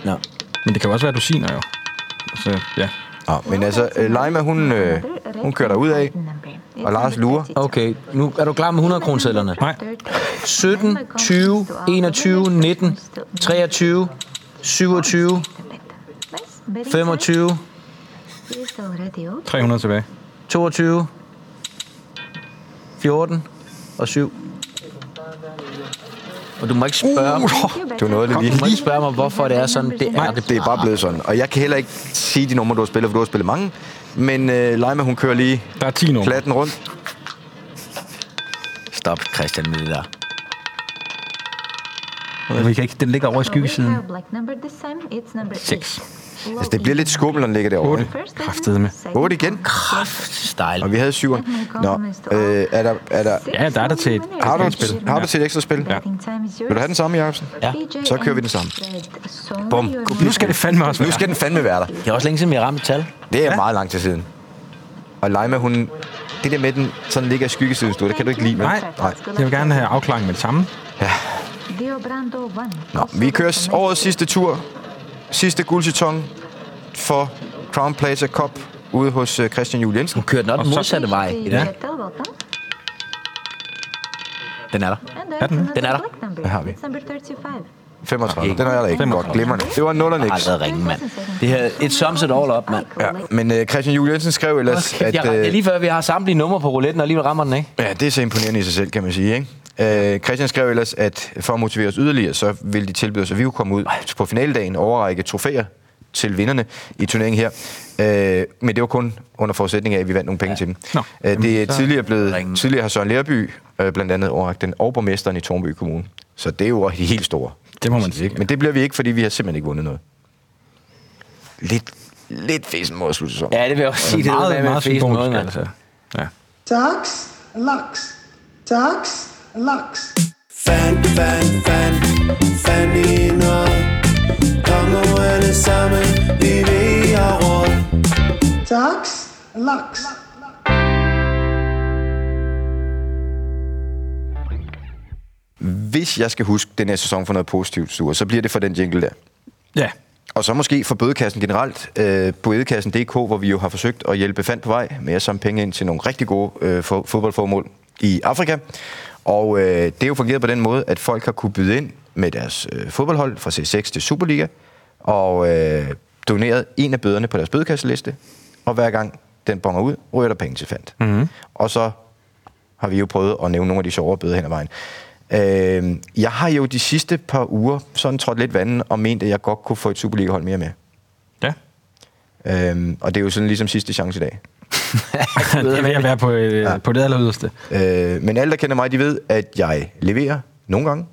S4: Nå.
S3: Men det kan jo også være dosiner, jo. Så, ja.
S2: Nå, men altså, øh, Leima, hun, øh, hun kører derud af, og Lars lurer.
S4: Okay, nu er du klar med 100 kronesedlerne.
S3: Nej.
S4: 17, 20, 21, 19, 23, 27, 25,
S3: 300 tilbage.
S4: 22, 14 og 7. Og du må ikke spørge, uh,
S2: Du nåede det lige.
S4: du må ikke spørge mig, hvorfor det er sådan, det er.
S2: Det er bare blevet sådan. Og jeg kan heller ikke sige de numre, du har spillet, for du har spillet mange. Men øh, Leima, hun kører lige
S3: Der er 10 numre.
S2: platten rundt.
S4: Stop, Christian Midler.
S3: Vi kan ikke, den ligger over i skyggesiden.
S8: 6.
S2: Altså, det bliver lidt skummel, når den ligger derovre.
S3: Otte.
S2: ikke?
S3: Kraftedeme.
S2: 8 igen.
S4: Style.
S2: Og vi havde syveren. Nå, øh, er der, er der,
S3: Ja, der er der til et
S2: har, du,
S3: Ekstra spil.
S2: har du til et ekstra spil?
S3: Ja.
S2: Vil du have den samme, Jacobsen?
S4: Ja.
S2: Så kører vi den sammen. Bum.
S3: Nu skal det fandme også
S2: Nu
S3: være.
S2: skal den fandme være der.
S4: Det er også længe siden, vi har ramt et tal.
S2: Det er ja. meget lang tid siden. Og Leima, hun... Det der med, den sådan ligger i skyggesiden, Sture, det kan du ikke lide. vel?
S3: Nej.
S2: Nej.
S3: Jeg vil gerne have afklaring med det samme.
S2: Nå, vi kører s- årets sidste tur. Sidste guldseton for Crown Plaza Cup ude hos øh, Christian Juel Jensen.
S4: Kører den også den
S3: så-
S4: modsatte vej.
S8: Ja.
S4: Den er der.
S3: Er den?
S8: Den er der.
S2: Den har vi. 35.
S4: Ikke.
S2: Den har jeg da ikke. Godt, glimrende. Det var 0 og niks.
S4: Aldrig ringe, mand. Det her, et sums it all up, mand.
S2: Ja, men øh, Christian Juel Jensen skrev ellers,
S4: At,
S2: at...
S4: jeg, det er
S2: Øh,
S4: lige før, vi har samtlige numre på rouletten, og alligevel rammer den, ikke?
S2: ja, det er så imponerende i sig selv, kan man sige, ikke? Øh, Christian skrev ellers, at for at motivere os yderligere, så ville de tilbyde os, at vi kunne komme ud på finaldagen og overrække trofæer til vinderne i turneringen her. Øh, men det var kun under forudsætning af, at vi vandt nogle penge ja. til dem.
S3: Nå,
S2: øh, det er
S3: jamen, så-
S2: tidligere blevet...
S4: Ringen.
S2: Tidligere har Søren Lerby øh, blandt andet overrækt den og borgmesteren i Tornby Kommune. Så det er jo de helt store.
S3: Det må man sige.
S2: Men det bliver vi ikke, fordi vi har simpelthen ikke vundet noget. Lidt, lidt fesen måde at slutte sæsonen.
S4: Ja, det vil jeg også sige. Det er
S3: Meget,
S4: noget med
S3: meget
S4: at fæse
S3: symbolsk,
S4: noget, mand.
S3: altså. Ja.
S9: Tax, lux, tax, lux.
S7: Fan, fan, fan, fan i noget Kongerne sammen, vi ved I har råd
S9: Tax, lux.
S2: Hvis jeg skal huske den her sæson for noget positivt, Sture, så bliver det for den jingle der.
S3: Ja.
S2: Og så måske for bødekassen generelt. Øh, bødekassen.dk, hvor vi jo har forsøgt at hjælpe fandt på vej med at samle penge ind til nogle rigtig gode øh, fo- fodboldformål i Afrika. Og øh, det er jo fungeret på den måde, at folk har kunne byde ind med deres øh, fodboldhold fra C6 til Superliga, og øh, doneret en af bøderne på deres bødekasseliste, og hver gang den bonger ud, ryger der penge til fandt. Mm-hmm. Og så har vi jo prøvet at nævne nogle af de sjovere bøder hen ad vejen. Øh, jeg har jo de sidste par uger sådan trådt lidt vandet og ment, at jeg godt kunne få et Superliga-hold mere med.
S3: Ja.
S2: Øh, og det er jo sådan ligesom sidste chance i dag.
S3: det vil jeg være på, øh, ja. på det aller yderste.
S2: Øh, men alle, der kender mig, de ved, at jeg leverer nogle gange.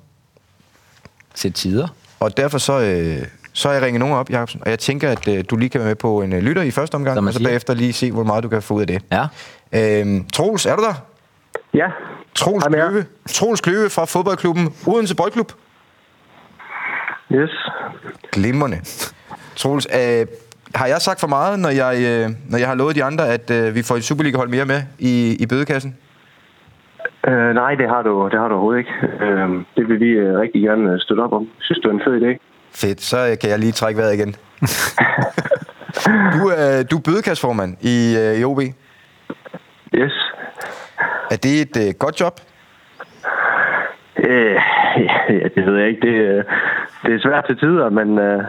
S4: Sæt tider.
S2: Og derfor så, øh, så har jeg ringet nogen op, Jacobsen. Og jeg tænker, at øh, du lige kan være med på en øh, lytter i første
S4: Som
S2: omgang,
S4: man
S2: og så
S4: siger.
S2: bagefter lige se, hvor meget du kan få ud af det.
S4: Ja.
S2: Øh, Troels, er du der?
S10: Ja.
S2: Troels
S10: Hej med jer.
S2: Kløve. Troels Kløve fra fodboldklubben Odense Boldklub.
S10: Yes.
S2: Glimrende. Troels, øh, har jeg sagt for meget, når jeg, øh, når jeg har lovet de andre, at øh, vi får et Superliga-hold mere med i, i bødekassen?
S10: Øh, nej, det har, du, det har du overhovedet ikke. Øh, det vil vi øh, rigtig gerne øh, støtte op om. Synes du er en fed idé?
S2: Fedt, så øh, kan jeg lige trække vejret igen. du, øh, du er bødekassformand i, øh, i OB.
S10: Yes.
S2: Er det et øh, godt job?
S10: Øh, ja, ja, det ved jeg ikke. Det, øh, det er svært til tider, men øh,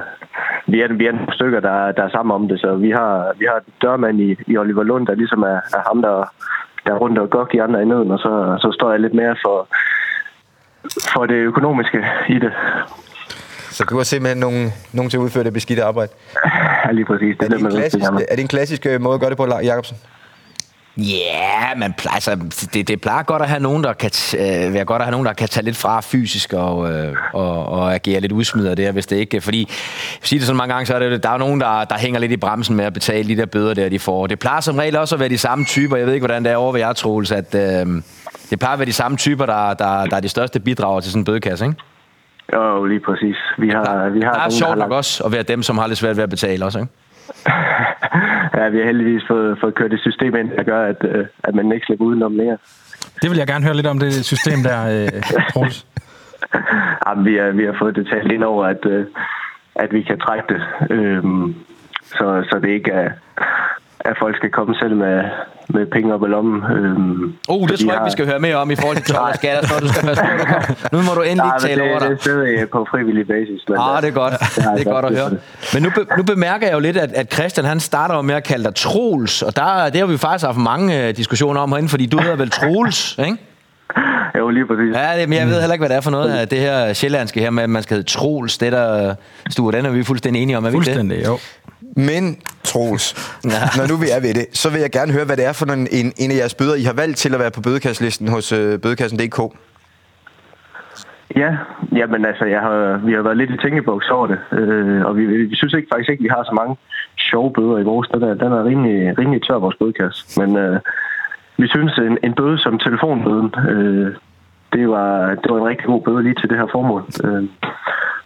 S10: vi er, vi er nogle stykker, der, der er sammen om det. Så vi har, vi har en dørmand i, i Oliver Lund, der ligesom er, er ham, der, der er rundt og godt de andre i nøden, og så, så står jeg lidt mere for, for det økonomiske i det.
S2: Så du har simpelthen nogen, nogen til at udføre det beskidte arbejde?
S10: Ja, lige præcis. Det
S2: er, det en klassisk, er det en klassisk øh, måde at gøre det på, Lars Jacobsen?
S4: Ja, yeah, man plejer, altså, det, det plejer godt at have nogen, der kan, t- øh, være godt at have nogen, der kan tage lidt fra fysisk og, øh, og, og agere lidt udsmider der, hvis det ikke... øh, Fordi, jeg siger det sådan mange gange, så er det, der er jo nogen, der, der hænger lidt i bremsen med at betale de der bøder der, de får. Det plejer som regel også at være de samme typer. Jeg ved ikke, hvordan det er over ved jer, Troels, at øh, det plejer at være de samme typer, der, der, der er de største bidrager til sådan en bødekasse, ikke?
S10: Jo, lige præcis. Vi har,
S4: der,
S10: vi
S4: der
S10: har
S4: er
S10: nogen,
S4: Ah, sjovt
S10: har
S4: nok
S10: lagt-
S4: også at være dem, som har lidt svært ved at betale også, ikke?
S10: ja, vi har heldigvis fået, fået kørt et system ind, der gør, at, øh, at man ikke slipper udenom mere.
S3: Det vil jeg gerne høre lidt om, det system der, øh, Troels.
S10: Ja, men Ah, vi, er, vi har fået det talt ind over, at, øh, at vi kan trække det, øhm, så, så det ikke er, at folk skal komme selv med, med penge op i lommen. Øhm,
S4: Oh, det
S10: så
S4: tror jeg ikke, vi skal høre mere om i forhold til tolv og skatter. Så du skal passe på, du kommer. Nu må du endelig
S10: Nej,
S4: ikke
S10: men
S4: tale
S10: det,
S4: over dig.
S10: Det sidder jeg på frivillig basis. Men
S4: Ah, det er godt.
S10: har
S4: Det er
S10: jeg
S4: godt at
S10: lyst
S4: høre.
S10: til.
S4: Men nu, be, nu bemærker jeg jo lidt, at, at Christian han starter jo med at kalde dig Troels, og der, det har vi faktisk haft mange øh, diskussioner om herinde, fordi du hedder vel Troels, ikke?
S10: Jo, lige præcis.
S4: Ja, det, men jeg ved heller ikke, hvad det er for noget af det her sjællandske her med, at man skal hedde Troels. Det der, Stue, den er vi fuldstændig enige om, er vi ikke det?
S3: Fuldstændig, jo.
S2: Men, Troels, når nu vi er ved det, så vil jeg gerne høre, hvad det er for en, en, en af jeres bøder, I har valgt til at være på bødekasselisten hos øh, bødekassen.dk.
S10: Ja, jamen altså, jeg har, vi har været lidt i tænkeboks over det, øh, og vi, vi synes ikke, faktisk ikke, vi har så mange sjove bøder i vores. Den er, den er rimelig, rimelig tør, vores bødekasse. Men øh, vi synes, en, en bøde som telefonbøden, øh, det, var, det var en rigtig god bøde lige til det her formål. Øh,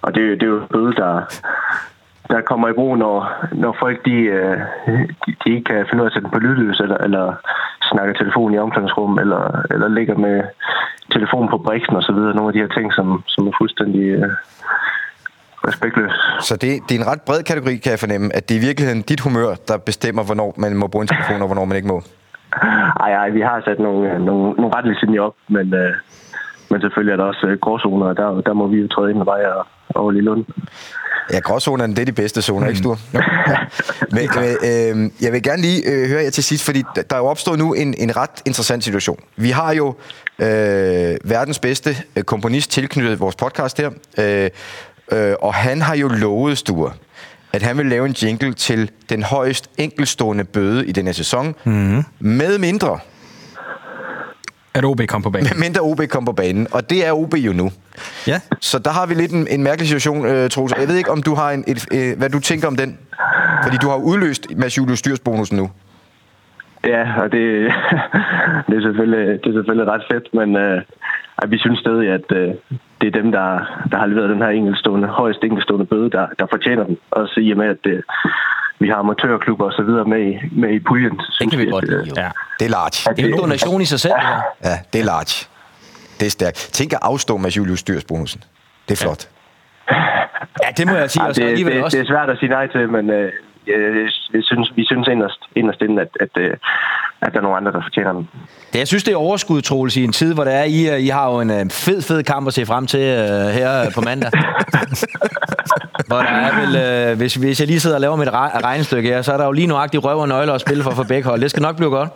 S10: og det, det er jo en bøde, der, der kommer i brug, når, når folk de, øh, de, de ikke kan finde ud af at sætte den på lydløs, eller, eller snakker telefon i omklædningsrum, eller, eller ligger med telefon på briksen osv. Nogle af de her ting, som, som er fuldstændig øh, respektløse.
S2: Så det, det er en ret bred kategori, kan jeg fornemme, at det er i virkeligheden dit humør, der bestemmer, hvornår man må bruge en telefon, og hvornår man ikke må.
S10: Ej, ej, vi har sat nogle, øh, nogle, nogle retningslinjer op, men, øh, men selvfølgelig er der også øh, gråzoner, og der, der må vi jo træde ind og veje over lige Lund.
S2: Ja, gråzonerne, det er de bedste zoner, ikke, Stur? Ja. Men øh, øh, jeg vil gerne lige øh, høre jer til sidst, fordi der der er jo opstået nu en, en ret interessant situation. Vi har jo øh, verdens bedste øh, komponist tilknyttet vores podcast her, øh, øh, og han har jo lovet, Stur, at han vil lave en jingle til den højst enkelstående bøde i den her sæson, mm. med mindre,
S3: At OB kom på banen.
S2: med mindre OB kom på banen, og det er OB jo nu.
S3: Ja.
S2: Så der har vi lidt en, en mærkelig situation, øh, Troels. Jeg ved ikke, om du har en, et, øh, hvad du tænker om den. Fordi du har jo udløst Mads Julius Styrsbonusen nu.
S10: Ja, og det, det, er, selvfølgelig, det er selvfølgelig ret fedt, men øh, at vi synes stadig, at øh, det er dem, der, der har leveret den her enkeltstående, højst enkeltstående bøde, der, der fortjener den. Også i og med, at øh, vi har amatørklubber og så videre med, i- med i puljen. så
S4: Det
S10: synes
S4: kan vi
S10: at,
S4: godt
S10: øh,
S4: lide, jo.
S3: Ja.
S2: Det er large.
S10: at
S4: Det er jo en donation i sig selv, det her.
S2: Ja, det er large. Det er stærkt. Tænk at afstå Mads Julius Styrsbonusen. Det er flot.
S4: Ja, det må jeg sige.
S10: Ej,
S4: Og så
S10: det,
S4: alligevel
S10: det,
S4: også.
S10: det er svært at sige nej til, men øh, jeg, jeg synes, vi synes inderst, inderst inden, at, at, øh, at der er nogle andre, der fortjener den.
S4: Det, jeg synes, det er overskud, Troels, i en tid, hvor der er, I, øh, I har jo en øh, fed, fed kamp at se frem til øh, her øh, på mandag. hvor der er vel, øh, hvis, hvis jeg lige sidder og laver mit re- regnestykke her, så er der jo lige nuagtigt røv og nøgler at spille for for begge hold. Det skal nok blive godt.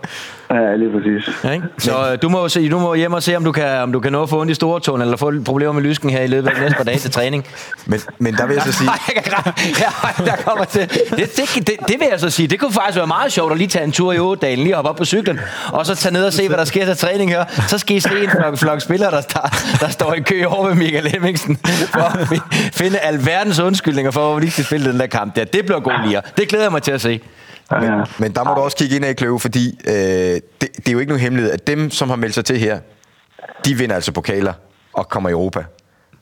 S10: Ja, lige præcis.
S4: Ja, ikke? Så øh, du må jo se, du må hjem og se, om du kan, om du kan nå at få ondt i store tåen, eller få lidt problemer med lysken her i løbet af de næste par dage til træning.
S2: Men, men der vil jeg så sige...
S4: ja, der kommer til. Det, det, det, det, vil jeg så sige. Det kunne faktisk være meget sjovt at lige tage en tur i Ådalen, lige hoppe op på cyklen, og så tage ned og se, hvad der sker til træning her. Så skal I se en flok, flok spillere, der, der, der står i kø over ved Michael Hemmingsen, for at fi- finde alverdens undskyldninger for, hvorfor de ikke skal spille den der kamp der. Det bliver god lige. Det glæder jeg mig til at se.
S10: Ja.
S2: Men der må du også kigge ind i kløve, fordi øh, det, det er jo ikke nogen hemmelighed, at dem, som har meldt sig til her, de vinder Mm. altså pokaler og kommer i Europa.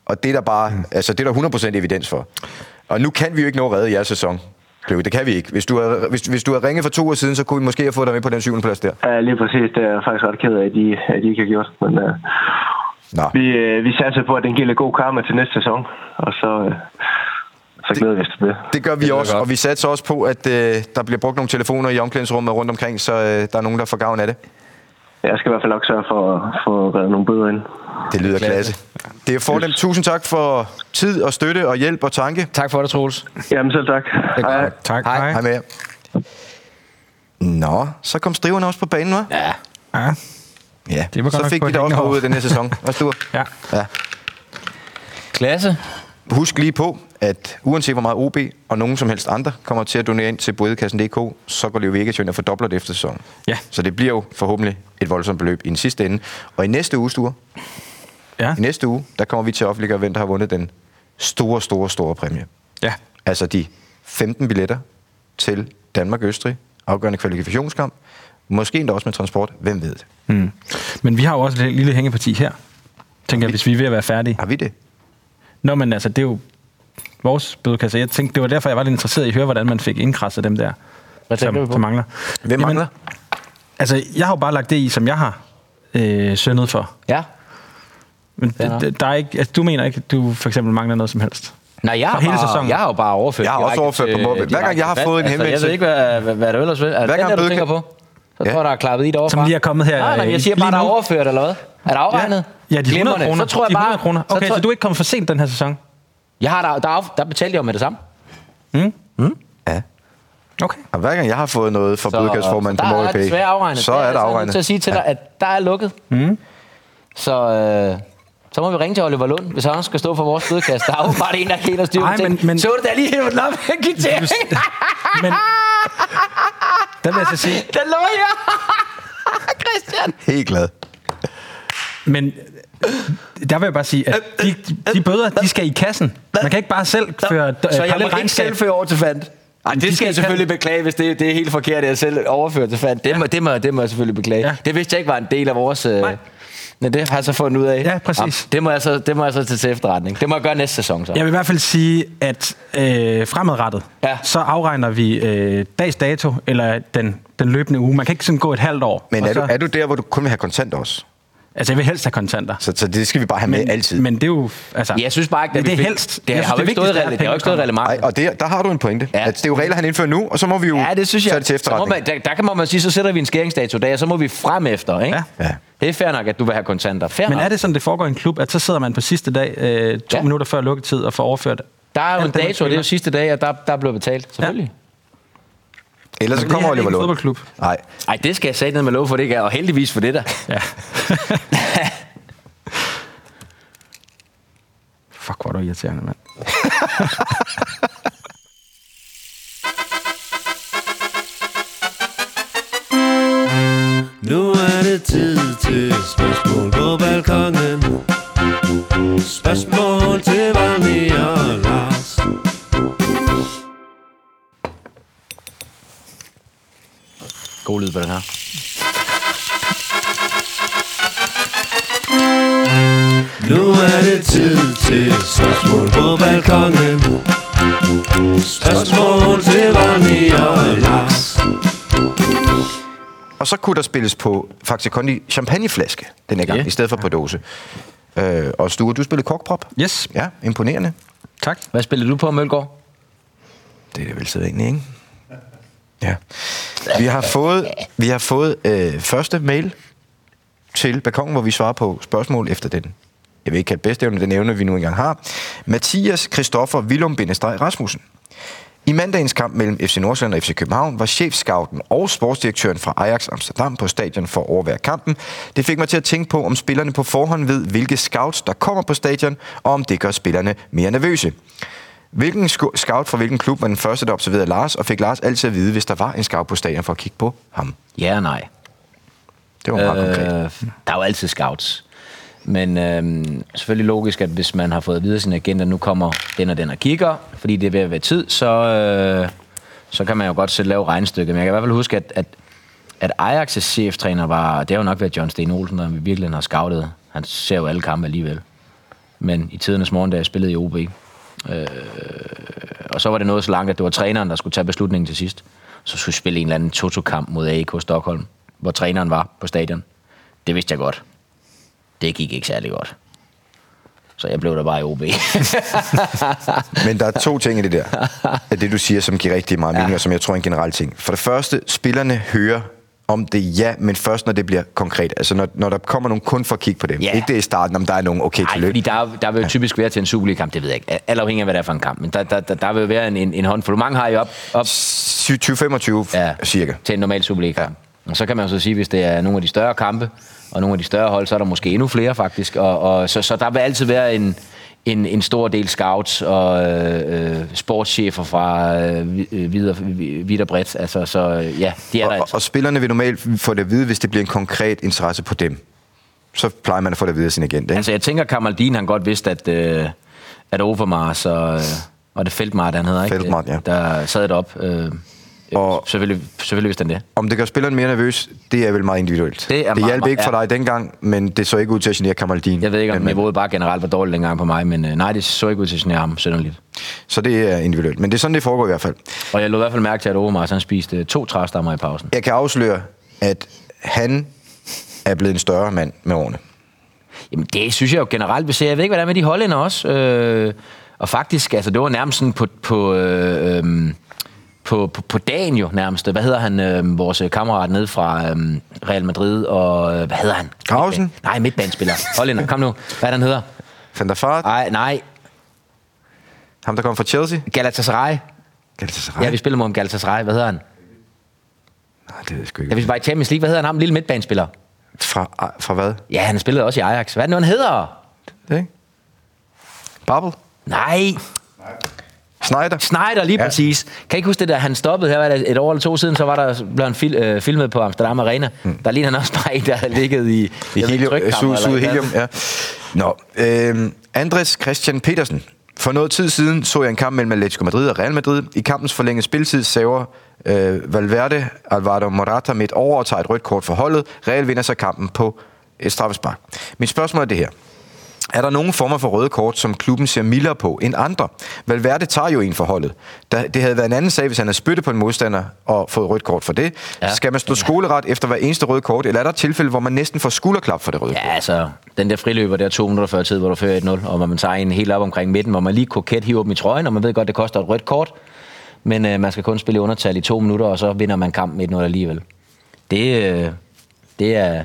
S2: Og det er der bare, altså det er der 100% evidens for. Og nu kan vi jo ikke nå at redde jeres sæson. Løkke. Det kan vi ikke. Hvis du, havde, hvis, hvis du havde ringet for to år siden, så kunne vi måske have fået dig med på den syvende plads der.
S10: Ja, lige præcis. Det er jeg faktisk ret ked af, at de, at de ikke har gjort. Men uh,
S2: Nå.
S10: vi, uh, vi satser på, at den giver lidt god karma til næste sæson. Og så, uh, så glæder vi os til det.
S2: Det gør vi også, og vi satser også på, at øh, der bliver brugt nogle telefoner i omklædningsrummet rundt omkring, så øh, der er nogen, der får gavn af det.
S10: Jeg skal i hvert fald nok sørge for at få reddet nogle bøder ind.
S2: Det lyder klasse. Det er fornemt. Tusind tak for tid og støtte og hjælp og tanke.
S4: Tak for det, Troels.
S10: Jamen selv tak. Hej.
S3: Tak. Hej.
S2: Hej med jer. Nå, så kom striverne også på banen, hva'?
S4: Ja.
S3: Ja.
S2: Ja,
S3: Det var godt
S2: så
S3: nok
S2: fik
S3: på
S2: vi
S3: et
S2: da også
S3: hængende
S2: ud
S3: hår.
S2: af den her sæson. Hvad du?
S3: Ja.
S2: ja.
S4: Klasse.
S2: Husk lige på, at uanset hvor meget OB og nogen som helst andre kommer til at donere ind til bodekassen.dk, så går det jo ikke, at fordobler det efter sæsonen.
S3: Ja.
S2: Så det bliver jo forhåbentlig et voldsomt beløb i den sidste ende. Og i næste uge, Sture,
S3: Ja.
S2: i næste uge, der kommer vi til at offentliggøre, hvem der har vundet den store, store, store præmie.
S3: Ja.
S2: Altså de 15 billetter til Danmark-Østrig, afgørende kvalifikationskamp, måske endda også med transport, hvem ved det?
S3: Mm. Men vi har jo også et lille hængeparti her. Tænker jeg, hvis vi er ved at være færdige.
S2: Har vi det?
S3: Nå, men altså, det er jo vores bødekasse. Jeg tænkte, det var derfor, jeg var lidt interesseret i at høre, hvordan man fik indkrasset dem der, Hvad som, som mangler.
S2: Hvem
S3: Jamen-
S2: mangler?
S3: Altså, jeg har jo bare lagt det i, som jeg har øh, syndet for.
S4: Ja.
S3: Men
S4: Fair
S3: d- d- der er ikke, altså, du mener ikke, at du for eksempel mangler noget som helst?
S4: Nej, jeg
S3: Fra
S4: har,
S3: hele
S4: bare,
S3: sæsonen.
S4: jeg har jo bare overført
S2: Jeg har også
S4: direkte
S2: overført
S4: til-
S2: på Måbæk. Hver gang jeg har
S4: direkte
S2: fået en
S4: til-
S2: henvendelse-
S4: Altså, jeg ved ikke, hvad, hvad, hvad du ellers ved. Er det
S2: gang
S4: den, der, du
S2: bødeka-
S4: tænker på? Så
S2: Ja.
S4: tror jeg, der er klappet i derovre.
S3: Som lige er kommet her,
S4: Nej, nej,
S3: øh,
S4: jeg siger
S3: lige
S4: bare, der er
S3: nu.
S4: overført, eller hvad? Er der afregnet?
S3: Ja, de 100
S4: Glimrende.
S3: kroner.
S4: Så tror jeg
S3: de 100
S4: bare...
S3: kroner. Okay, så,
S4: tror,
S3: så du er ikke kommet for sent den her sæson?
S4: Jeg har der, der, er, der betalte jeg jo med det samme.
S3: Mm?
S2: Ja.
S3: Okay.
S2: Og hver gang jeg har fået noget fra
S4: så
S2: bodekassformanden på
S4: der er
S2: Morgan Pay,
S4: desværre afregnet.
S2: så
S4: Det
S2: er der
S4: altså nødt
S2: afregnet.
S4: til at sige til dig, at der er lukket.
S3: Mm?
S4: Så, øh, så må vi ringe til Oliver Lund, hvis han skal stå for vores bødekasse. Der er jo bare en, der kan helt og styre på
S3: Ej, men-
S4: ting.
S3: men-
S4: Så du da lige hævet den op med kvittering?
S3: Men der vil jeg så sige,
S4: Den lå her. Christian.
S2: Helt glad.
S3: men der vil jeg bare sige, at de, de bøder, de skal i kassen. Man kan ikke bare selv føre øh,
S4: Så jeg må ikke
S3: parallelregnskab.
S4: selv føre over til fandt. Ej,
S3: de
S4: det skal
S3: skal
S4: jeg
S3: i
S4: selvfølgelig beklage, hvis det, det er helt forkert, at jeg selv overfører til fandt. Det, må, det, må, det må jeg selvfølgelig beklage.
S3: Ja.
S4: Ja. Det vidste jeg ikke var en del af vores... Øh, men det har jeg så fundet ud af.
S3: Ja, præcis.
S4: Nå, det, må jeg så, det må jeg så tage til efterretning. Det må jeg gøre næste sæson så.
S3: Jeg vil i hvert fald sige, at øh, fremadrettet, ja.
S4: Ja.
S3: så afregner vi øh, dags dato, eller den, den løbende uge. Man kan ikke sådan gå et halvt år.
S2: Men
S3: og
S2: er du,
S3: så,
S2: er du der, hvor du kun vil have kontant også?
S3: Altså, jeg vil helst have kontanter.
S2: Så, så det skal vi bare have med
S3: Men,
S2: altid.
S3: men det er jo... Altså,
S4: Ja, Jeg synes bare ikke,
S3: det,
S4: at
S3: det er
S4: vi fik-
S3: helst.
S4: Det
S3: Jeg
S4: har jo ikke stået
S3: vigtigste er, at
S4: relevant. Det har jo ikke stået
S3: pengene kommer.
S4: relevant.
S2: Nej, og det, der har du en pointe. Ja.
S4: Ja.
S2: At det er jo regler, han indfører nu, og så må vi jo
S4: Ja, det synes jeg.
S2: tage det til
S4: så må
S2: efterretning.
S4: man, der, der, kan man man sige, så sætter vi en skæringsdato der, og så må vi frem efter, ikke?
S3: Ja.
S2: Ja.
S4: Det er fair nok, at du vil have kontanter. Fair
S3: Men
S4: nok.
S3: er det sådan, det foregår i en klub, at så sidder man på sidste dag, øh, to ja.
S4: Ja.
S3: minutter før lukketid, og får overført
S4: Der er jo
S3: alt
S4: en
S3: det, man
S4: dato, og
S3: spiller?
S4: det er jo sidste dag, og der, der er blevet betalt. Selvfølgelig.
S2: Ellers så
S3: Men det
S2: kommer
S3: her er ikke
S2: Oliver
S3: en
S2: Lund.
S3: fodboldklub.
S2: Nej.
S4: Nej, det skal jeg sætte ned med lov for, det ikke er, og heldigvis for det der.
S3: Ja. Fuck, hvor er du irriterende, mand.
S7: Nu er det tid til spørgsmål på balkongen Spørgsmål til Valmi og Lars
S4: God lyd på den her.
S7: Nu er det tid til spørgsmål på balkongen Spørgsmål til Valmi og Lars
S2: Og så kunne der spilles på Faxe Kondi champagneflaske den her gang,
S4: Ja.
S2: i stedet for på dåse. Øh, og Sture, du spillede korkprop.
S3: Yes,
S2: Ja, imponerende.
S3: tak.
S4: Hvad spillede du på, Mølgaard?
S2: Det er det vel sædvanligt, ikke? Ja. Vi har fået, vi har fået øh, første mail til balkongen, hvor vi svarer på spørgsmål efter den. Jeg vil ikke kalde bedste evne, den evne, vi nu engang har. Mathias Christoffer Willum Bindestreg Rasmussen. I mandagens kamp mellem FC Nordsjælland og FC København var chefscouten og sportsdirektøren fra Ajax Amsterdam på stadion for at overvære kampen. Det fik mig til at tænke på, om spillerne på forhånd ved, hvilke scouts der kommer på stadion, og om det gør spillerne mere nervøse. Hvilken sco- scout fra hvilken klub var den første, der observerede Lars, og fik Lars altid at vide, hvis der var en scout på stadion for at kigge på ham?
S4: Ja og nej.
S2: Det var meget øh, konkret.
S4: der er jo altid scouts. Men øh, selvfølgelig logisk, at hvis man har fået at vide af sin agent, at nu kommer den og den og kigger, fordi det er ved at være tid, så, øh, så kan man jo godt selv lave regnstykket. Men jeg kan i hvert fald huske, at, at, at Ajax' cheftræner var, det har jo nok været John Sten Olsen, der virkelig har scoutet. Han ser jo alle kampe alligevel. Men i tidernes morgen, da jeg spillede i OB, øh, Og så var det noget så langt, at det var træneren, der skulle tage beslutningen til sidst. Så skulle vi spille en eller anden Toto-kamp mod AIK Stockholm, hvor træneren var på stadion. Det vidste jeg godt. Det gik ikke særlig godt. Så jeg blev der bare i OB.
S2: Men der er to ting i det der, af det du siger, som giver rigtig meget mening, ja. og som jeg tror er en generel ting. For det første, spillerne hører om det ja, men først når det bliver konkret. Altså når, når der kommer nogen kun for at kigge på dem.
S4: Ja.
S2: Ikke det i starten, om der er nogen, okay,
S4: Nej,
S2: tillykke.
S4: fordi der, er- der vil jo typisk være til en Superliga-kamp, det ved jeg ikke. Alt afhængig af, hvad det er for en kamp. Men der, der, der, der vil jo være en, en, en håndfuld. Hvor mange har I op, op
S2: 20-25 ja. cirka.
S4: til en normal Superliga? Ja. Og så kan man jo så sige, hvis det er nogle af de større kampe, og nogle af de større hold, så er der måske endnu flere faktisk. Og, og, så, så der vil altid være en, en, en stor del scouts og øh, øh, sportschefer fra øh, vi- øh, videre, vi- vidt og bredt. Altså, så øh, ja, det er der
S2: og, og, og spillerne vil normalt få det at vide, hvis det bliver en konkret interesse på dem. Så plejer man at få det at vide af sin agent. Ikke?
S4: Altså, jeg tænker, Kamaldin, han godt vidste, at, øh, at Overmars og, øh, og det Feltmart, han hedder, ikke?
S2: Feltmart, ja.
S4: Der sad derop. Øh, og selvfølgelig, selvfølgelig vidste han det.
S2: Om det gør spilleren mere nervøs, det er vel meget individuelt.
S4: Det er
S2: det
S4: meget,
S2: hjalp ikke for
S4: ja.
S2: dig dengang, men det så ikke ud til at genere Kamaldin.
S4: Jeg ved ikke, om
S2: Men-
S4: niveauet bare generelt var dårligt dengang på mig, men øh, nej, det så ikke ud til sådan her ham, sønderligt.
S2: Så det er individuelt. Men det er sådan, det foregår i hvert fald.
S4: Og jeg lod i hvert fald mærke til, at Overmars, han spiste øh, to træstammer i pausen.
S2: Jeg kan afsløre, at han er blevet en større mand med årene.
S4: Jamen, det synes jeg jo generelt, vi ser. Jeg ved ikke, hvad der er med de hollænder også. Øh, og faktisk, altså, det var nærmest sådan på, på, øh, øhm, på, på, på dagen jo nærmest. Hvad hedder han, øh, vores øh, kammerat nede fra øh, Real Madrid, og øh, hvad hedder han?
S2: Carlsen?
S4: Nej, midtbanespiller. Hollænder, kom nu. Hvad er det, han hedder?
S2: Van der Fart?
S4: Nej, nej.
S2: Ham, der kom fra Chelsea?
S4: Galatasaray.
S2: Galatasaray?
S4: Ja, vi spiller mod ham Galatasaray. Hvad hedder han?
S2: Nej, Ah, det ved jeg sgu ikke.
S4: Ja, vi var i Champions League. Hvad hedder han? Ham, lille midtbanespiller.
S2: Fra, ah, fra hvad?
S4: Ja, han spillede også i Ajax. Hvad er det nu, han hedder?
S2: Det ikke? Bubble?
S4: Nej,
S2: Snyder?
S4: Snyder, lige ja. præcis. Kan I ikke huske det der, han stoppede her var det et år eller to siden, så var der blev han fil, øh, filmet på Amsterdam Arena. Mm. Der ligner han også bare en, der havde ligget i,
S2: I helium, øh, su- suget helium, ja. Nå, øh, Andres Christian Petersen. For noget tid siden så jeg en kamp mellem Atletico Madrid og Real Madrid. I kampens forlængede spilletid saver øh, Valverde Alvaro Morata midt over og tager et rødt kort for holdet. Real vinder så kampen på et straffespark. Mit spørgsmål er det her. Er der nogen former for røde kort, som klubben ser mildere på end andre? Valverde tager jo en for holdet. Da- Det havde været en anden sag, hvis han havde spyttet på en modstander og fået rødt kort for det. Ja. Skal man stå skoleret efter hver eneste røde kort, eller er der tilfælde, hvor man næsten får skulderklap for det røde?
S4: Ja, altså, den der friløber der to minutter før tid, hvor du fører 1-0, og hvor man tager en helt op omkring midten, hvor man lige koket hiver dem i trøjen, og man ved godt, det koster et rødt kort, men øh, man skal kun spille i undertal i to minutter, og så vinder man kampen 1-0 alligevel. Det, øh, det er,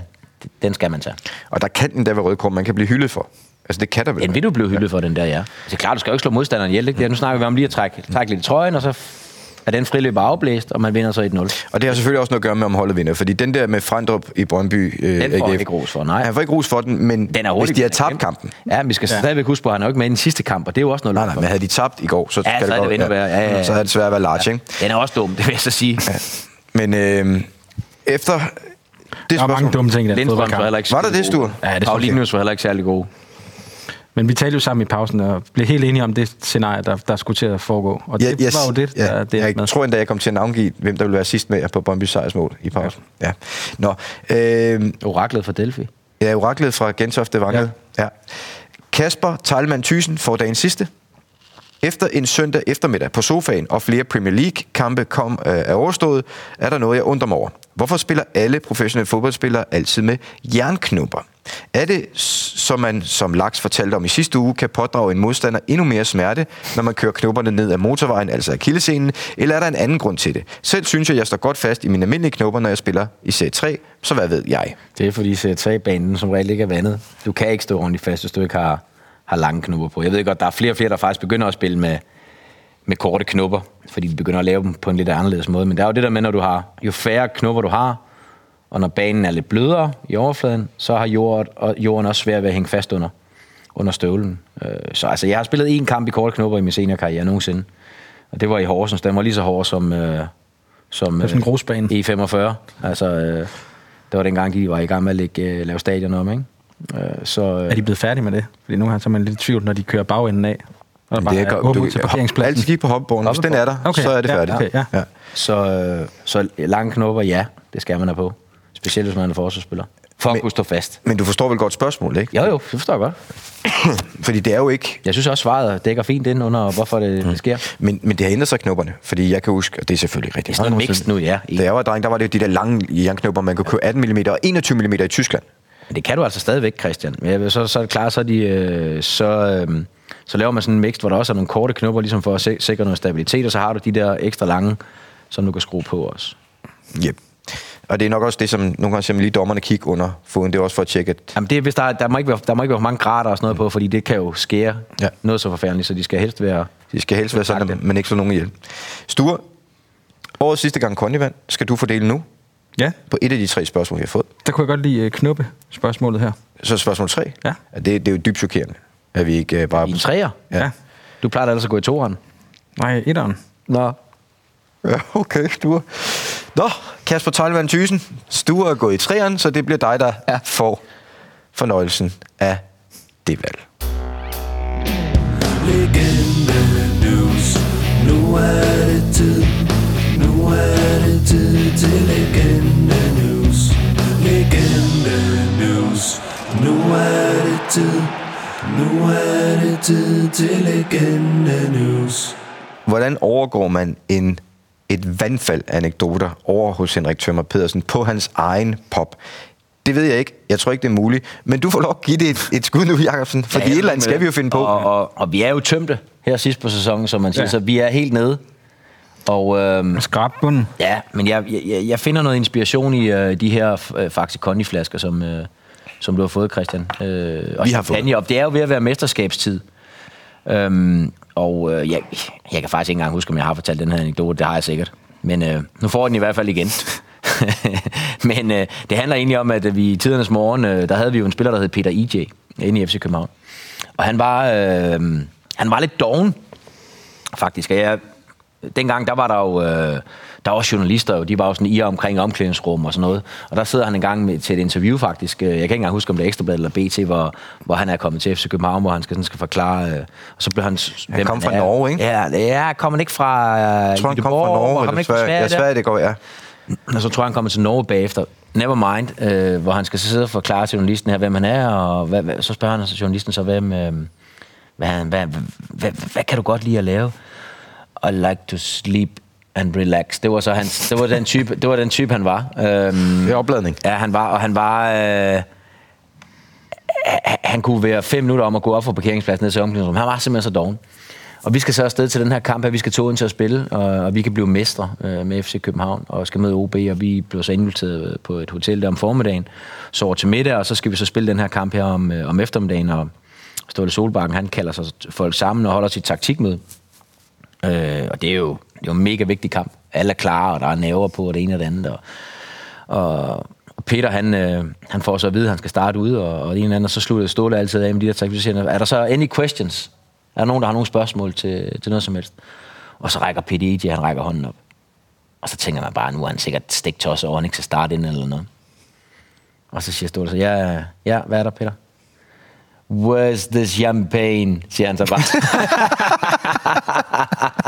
S4: den skal man tage.
S2: Og der kan endda være røde kort, man kan blive hyldet for. Altså, det kan der vel.
S4: Den vil du blive hyldet for, den der, ja. Altså, det er klart, du skal jo ikke slå modstanderen ihjel. Ikke? Det er- Nu snakker vi om lige at trække, trække lidt i trøjen, og så f- er den friløber afblæst, og man vinder så 1-0.
S2: Og det har selvfølgelig også noget at gøre med, om holdet vinder. Fordi den der med Frandrup i Brøndby... Øh,
S4: Den får han
S2: AGF,
S4: ikke ros for, nej.
S2: Han får ikke ros for den, men den er hvis
S4: hurtigt
S2: de har
S4: vundet,
S2: tabt
S4: ikke?
S2: kampen...
S4: Ja, men vi skal
S2: Ja.
S4: ja. stadigvæk huske på, at han er jo ikke med i den sidste kamp, og det er jo også noget.
S2: Nej, nej, men havde de tabt i går, så
S4: Ja,
S2: skal
S4: så er det
S2: godt-
S4: endnu værre. Ja, ja, ja.
S2: Så havde det svært at være large, ikke?
S4: Den er også dum, det vil jeg så sige. Ja.
S2: Men øh, efter... Det
S3: Der er mange dumme ting i den
S4: Lindstrøm var
S3: fodboldkamp.
S4: heller ikke
S2: Var der det, Sture?
S4: Ja, det Paulinius var heller ikke særlig god.
S3: Men vi talte jo sammen i pausen og blev helt enige om det scenarie, der, der skulle til at foregå. Og det
S2: Ja, yes.
S3: var jo det,
S2: ja,
S3: der, det
S2: jeg
S3: endte med.
S2: tror endda, jeg kom til at navngive, hvem der ville være sidst med jer på Brøndby sejrsmål i pausen. Ja. ja. Nå, øh,
S4: Oraklet fra Delphi.
S2: ja, oraklet fra Gentofte Vangel. Ja. ja. Kasper Tejlmann Thyssen får dagens sidste. Efter en søndag eftermiddag på sofaen og flere Premier League-kampe kom, øh, er overstået, er der noget, jeg undrer mig over. Hvorfor spiller alle professionelle fodboldspillere altid med jernknopper? Er det, s- som man som Laks fortalte om i sidste uge, kan pådrage en modstander endnu mere smerte, når man kører knopperne ned ad motorvejen, altså akillescenen, eller er der en anden grund til det? Selv synes jeg, jeg står godt fast i mine almindelige knopper, når jeg spiller i serie 3, så hvad ved jeg?
S4: Det er fordi C3-banen som regel ikke er vandet. Du kan ikke stå ordentligt fast, hvis du ikke har, har lange knopper på. Jeg ved godt, der er flere og flere, der faktisk begynder at spille med, med korte knopper, fordi de begynder at lave dem på en lidt anderledes måde. Men der er jo det der med, når du har, jo færre knopper du har, og når banen er lidt blødere i overfladen, så har jord, og jorden også svært ved at hænge fast under, under støvlen. Øh, Så altså, jeg har spillet én kamp i korte knopper i min seniorkarriere nogensinde. Og det var i Horsens. Den var lige så hård som... Øh, som
S3: Det er sådan en
S4: øh,
S3: grusbane.
S4: E45. Altså, øh, det var dengang, de var i gang med at lægge, øh, lave stadion om, ikke? Øh, så, øh,
S3: Er de blevet færdige med det? Fordi nogle gange så er man lidt i tvivl, når de kører bagenden af. Og der bare
S2: det
S3: er
S2: er godt.
S3: åbent
S2: Du
S3: ud til
S2: kan-
S3: parkeringspladsen.
S2: altid kigge på hoppeborgen. Hvis den er der,
S3: Okay,
S2: så er det
S3: ja,
S2: færdigt.
S3: okay, ja.
S2: Ja.
S4: så, øh, så lange knopper, ja, det skal man have på. Specielt hvis man er forsvarsspiller. for men, at kunne stå fast.
S2: Men du forstår vel godt spørgsmålet, ikke?
S4: Jo, jo, det forstår jeg godt.
S2: fordi det er jo ikke...
S4: Jeg synes også, svaret dækker fint ind under, hvorfor det, mm. det sker.
S2: Men, men det har ændret sig knopperne, fordi jeg kan huske, og det er selvfølgelig rigtigt.
S4: Det er sådan noget mix nu, ja.
S2: Da jeg var dreng, der var det jo de der lange jernknopper, man kunne købe 18 mm og 21 mm i Tyskland.
S4: Men det kan du altså stadigvæk, Christian. Men jeg vil så, så er det klart, så, de, øh, så, øh, så laver man sådan en mix, hvor der også er nogle korte knopper, ligesom for at sikre noget stabilitet, og så har du de der ekstra lange, som du kan skrue på også.
S2: Yep. Og det er nok også det, som nogle gange simpelthen lige dommerne kigger under foden. Det er også for at tjekke, at...
S4: Jamen det er, hvis der, der, må ikke være, der må ikke være for mange grader og sådan noget på, fordi det kan jo skære ja. noget så forfærdeligt, så de skal helst være...
S2: De skal helst være sådan, at man ikke slår nogen ihjel. Sture, årets sidste gang kondivand skal du fordele nu.
S3: Ja.
S2: På et af de tre spørgsmål, vi har fået.
S3: Der kunne jeg godt lide knuppe spørgsmålet her.
S2: Så spørgsmål tre?
S3: Ja.
S2: Det, det er jo dybt chokerende, at vi ikke uh, bare...
S4: I en træer?
S2: Ja. ja.
S4: Du plejer da altså at gå i toeren.
S3: Nej, etteren.
S4: Nå.
S2: Ja, okay, Sture. Nå, Kasper Tejlvand Thysen, Sture er gået i træerne, så det bliver dig, der ja. får fornøjelsen af det valg. Legende news. Nu er det tid. Nu er det tid til legende news. Legende news. Nu er det tid. Nu er det tid til legende news. Hvordan overgår man en et vandfald af anekdoter over hos Henrik Tømmer Pedersen på hans egen pop. Det ved jeg ikke. Jeg tror ikke, det er muligt. Men du får lov at give det et, et skud nu, Jacobsen. Fordi ja, et eller andet skal vi jo finde på.
S4: Og, og, og vi er jo tømte her sidst på sæsonen, som man siger. Ja. Så vi er helt nede. Og, øhm,
S3: Skrabbunden.
S4: Ja, men jeg, jeg, jeg finder noget inspiration i øh, de her øh, Faxe Kondi-flasker, som, øh, som du har fået, Christian. Øh, og
S2: vi har fået.
S4: Op. Det er jo ved at være mesterskabstid. Øhm, og øh, jeg, jeg kan faktisk ikke engang huske, om jeg har fortalt den her anekdote. Det har jeg sikkert. Men øh, nu får jeg den i hvert fald igen. Men øh, det handler egentlig om, at vi i tidernes morgen, øh, der havde vi jo en spiller, der hed Peter EJ, inde i FC København. Og han var, øh, han var lidt doven, faktisk. Og jeg, dengang, der var der jo... Øh, der var også journalister, jo, de var jo sådan i og omkring omklædningsrum og sådan noget. Og der sidder han en gang med, til et interview faktisk, Øh, jeg kan ikke engang huske, om det er Ekstrabladet eller BT, hvor, hvor han er kommet til FC København, hvor han skal, sådan skal forklare, øh, og så blev han...
S2: Han hvem kom han fra er. Norge, ikke?
S4: Ja, ja, kom han ikke fra
S2: øh, Jeg tror, han kom fra Norge, eller Sverige. Sverige, ja, Sverige, det går, ja.
S4: Og så tror jeg, han kommer til Norge bagefter. Never mind, øh, hvor han skal sidde og forklare til journalisten her, hvem han er, og hvad, hvad, så spørger han så journalisten så, hvem, øh, hvad, hvad, hvad, hvad, hvad kan du godt lide at lave? I like to sleep and relax. Det var så hans, det var den type, det var den type han var.
S2: Øhm, det opladning.
S4: Ja, han var, og han var... Øh, han kunne være fem minutter om at gå op fra parkeringspladsen ned til omklædningsrummet. Han var simpelthen så doven. Og vi skal så afsted til den her kamp her. Vi skal togen til at spille, og, og vi kan blive mestre øh, med FC København, og skal møde OB, og vi blev så inviteret på et hotel der om formiddagen, sover til middag, og så skal vi så spille den her kamp her om, øh, om eftermiddagen, og Ståle Solbakken, han kalder sig folk sammen og holder sit taktikmøde. Øh, og det er jo det var en mega vigtig kamp. Alle er klare, og der er næver på, og det ene og det andet. Og, og Peter, han, øh, han får så at vide, at han skal starte ude, og, og det ene og det andet, og så slutter Ståle altid af med de der tak. Så siger han, er der så any questions? Er der nogen, der har nogle spørgsmål til, til noget som helst? Og så rækker PDJ, han rækker hånden op. Og så tænker man bare, nu er han sikkert stik til os over, han ikke skal starte ind eller noget. Og så siger Ståle så, ja, ja, hvad er der, Peter? Where's the champagne? siger han så bare.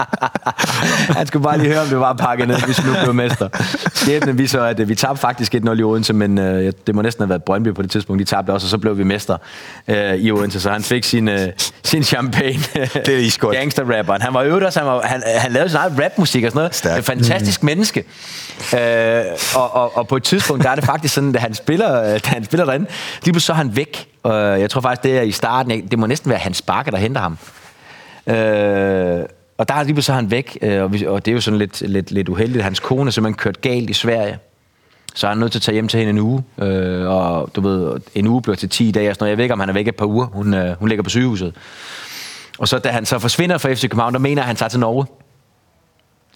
S4: han skulle bare lige høre, om det var pakket ned, hvis vi nu blev mester. Skæbnen vi så, at øh, vi tabte faktisk 1-0 i Odense, men øh, det må næsten have været Brøndby på det tidspunkt. De tabte også, og så blev vi mester øh, i Odense, så han fik sin, øh, sin champagne.
S2: det er iskoldt.
S4: Gangster-rapperen. Han var øvrigt også, han, var, han, han lavede sin egen rapmusik og sådan noget. Stærk. Et fantastisk mm. menneske. Øh, og, og, og, på et tidspunkt, der er det faktisk sådan, at han spiller, øh, da han spiller derinde, lige pludselig så er han væk. Og jeg tror faktisk, det er i starten, det må næsten være Hans Bakke, der henter ham. Øh, og der er lige pludselig han væk, øh, og, vi, og det er jo sådan lidt, lidt, lidt uheldigt. Hans kone er simpelthen kørt galt i Sverige. Så er han nødt til at tage hjem til hende en uge, øh, og du ved, en uge bliver til 10 dage og sådan noget. Jeg ved ikke, om han er væk et par uger. Hun, øh, hun ligger på sygehuset. Og så da han så forsvinder fra FC København, der mener at han tager til Norge.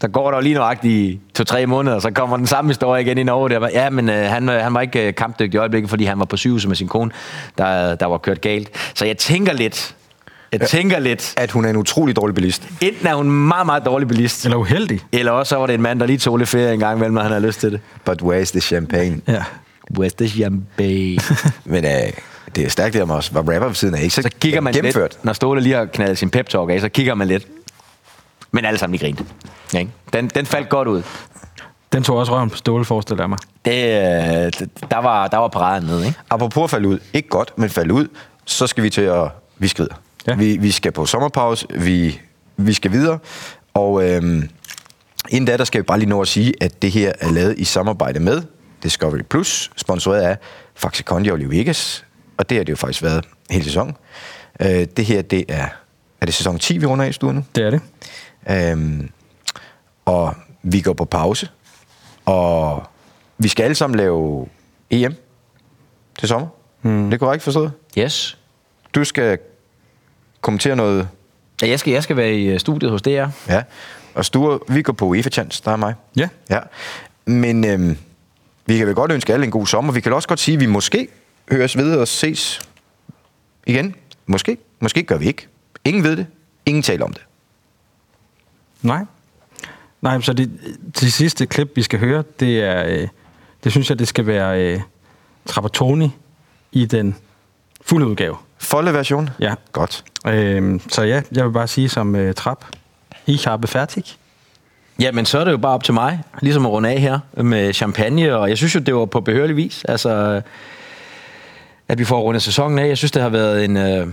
S4: Så går der jo lige nøjagtigt i to-tre måneder, og så kommer den samme historie igen i Norge. Der var, ja, men øh, han, øh, han var ikke øh, kampdygtig i øjeblikket, fordi han var på sygehuset med sin kone, der, der var kørt galt. Så jeg tænker lidt, jeg ja. tænker lidt...
S2: At hun er en utrolig dårlig bilist.
S4: Enten er hun en meget, meget dårlig bilist.
S3: Eller uheldig.
S4: Eller også så var det en mand, der lige tog lidt ferie en gang imellem, når han havde lyst til det.
S2: But where's the champagne?
S4: Ja. Where's the champagne?
S2: men øh, det er stærkt, det om også. Var rapper ved siden af ikke så,
S4: så kigger man
S2: gennemført.
S4: Lidt, når Ståle lige har knaldet sin pep talk af, så kigger man lidt. Men alle sammen i grinte. Ja, ikke? Den, den faldt godt ud.
S3: Den tog også røven på ståle, forestiller jeg mig.
S4: Det, øh, der, var, der var paraden nede, ikke?
S2: Apropos at falde ud, ikke godt, men falde ud, så skal vi til at... Vi skrider. Ja. Vi, vi skal på sommerpause, vi, vi skal videre, og øhm, inden da, der skal vi bare lige nå at sige, at det her er lavet i samarbejde med Discovery Plus, sponsoreret af Faxe Kondi og Vegas, og det har det jo faktisk været hele sæsonen. Øh, det her, det er... Er det sæson 10, vi runder af i stuen nu?
S3: Det er det.
S2: Øhm, og vi går på pause. Og vi skal alle sammen lave EM til sommer.
S3: Hmm.
S2: Mm. Det er korrekt forstået?
S4: Yes.
S2: Du skal kommentere noget.
S4: Ja, jeg skal, jeg skal være i øh, studiet hos DR.
S2: Ja. Og Sture, vi går på UEFA Chance, der er mig.
S3: Ja.
S2: Ja. Men øhm, vi kan vel godt ønske alle en god sommer. Vi kan også godt sige, at vi måske høres ved og ses igen. Måske. Måske gør vi ikke. Ingen ved det. Ingen taler om det.
S3: Nej. Nej, så det, det sidste klip, vi skal høre, det er... Øh, det synes jeg, det skal være øh, Trapattoni i den fulde udgave.
S2: Folde version?
S3: Ja.
S2: Godt.
S3: Øh, så ja, jeg vil bare sige som øh, Trap. I habe fertig.
S4: Ja, men så er det jo bare op til mig, ligesom at runde af her med champagne, og jeg synes jo, det var på behørlig vis, altså, at vi får rundet sæsonen af. Jeg synes, det har været en, øh,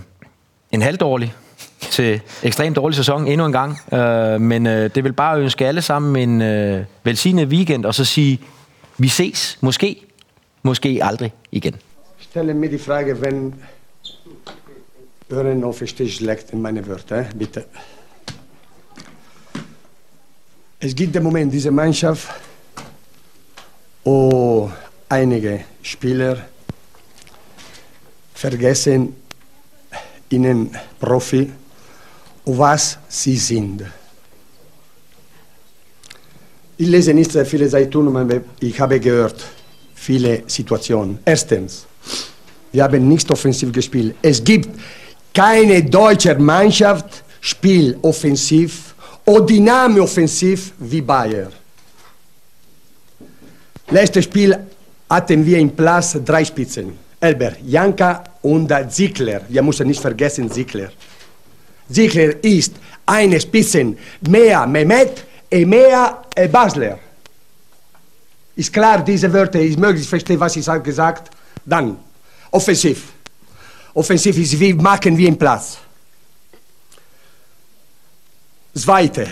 S4: en halvdårlig til ekstremt dårlig sæson endnu en gang, øh, men øh, det vil bare ønske alle sammen en øh, velsignet weekend, og så sige, vi ses, måske, måske aldrig igen.
S1: Stelle mir die Frage, wenn... Hören auf, ich stehe schlecht in meine Wörter, eh? bitte. Es gibt im Moment diese Mannschaft, wo einige Spieler vergessen, ihnen Profi, was sie sind. Ich lese nicht sehr viele Zeitungen, aber ich habe gehört, viele Situationen. Erstens, wir haben nicht offensiv gespielt. Es gibt keine deutsche Mannschaft, spielt offensiv oder dynamisch offensiv wie Bayern. Letztes Spiel hatten wir im Platz drei Spitzen. Elber, Janka und Zickler. Wir müssen nicht vergessen Zickler. Zickler ist eine Spitzen mehr Mehmet und mehr äh, Basler. Ist klar, diese Wörter, ist möglich, verstehe, was ich sag- gesagt Dann, offensiv. Offensiv ist, wie machen wir einen Platz. Zweite.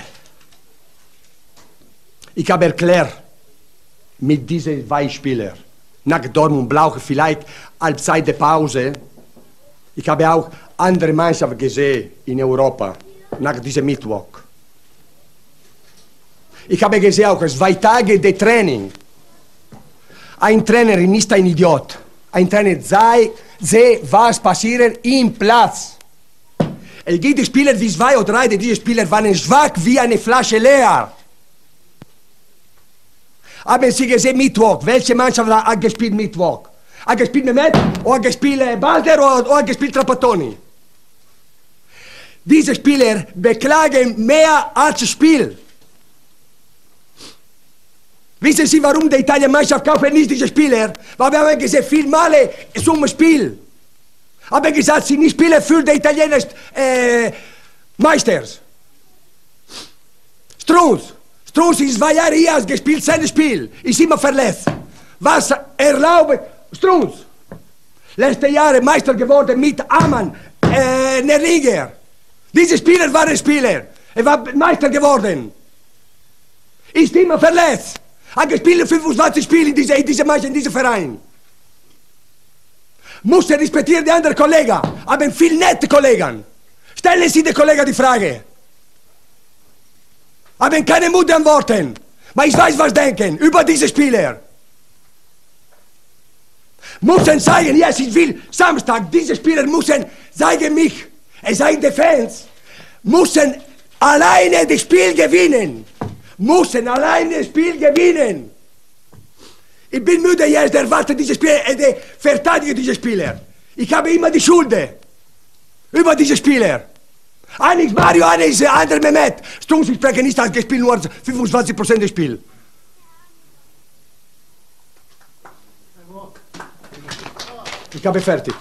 S1: Ich habe erklärt, mit diesen zwei Spielern, nach Dortmund brauche ich vielleicht halbzeit der Pause. Ich habe auch andere Mannschaften gesehen in Europa, nach diesem Mittwoch. Ich habe gesehen auch zwei Tage der Training. Ein Trainer ist nicht ein Idiot. Ein Trainer sei, sehe, was passiert im Platz. Es gibt Spieler wie zwei oder drei, die diese Spieler waren schwach wie eine Flasche leer. Haben Sie gesehen Mittwoch? Welche Mannschaft hat gespielt Mittwoch? Hat gespielt Mehmet? Oder hat gespielt äh, Balder? Oder, oder hat gespielt Trapattoni? Diese Spieler beklagen mehr als Spiel. Wissen Sie, warum die Italien-Mannschaft kauft nicht diese Spieler? Weil wir haben gesehen, viele Male zum Spiel. Haben gesagt, sie nicht Spieler für die Italiener äh, Meisters. Struz. Struz ist zwei Jahre hier, hat gespielt sein Spiel. Ist immer verletzt. Was erlaubt Struz? Letzte Jahre Meister geworden mit Amann, äh, Nerlinger. Diese Spieler waren Spieler. Er war Meister geworden. Ist immer verletzt. Hat gespielt 25 Spiele in dieser, in dieser Mannschaft, in diesem Verein. Muss er respektieren die anderen Kollegen. Haben viel nette Kollegen. Stellen Sie den Kollegen die Frage. Haben keine Mut an Worten. Aber ich weiß, was denken über diese Spieler. Müssen zeigen, ja, ich will Samstag, diese Spieler müssen, zeigen mich, es seien die Fans, müssen alleine das Spiel gewinnen. Müssen alleine das Spiel gewinnen. Ich bin müde jetzt, erwarte diese Spieler, äh, die verteidige diese Spieler. Ich habe immer die Schuld über diese Spieler. Eines Mario, eines äh, andere Mehmet. Strunz, ich spreche nicht, hat gespielt nur 25% des Spiels. Ich habe fertig.